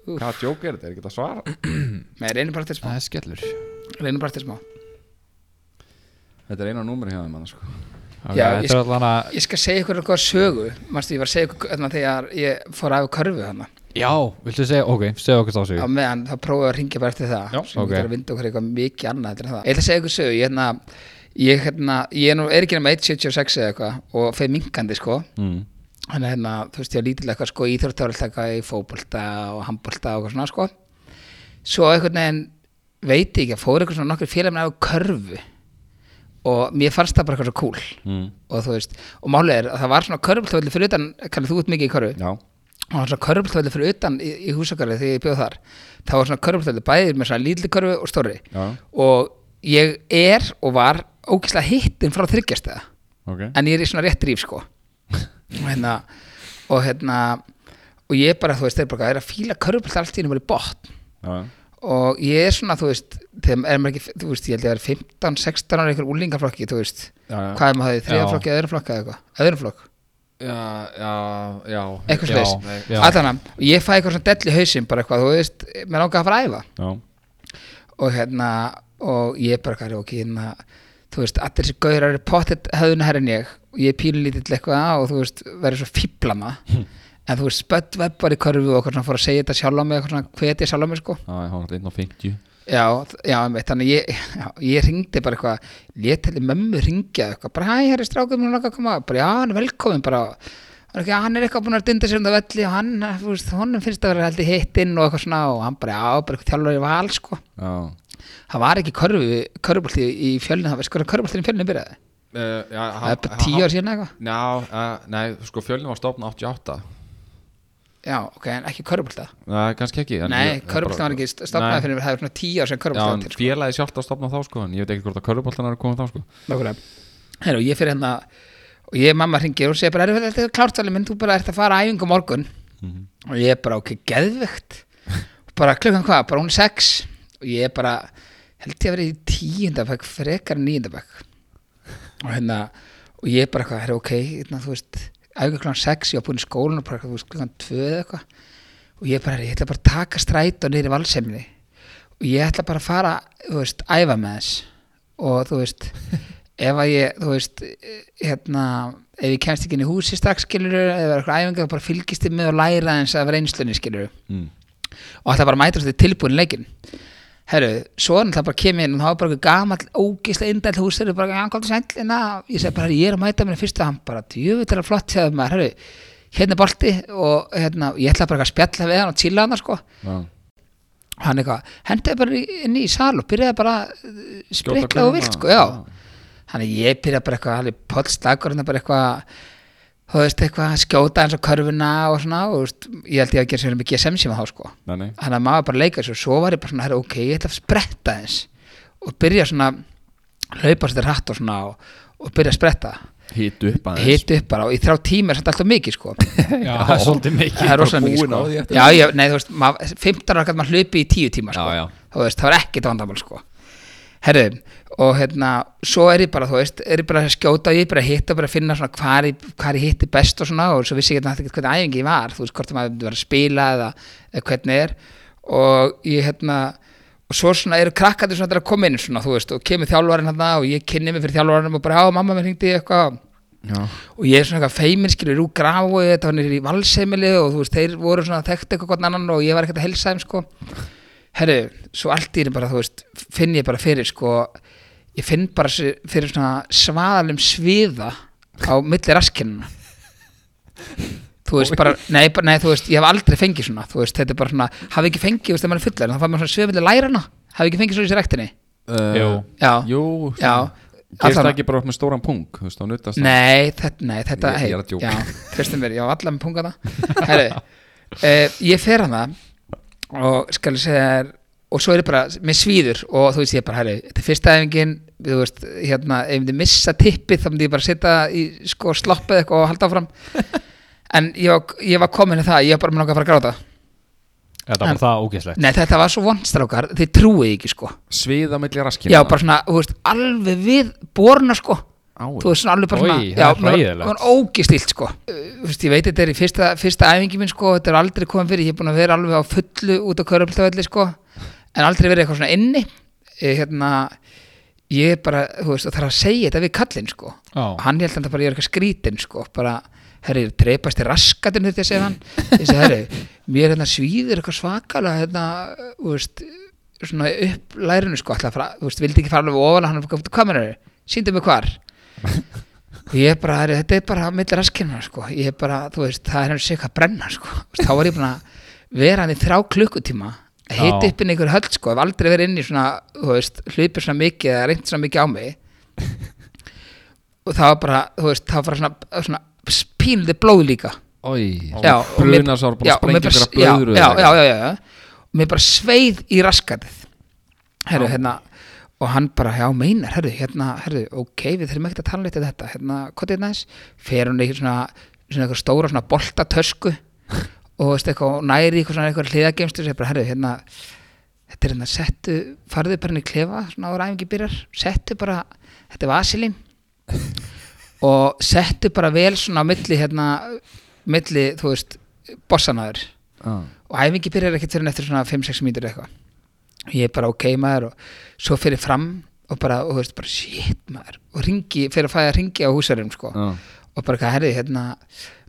Speaker 1: Hvaða djók er þetta? Er ekki þetta að svara?
Speaker 2: Nei, reynum bara til smá
Speaker 3: Það er skellur
Speaker 2: Reynum bara til smá
Speaker 1: Þetta er eina númer hjá þeim annars sko
Speaker 3: okay,
Speaker 2: Já, ég
Speaker 3: Þetta er allan að
Speaker 2: Ég skal segja ykkur eitthvað sögu Manstu, ég var að segja ykkur öðna þegar ég fór af körfu hana
Speaker 3: Já, viltu segja, ok, segja okkur þá sig
Speaker 2: Á meðan þá prófaði að ringja bara eftir það
Speaker 3: Já,
Speaker 2: Svo
Speaker 3: ok.
Speaker 2: okay. að vinda okkur eitthvað mikið annað heldur en það Ég ætla að segja ykkur sögu Ég, hérna, ég, hérna, ég er nú er ekki nema 176 eða eitthvað og feið minkandi sko
Speaker 1: mm.
Speaker 2: þannig að hérna, þú veist, ég var lítilega eitthvað sko íþróttárið eitthvað í fótbolta og handbolta og eitthvað svona sko svo einhvern veginn veit ég ekki að fóru eitthvað svona nokkur félagmenn á körfu og mér fannst það bara eitthvað svo cool
Speaker 1: Mm.
Speaker 2: og þú veist, og málið er að það var svona körfultöldi fyrir utan, kallið þú út mikið í körfu
Speaker 1: Já,
Speaker 2: og það var svona körfultöldi fyrir utan í, í húsakarið þegar ég bjóð þar það var svona körfultöldi bæðið með svona lítli körfu og stórri
Speaker 1: já,
Speaker 2: og ég er og var ógeðslega hittin frá þryggjastega
Speaker 1: ok
Speaker 2: en ég er í svona rétt dríf sko og hérna og hérna og ég bara þú veist er bara er að fíla körfbólta allt í henni bara í botn
Speaker 1: já,
Speaker 2: og ég er svona þú veist þegar er maður ekki þú veist ég held ég að vera 15 16 ára í einhver úlingaflokki þú veist
Speaker 1: já, já.
Speaker 2: hvað er maður hafði þriða
Speaker 3: Já.
Speaker 2: flokki öðrum flokki eða eitthvað öðrum flokk
Speaker 1: já, já, já
Speaker 2: eitthvað
Speaker 3: Já,
Speaker 2: slags
Speaker 3: já.
Speaker 2: allan og ég fæ eitthvað svona dell í hausinn bara eitthvað þú veist mér langar að fara að æfa
Speaker 1: Já,
Speaker 2: og hérna og ég bara hvað er ok hérna, þú veist, allir þessi gaurar eru pottet höfðuna herrin ég og ég pílu lítill eitthvað og þú veist, verður svo fíblana en þú veist, spött var bara í körfu og okkur svona fór að segja þetta sjálf á mig, okkur svona hvetja sjálf á mig sko
Speaker 1: já, hann var einn og 50
Speaker 2: Já, já, einmitt, þannig ég, já, ég ringdi bara eitthvað, létt heldur mömmu ringja eitthvað, bara hæ, herri strákum, hún langar að koma, bara já, hann er velkomin, bara, hann er, ekki, hann er eitthvað búin að dynda sér um það velli og hann, þú veist, honum finnst það að vera heldur hitt inn og eitthvað svona og hann bara, já, bara eitthvað þjálfur í val, sko,
Speaker 1: Já,
Speaker 2: það var ekki körfu, körfbólti í fjölinu, það var sko körfbólti í fjölinu byrjaði,
Speaker 1: uh, já
Speaker 2: það er bara tíu ár síðan eða eitthvað,
Speaker 1: Já, uh, nei, sko fjölnum var stofn 88
Speaker 2: já, ok, en ekki körfbólta,
Speaker 1: Nei, Eh, kannski ekki en
Speaker 2: nei,
Speaker 1: ég-
Speaker 2: körfbólta
Speaker 1: bara-
Speaker 2: var ekki
Speaker 1: Nei.
Speaker 2: stopnaði fyrir mér, það er svona tíu ár
Speaker 1: Já,
Speaker 2: síðan
Speaker 1: en
Speaker 2: körfbólta til, sko.
Speaker 1: félagi sjálft að stopna þá sko En ég veit ekki hvort að körfuboltan er komið þá sko
Speaker 2: Nákvæmlega. Herra, og ég fyrir hérna og ég mamma hringir og segir bara "Heyrðu, þetta er klártalið minn, þú bara ert að fara á æfingu á morgun og ég er bara ok, geðvegt bara klukkan hvað, bara hún er sex og ég er bara, held ég að vera í tíundabæk frekar en níundabæk og hérna og ég er bara eitthvað, herra, ok, hérna, þú veist æfingu klukkan sex, ég var búin í skólan og bara eitthvað, þú veist, klukkan tvö eða eitthvað og ég er bara, ég ætla bara að taka strætó niður í valsemni og ég ætla bara að fara þú veist, æfa með þess og þú veist, ef að ég þú veist, eh, hérna ef ég kemst ekki inn í húsi strax skilur ef það er eitthvað æfinga, þá bara fylgist þið með og læra eins af reynslunni skilur
Speaker 1: mm.
Speaker 2: og ætla bara að mæta þetta tilbúin í leikinn Herru, svo er náttúrulega bara að kemja inn og þá er bara eitthvað gamall, ógislega indæll hús þeir eru bara, hann kom til sællina hérna." ég segi bara, ég er að mæta mér fyrst og hann bara, djöfitt er að flott hjá þér maður, herru, hérna er bolti og hérna, ég ætla bara eitthvað að spjalla við hann og chilla hann sko,
Speaker 1: Já,
Speaker 2: og hann eitthvað, hendaði bara í- inn í sal og byrjaði bara uh,
Speaker 1: Skjóta
Speaker 2: sprikla og
Speaker 1: körfuna,
Speaker 2: vilt sko, já þannig að ég byrjaði bara eitthvað, allir pottslagur bara eitthvað, þú veist eitthvað að skjóta eins og körfuna og svona og, þú veist, ég held ég að gera sér mikið sem sem þá sko
Speaker 1: nei, nei
Speaker 2: þannig að maður bara leika þessu og svo var ég bara svona, herra, ok, ég ætla að spretta eins og byrja svona hlaupa sér hratt og svona og, og byrja að spretta,
Speaker 1: Hitu upp aðeins
Speaker 2: hit upp bara og í þrjá tíma er þetta alltaf mikið sko
Speaker 3: Já, það er svolítið mikið
Speaker 2: það er rosalega mikið
Speaker 1: búin á
Speaker 2: sko
Speaker 1: því
Speaker 2: já, já, nei, þú veist, maður, 15 ára gæti maður hlaupi í 10 tíma sko.
Speaker 1: Já, já.
Speaker 2: Þú veist, það var ekkit vandamál sko. herru, og hérna svo er ég bara, þú veist, er ég bara að skjóta og ég er bara að hitta og bara að finna svona hvað ég, hvað ég hitti best og svona og svo vissi ég hérna ekkert hvernig æfingi ég var, þú veist, hvort maður var að spila eða, eða hvernig er og ég hérna og svo svona eru krakkandi svona til að koma inn svona, þú veist, og kemur þjálfarinn hérna og ég kynni mig fyrir þjálfarinn og bara, já, mamma mér hringdi í eitthvað
Speaker 1: Já,
Speaker 2: og ég er svona eitthvað feimin skilur úr grafu þetta var nýri í valseimili og þú veist þeir voru svona þekkt eitthvað gott annan og ég var ekkert að helsa þeim sko herru, svo allt í þeim bara þú veist finn ég bara fyrir sko ég finn bara s- fyrir svona svaðalum sviða á milli raskinnuna þú veist bara, nei, bara, nei þú veist ég hef aldrei fengið svona, þú veist þetta er bara svona hafi ekki fengið, þú veist, þegar maður er fullar þá fær maður svona sviða milli lærana, hafi ekki fengið svona í sér ektinni
Speaker 1: uh,
Speaker 3: Jú.
Speaker 2: já,
Speaker 1: Jú,
Speaker 2: já
Speaker 1: Gerist það
Speaker 2: Allavega.
Speaker 1: ekki bara upp með stóran pung, þú veist, þá nutast það.
Speaker 2: Nei, þetta, nei, þetta
Speaker 1: Ég- ég er að
Speaker 2: hey,
Speaker 1: djóka.
Speaker 2: já, Tristan mér, ég var allar með punga það Herri, uh, ég fer hann það og skal ég segja þér og svo er ég bara með svíður og þú veist ég bara, herri, þetta er fyrsta æfingin þú veist, hérna, ef ég myndi missa tippið þá myndi ég bara sitta í sko sloppið eitthvað og halda áfram en ég var, ég var komin í það, ég var bara með nokkað að fara að gráta
Speaker 3: Þetta var það ógeðslegt
Speaker 2: Nei, þetta var svo vonstrákar, þið trúið ekki sko
Speaker 1: Sviða milli raskina
Speaker 2: Já, bara svona, þú veist, alveg við borna sko
Speaker 1: Ái.
Speaker 2: þú veist svona alveg bara
Speaker 3: Oj,
Speaker 2: svona
Speaker 3: það
Speaker 2: já,
Speaker 3: er hræðilegt.
Speaker 2: hún ógistilt sko Uh, þú veist, ég veit þetta er í fyrsta, fyrsta æfingi minn sko þetta er aldrei komið fyrir, ég er búin að vera alveg á fullu út á körflöfelli sko en aldrei verið eitthvað svona inni Eh, hérna, ég er bara þú veist, og þarf að segja þetta við kallinn sko
Speaker 3: Já.
Speaker 2: hann held að það bara ég er eitthvað skrítin sko bara, herri, dreipast í raskatinn þetta ég segi hann, ég segi herri mér hérna svíður eitthvað svakalega hérna, þú veist, svona upp lærinu sko alltaf, þú veist, vildi ekki fara alveg ofan hann er bara, hvað menur þau? síndu mig hvar og ég er bara, "Herri, þetta er bara millir raskirna sko, ég er bara, þú veist, það er hans eitthvað að brenna sko, Þú veist, þá var ég búin að vera hann í þrjá klukkutíma að hita
Speaker 3: Já.
Speaker 2: upp inn í einhver höll sko, ef aldrei verið inn í svona, þú veist, hlupið svona mikið eða reynt svona mikið á mig og það var bara, þú veist, það var bara svona, svona pínlið blóð líka
Speaker 3: Oi.
Speaker 2: Já, og mér-
Speaker 1: Brunasár búin
Speaker 2: já,
Speaker 1: að
Speaker 2: og mér
Speaker 1: sprengja
Speaker 2: bara-
Speaker 1: fyrir blöðru
Speaker 2: já, já, já, já, já. og mér bara sveið í raskatið herru, hérna og hann bara, já, meinar, herru, hérna herru, ok, við þurfum ekkert að tala neitt um þetta hérna, hvað er næst, fer hún í svona, svona eitthvað stóra svona boltatösku og veist eitthvað, og næri eitthvað svona eitthvað hliðagemstu, segir bara, herru, hérna þetta er hérna, settu, farðu bara inn í klefa svona ára æfingi byrjar, settu bara þetta er vasilín og settu bara vel svona á milli hérna, milli, þú veist bossanaður og æfingi byrjar ekkert fyrir en eftir svona 5-6 mínútur eða eitthvað og ég er bara ok maður og svo fyrir fram og bara, og þú veist, bara shit maður og ringi, fyrir að fæða að ringi á húsarum sko og bara hvað herði, hérna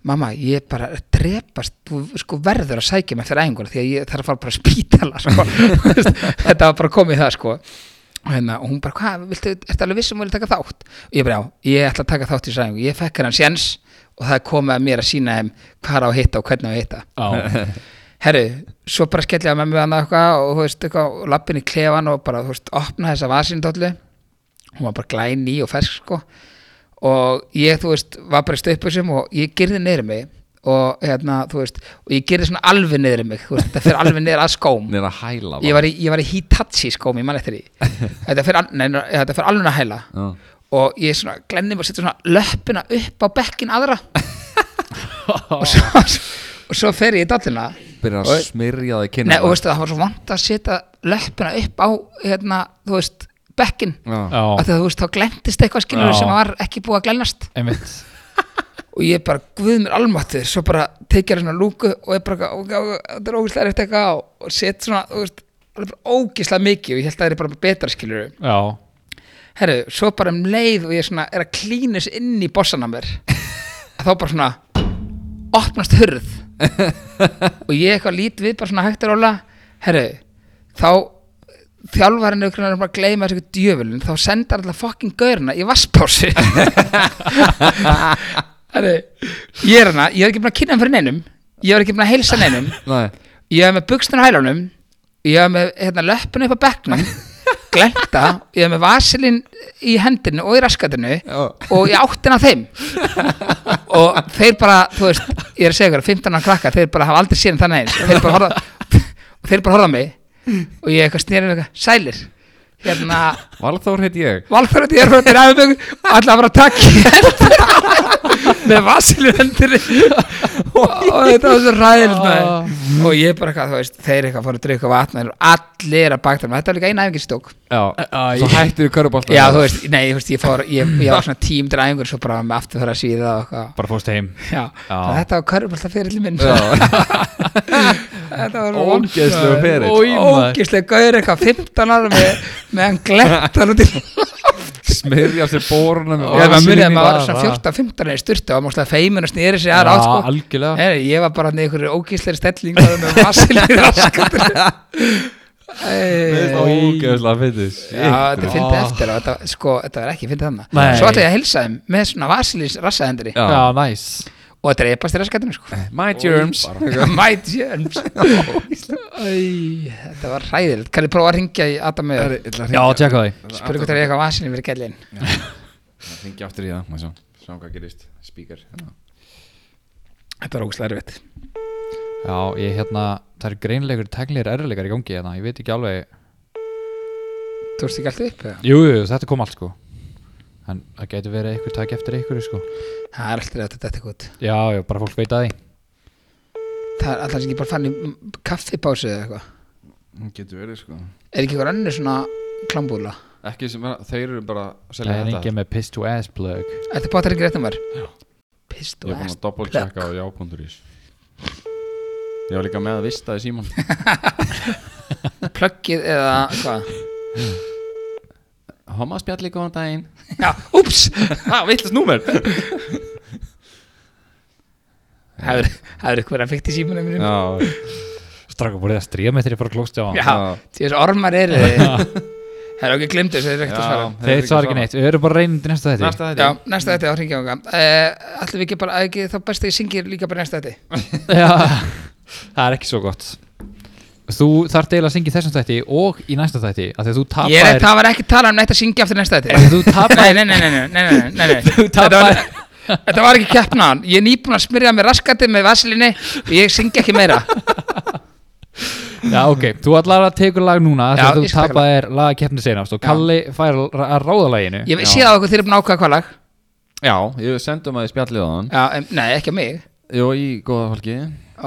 Speaker 2: mamma, ég er bara að drepast þú sko verður að sækja mig fyrir æfinguna því að ég þarf að fara bara að spítala sko. Þú veist, þetta var bara komið í það sko og hérna, og hún bara, hvað, viltu, ertu alveg vissum að vilja taka þátt? Og ég bara, já, ég ætla að taka þátt í sæðingu, ég fekk hérna séns og það er komið að mér að sína þeim hvað á að hitta og hvernig á að hitta
Speaker 3: Já.
Speaker 2: herru, svo bara skellið að með mig annað eitthvað og þú veist eitthvað, og lappin í klefan og bara, þú veist, opna þessa vasindollu hún var bara glæni og fersk sko og ég, þú veist, var bara í stöpusum og ég gerði niður í mig og hérna, þú veist, og ég gerði svona alveg niður í mig, þú veist, þetta fer alveg niður að skóm
Speaker 1: Neða hæla
Speaker 2: ég var í, ég var í Hitachi skóm, ég man eftir því þetta fer, al- nei, þetta fer alveg að hæla
Speaker 1: Já.
Speaker 2: og ég svona glennið og setja svona löppina upp á bekkin aðra og svo, og svo fer ég í dollina
Speaker 1: Byrja að
Speaker 2: Og-
Speaker 1: smyrja það í
Speaker 2: Nei,
Speaker 1: kynna
Speaker 2: og veistu, það var svo vant að setja löppina upp á, hérna, þú veist, bekkin,
Speaker 1: Já,
Speaker 2: af
Speaker 3: Já.
Speaker 2: því að þú veist, þá glendist eitthvað skilur
Speaker 3: Já.
Speaker 2: sem var ekki búið að glennast
Speaker 3: Einmitt.
Speaker 2: og ég bara, guð mér almáttur, svo bara tekja hérna lúku og ég bara, ok, ok, þetta er ógislega eftir eitthvað og, og set svona, þú veist, alveg bara ógislega mikið og ég held að það er bara betra skilur
Speaker 3: Já.
Speaker 2: herru, svo bara um leið og ég svona er að klínus inn í bossana mér að þá bara svona opnast hurð og ég eitthvað lít við bara svona hægt að róla herru, þá þjálfarinn er bara að gleyma þessu djöfulun þá sendar alltaf fucking gaurina í vasspásu herru ég er hana, ég er ekki búin að kynna hann fyrir neinum ég er ekki búin að heilsa neinum
Speaker 1: nei
Speaker 2: ég hef með buksnur á hælunum ég hef með hérna, löppinu upp á bekknum glenta, ég hef með vasilinn í hendinu og í raskatinu og ég áttin að þeim og þeir bara, þú veist ég er að segja ykkur, 15 ára krakka, þeir bara hafa aldrei séð um þannig eins, þeir bara horfa og þeir bara horfa á mig og ég eitthvað snýrið eitthvað, sælir hérna,
Speaker 1: Valþór heit ég
Speaker 2: valfærandi er frá þér aðeins og allir að fara að taka í hendur með vasilinn hendur og þetta var svo ræðilegt maður. og ég bara eitthvað, þú veist, þeir eitthvað fóru að drikka vatn og allir að bakta mér, þetta var líka eina æfingin sem ég tók
Speaker 1: Já, svo hættu við körubálta
Speaker 2: já, þú veist, nei, þú veist, ég fór ég, ég var svona tímdur æfingur, svo bara með aftur að síða og eitthvað,
Speaker 3: Bara fórst heim.
Speaker 2: já,
Speaker 3: Já.
Speaker 2: já. þetta var körfbólta fyrir minn þetta var
Speaker 1: Ógeðslegu ferill
Speaker 3: Oj, maður.
Speaker 2: ógislega gaur eitthvað 15 ára með, með hann glettan út í
Speaker 1: Smyrja sér bórunum
Speaker 2: Já, maður munið að maður var
Speaker 3: það,
Speaker 2: svona
Speaker 3: það.
Speaker 2: 14-15 í styrtu og maður feimin og snýri sér
Speaker 3: Já,
Speaker 2: aðra átt sko.
Speaker 3: algjörlega.
Speaker 2: Nei, ég var bara nefnir einhverju ógísleiri stelling bara með vasilíð raskat
Speaker 1: Ógeðslega fyndið
Speaker 2: Já, þetta er fyndið
Speaker 3: Ah.
Speaker 2: eftir og þetta, sko, þetta var ekki fyndið þannig
Speaker 3: Nei.
Speaker 2: Svo ætla ég að hilsa þeim með svona vasilís rassahendri
Speaker 1: Já.
Speaker 3: Já, næs.
Speaker 2: og að dreipast í raskatinu sko.
Speaker 1: My germs
Speaker 2: My germs Æ, Þetta var hræðilegt Kann ég prófa að ringja í Adam með
Speaker 3: Já, tjekka því.
Speaker 2: Spurðu hvort það er eitthvað vasilín fyrir gælin
Speaker 1: Hringi aftur í það Má sjá Sjá hvað gerist Speaker
Speaker 2: Þetta var ógíslega erfitt
Speaker 3: Já, ég hérna, það eru greinlegur tæknilegir erfilegar í gangi hérna, ég veit ekki alveg
Speaker 2: Þú veist ekki allt upp? eða?
Speaker 3: Jú, jú, þetta kom allt sko En það getur verið eitthvað tæk eftir eitthvað sko
Speaker 2: Það er alltaf þetta þetta gott
Speaker 3: Já, já, bara fólk veit að því
Speaker 2: Það er alltaf ekki bara fann í mm, kaffipásu eða eitthvað
Speaker 1: Hún getur verið sko
Speaker 2: Er ekki eitthvað önnur svona klambúla?
Speaker 1: Ekki sem er- þeir eru bara að
Speaker 3: Það
Speaker 1: selja
Speaker 3: er
Speaker 1: þetta
Speaker 3: engin með piss to ass plug
Speaker 2: Þetta bátar ekki rétt um þar? Pist
Speaker 1: Ég er
Speaker 2: og
Speaker 1: búin
Speaker 2: æst
Speaker 1: að double checka á já.is Ég var líka með að vista í síman
Speaker 2: Plöggið eða hvað?
Speaker 1: Homa spjalli góðan daginn
Speaker 2: Já, úps!
Speaker 1: Það veitlust númer
Speaker 2: Það er eitthvað verið að fykta í símanum mínum
Speaker 1: Já
Speaker 3: Stráka búið að stríða með þeirri bara klósti á hann
Speaker 2: Já, því þessi ormar eru þið Það er ekki glimtið þess að þeir ekkert að svara
Speaker 3: Þeir svara ekki neitt, við erum bara reynandi næsta þetta
Speaker 1: Næsta
Speaker 2: Já,
Speaker 1: þetta
Speaker 2: næsta þetta á hringjanga uh, Ætlum við ekki bara, að ekki þá best að ég syngi líka bara næsta þetta
Speaker 3: Já, það er ekki svo gott Þú þarf deil að syngja í þessum þætti og í næsta þætti af því að þú
Speaker 2: Ég er,
Speaker 3: tapar
Speaker 2: það var ekki tala um neitt að syngja aftur næsta þetta
Speaker 3: af því að þú
Speaker 2: Nei,
Speaker 3: tapar
Speaker 2: nei, nei, nei, nei, nei, nei, nei, nei.
Speaker 3: þú
Speaker 2: Þetta var,
Speaker 3: tapar
Speaker 2: þetta var ekki keppnaðan Ég er nýbúin að smyrja mig raskatið með vaselinni og ég syngi ekki meira
Speaker 3: Já, ok, þú allar að tekur lag núna af því
Speaker 2: Já,
Speaker 3: að
Speaker 2: ég
Speaker 3: þú
Speaker 2: skal taka
Speaker 3: tapar er lagakeppni senast og Kalli fær að ráða laginu
Speaker 2: Ég
Speaker 1: Já.
Speaker 2: sé það á okkur þeir eru búin að ákvæða hvað lag
Speaker 1: Já, ég sendum að ég spjallið á hann
Speaker 2: Já, em, Nei, ekki að mig
Speaker 1: Jó, í góða fólki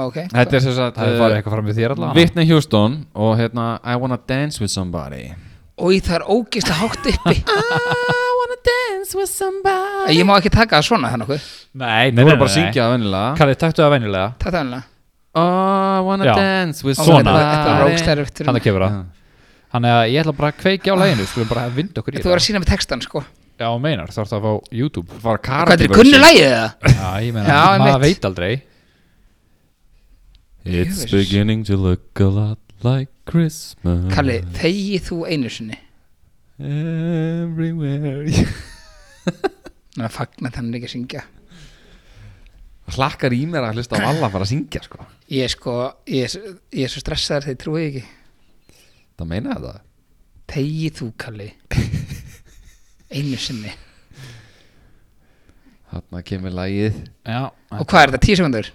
Speaker 2: Ok
Speaker 1: Þetta er sem sagt
Speaker 3: Það er
Speaker 1: eh,
Speaker 3: farið eitthvað fram við þér allavega
Speaker 1: Whitney Houston og hérna I wanna dance with somebody
Speaker 2: Og það er ógist að hátt uppi
Speaker 1: I wanna dance with somebody
Speaker 2: Ég má ekki taka það svona þannig okkur
Speaker 3: Nei,
Speaker 1: Nú erum bara að syngja það vennilega
Speaker 3: Kalli, taktu það venjulega
Speaker 2: Það er þannig
Speaker 1: Oh, I wanna
Speaker 3: Já.
Speaker 1: dance with
Speaker 3: Ó,
Speaker 1: somebody
Speaker 3: þetta-
Speaker 2: Þetta var rókstæri eftir
Speaker 3: Þannig kemur það Þannig að ég ætla bara að kveikja á laginu Skulum bara að vinda okkur í
Speaker 2: Þú var að sína með textan sko
Speaker 3: Já, meinar, þú ert að fá YouTube
Speaker 1: Var
Speaker 2: Hvað er
Speaker 1: karate
Speaker 2: þetta, kunnu
Speaker 1: version.
Speaker 2: lagið það?
Speaker 3: Já, ég meina,
Speaker 2: Já,
Speaker 3: maður
Speaker 2: einmitt.
Speaker 3: veit aldrei
Speaker 1: It's
Speaker 2: Jöfus.
Speaker 1: beginning to look a lot like Christmas
Speaker 2: Kalli, þegi þú einu sinni
Speaker 1: Everywhere
Speaker 2: Þannig að fagna þannig ekki að syngja
Speaker 1: Hlakkar í mér að hlusta á alla að fara að syngja sko
Speaker 2: Ég er sko, ég er, s- ég er svo stressaður þegar ég trúi ekki
Speaker 1: Það meina þetta
Speaker 2: Þegi þú, Kalli Einu sinni
Speaker 1: Þarna kemur lagið
Speaker 3: Já,
Speaker 2: Og hvað er þetta, tíu sekundur?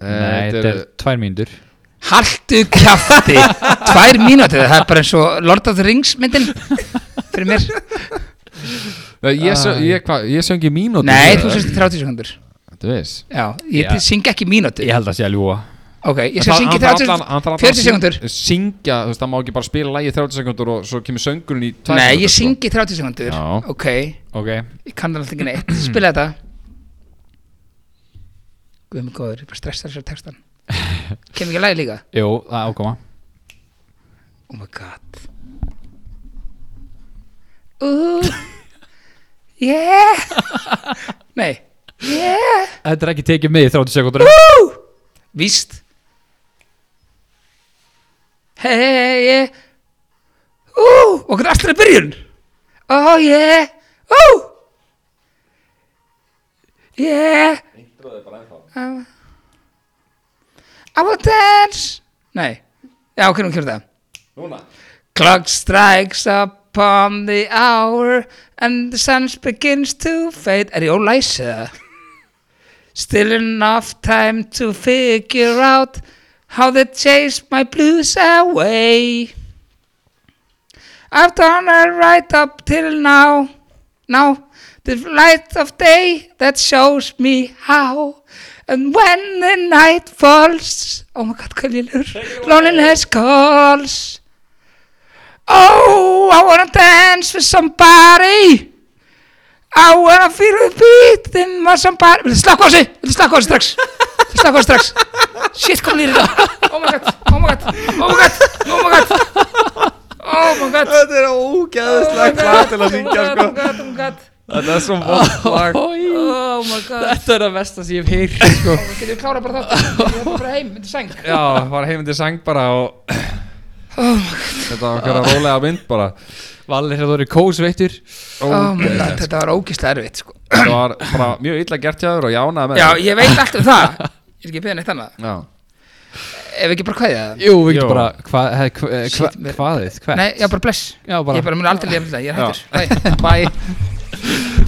Speaker 1: Eh,
Speaker 3: Nei,
Speaker 1: þetta
Speaker 3: þetta er
Speaker 1: eru-
Speaker 3: tvær mínútur
Speaker 2: Haltu kjafti Tvær mínútið, það er bara eins og Lord of the Rings myndin Fyrir mér
Speaker 1: Nei, Eh, Ég, sö, ég, hva, ég söngi mínútur
Speaker 2: Nei, þú sérst 30 sekundur
Speaker 1: Þú veist
Speaker 2: Já, ég
Speaker 3: Já.
Speaker 2: syngi ekki mínútu
Speaker 3: Ég held að sé að ljúa
Speaker 2: Ok, ég skal syngja 30 40 sekundur
Speaker 1: Syngja, þú veist, það má ekki bara spila lagið 30 sekundur og svo kemur söngurinn í sko. 2
Speaker 2: Nei, ég
Speaker 3: sko.
Speaker 2: syngi 30 sekundur
Speaker 1: Já.
Speaker 2: Ok,
Speaker 3: Ok
Speaker 2: ég kann það alltaf ekki neitt Spila þetta Guð mig góður, ég bara stressa þessar textan Kemur ekki að lægi líka?
Speaker 3: Jú, það er ákoma
Speaker 2: Oh my god Ooh Yeah Nei Yeah
Speaker 3: Þetta er ekki tekið með í 30 sekundur
Speaker 2: Woo Víst Hey yeah Ooh Og hvernig aftur er byrjun Oh yeah Ooh Yeah Um, I will dance Nei Já, ok, nú kemur það
Speaker 1: Núna
Speaker 2: Clock strikes upon the hour and the sun begins to fade. Er ég ólæs eða? Still enough time to figure out how they chase my blues away. I've done it right up till now. Now, the light of day that shows me how. And when the night falls, oh my god, hvað lillur, loneliness calls. Oh, I wanna dance with somebody I wanna feel the beat in my somebody Viltu slakka á þessu? Viltu slakka á þessu strax? Viltu slakka á þessu strax? Shit, kom nýrið það Oh my god, oh my god, oh my god, oh my god Oh my god
Speaker 1: Þetta er ógæðislega klart til að syngja sko
Speaker 2: Oh my god, oh my god
Speaker 1: Þetta er svo vond lag
Speaker 2: Oh my god
Speaker 3: Þetta er það besta sem ég hef heyrt sko.
Speaker 2: Getur við klára bara þátt? Ég ætla bara heim, myndi sæng
Speaker 1: Já, var heimindi sang bara og Þetta var okkar að rólega mynd bara
Speaker 3: Valli hefur verið kósveittur
Speaker 2: Oh my god, þetta var ógislega erfitt sko
Speaker 1: Þetta var bara mjög illa gert hjá þér og jánaði með
Speaker 2: Já,
Speaker 1: þér.
Speaker 2: ég veit allt um það Ég er ekki beðin eitt annað
Speaker 1: Já
Speaker 2: Ef við ekki bara kvæðið það?
Speaker 3: Jú, við
Speaker 1: Jú.
Speaker 3: getum bara hva, hva, hva,
Speaker 2: Shit, mér-
Speaker 3: Hvaðið? Hvert?
Speaker 2: Nei, já, bara bless
Speaker 3: Já, bara
Speaker 2: Ég bara mun aldrei lefna, ég er hættur Bye, Bye.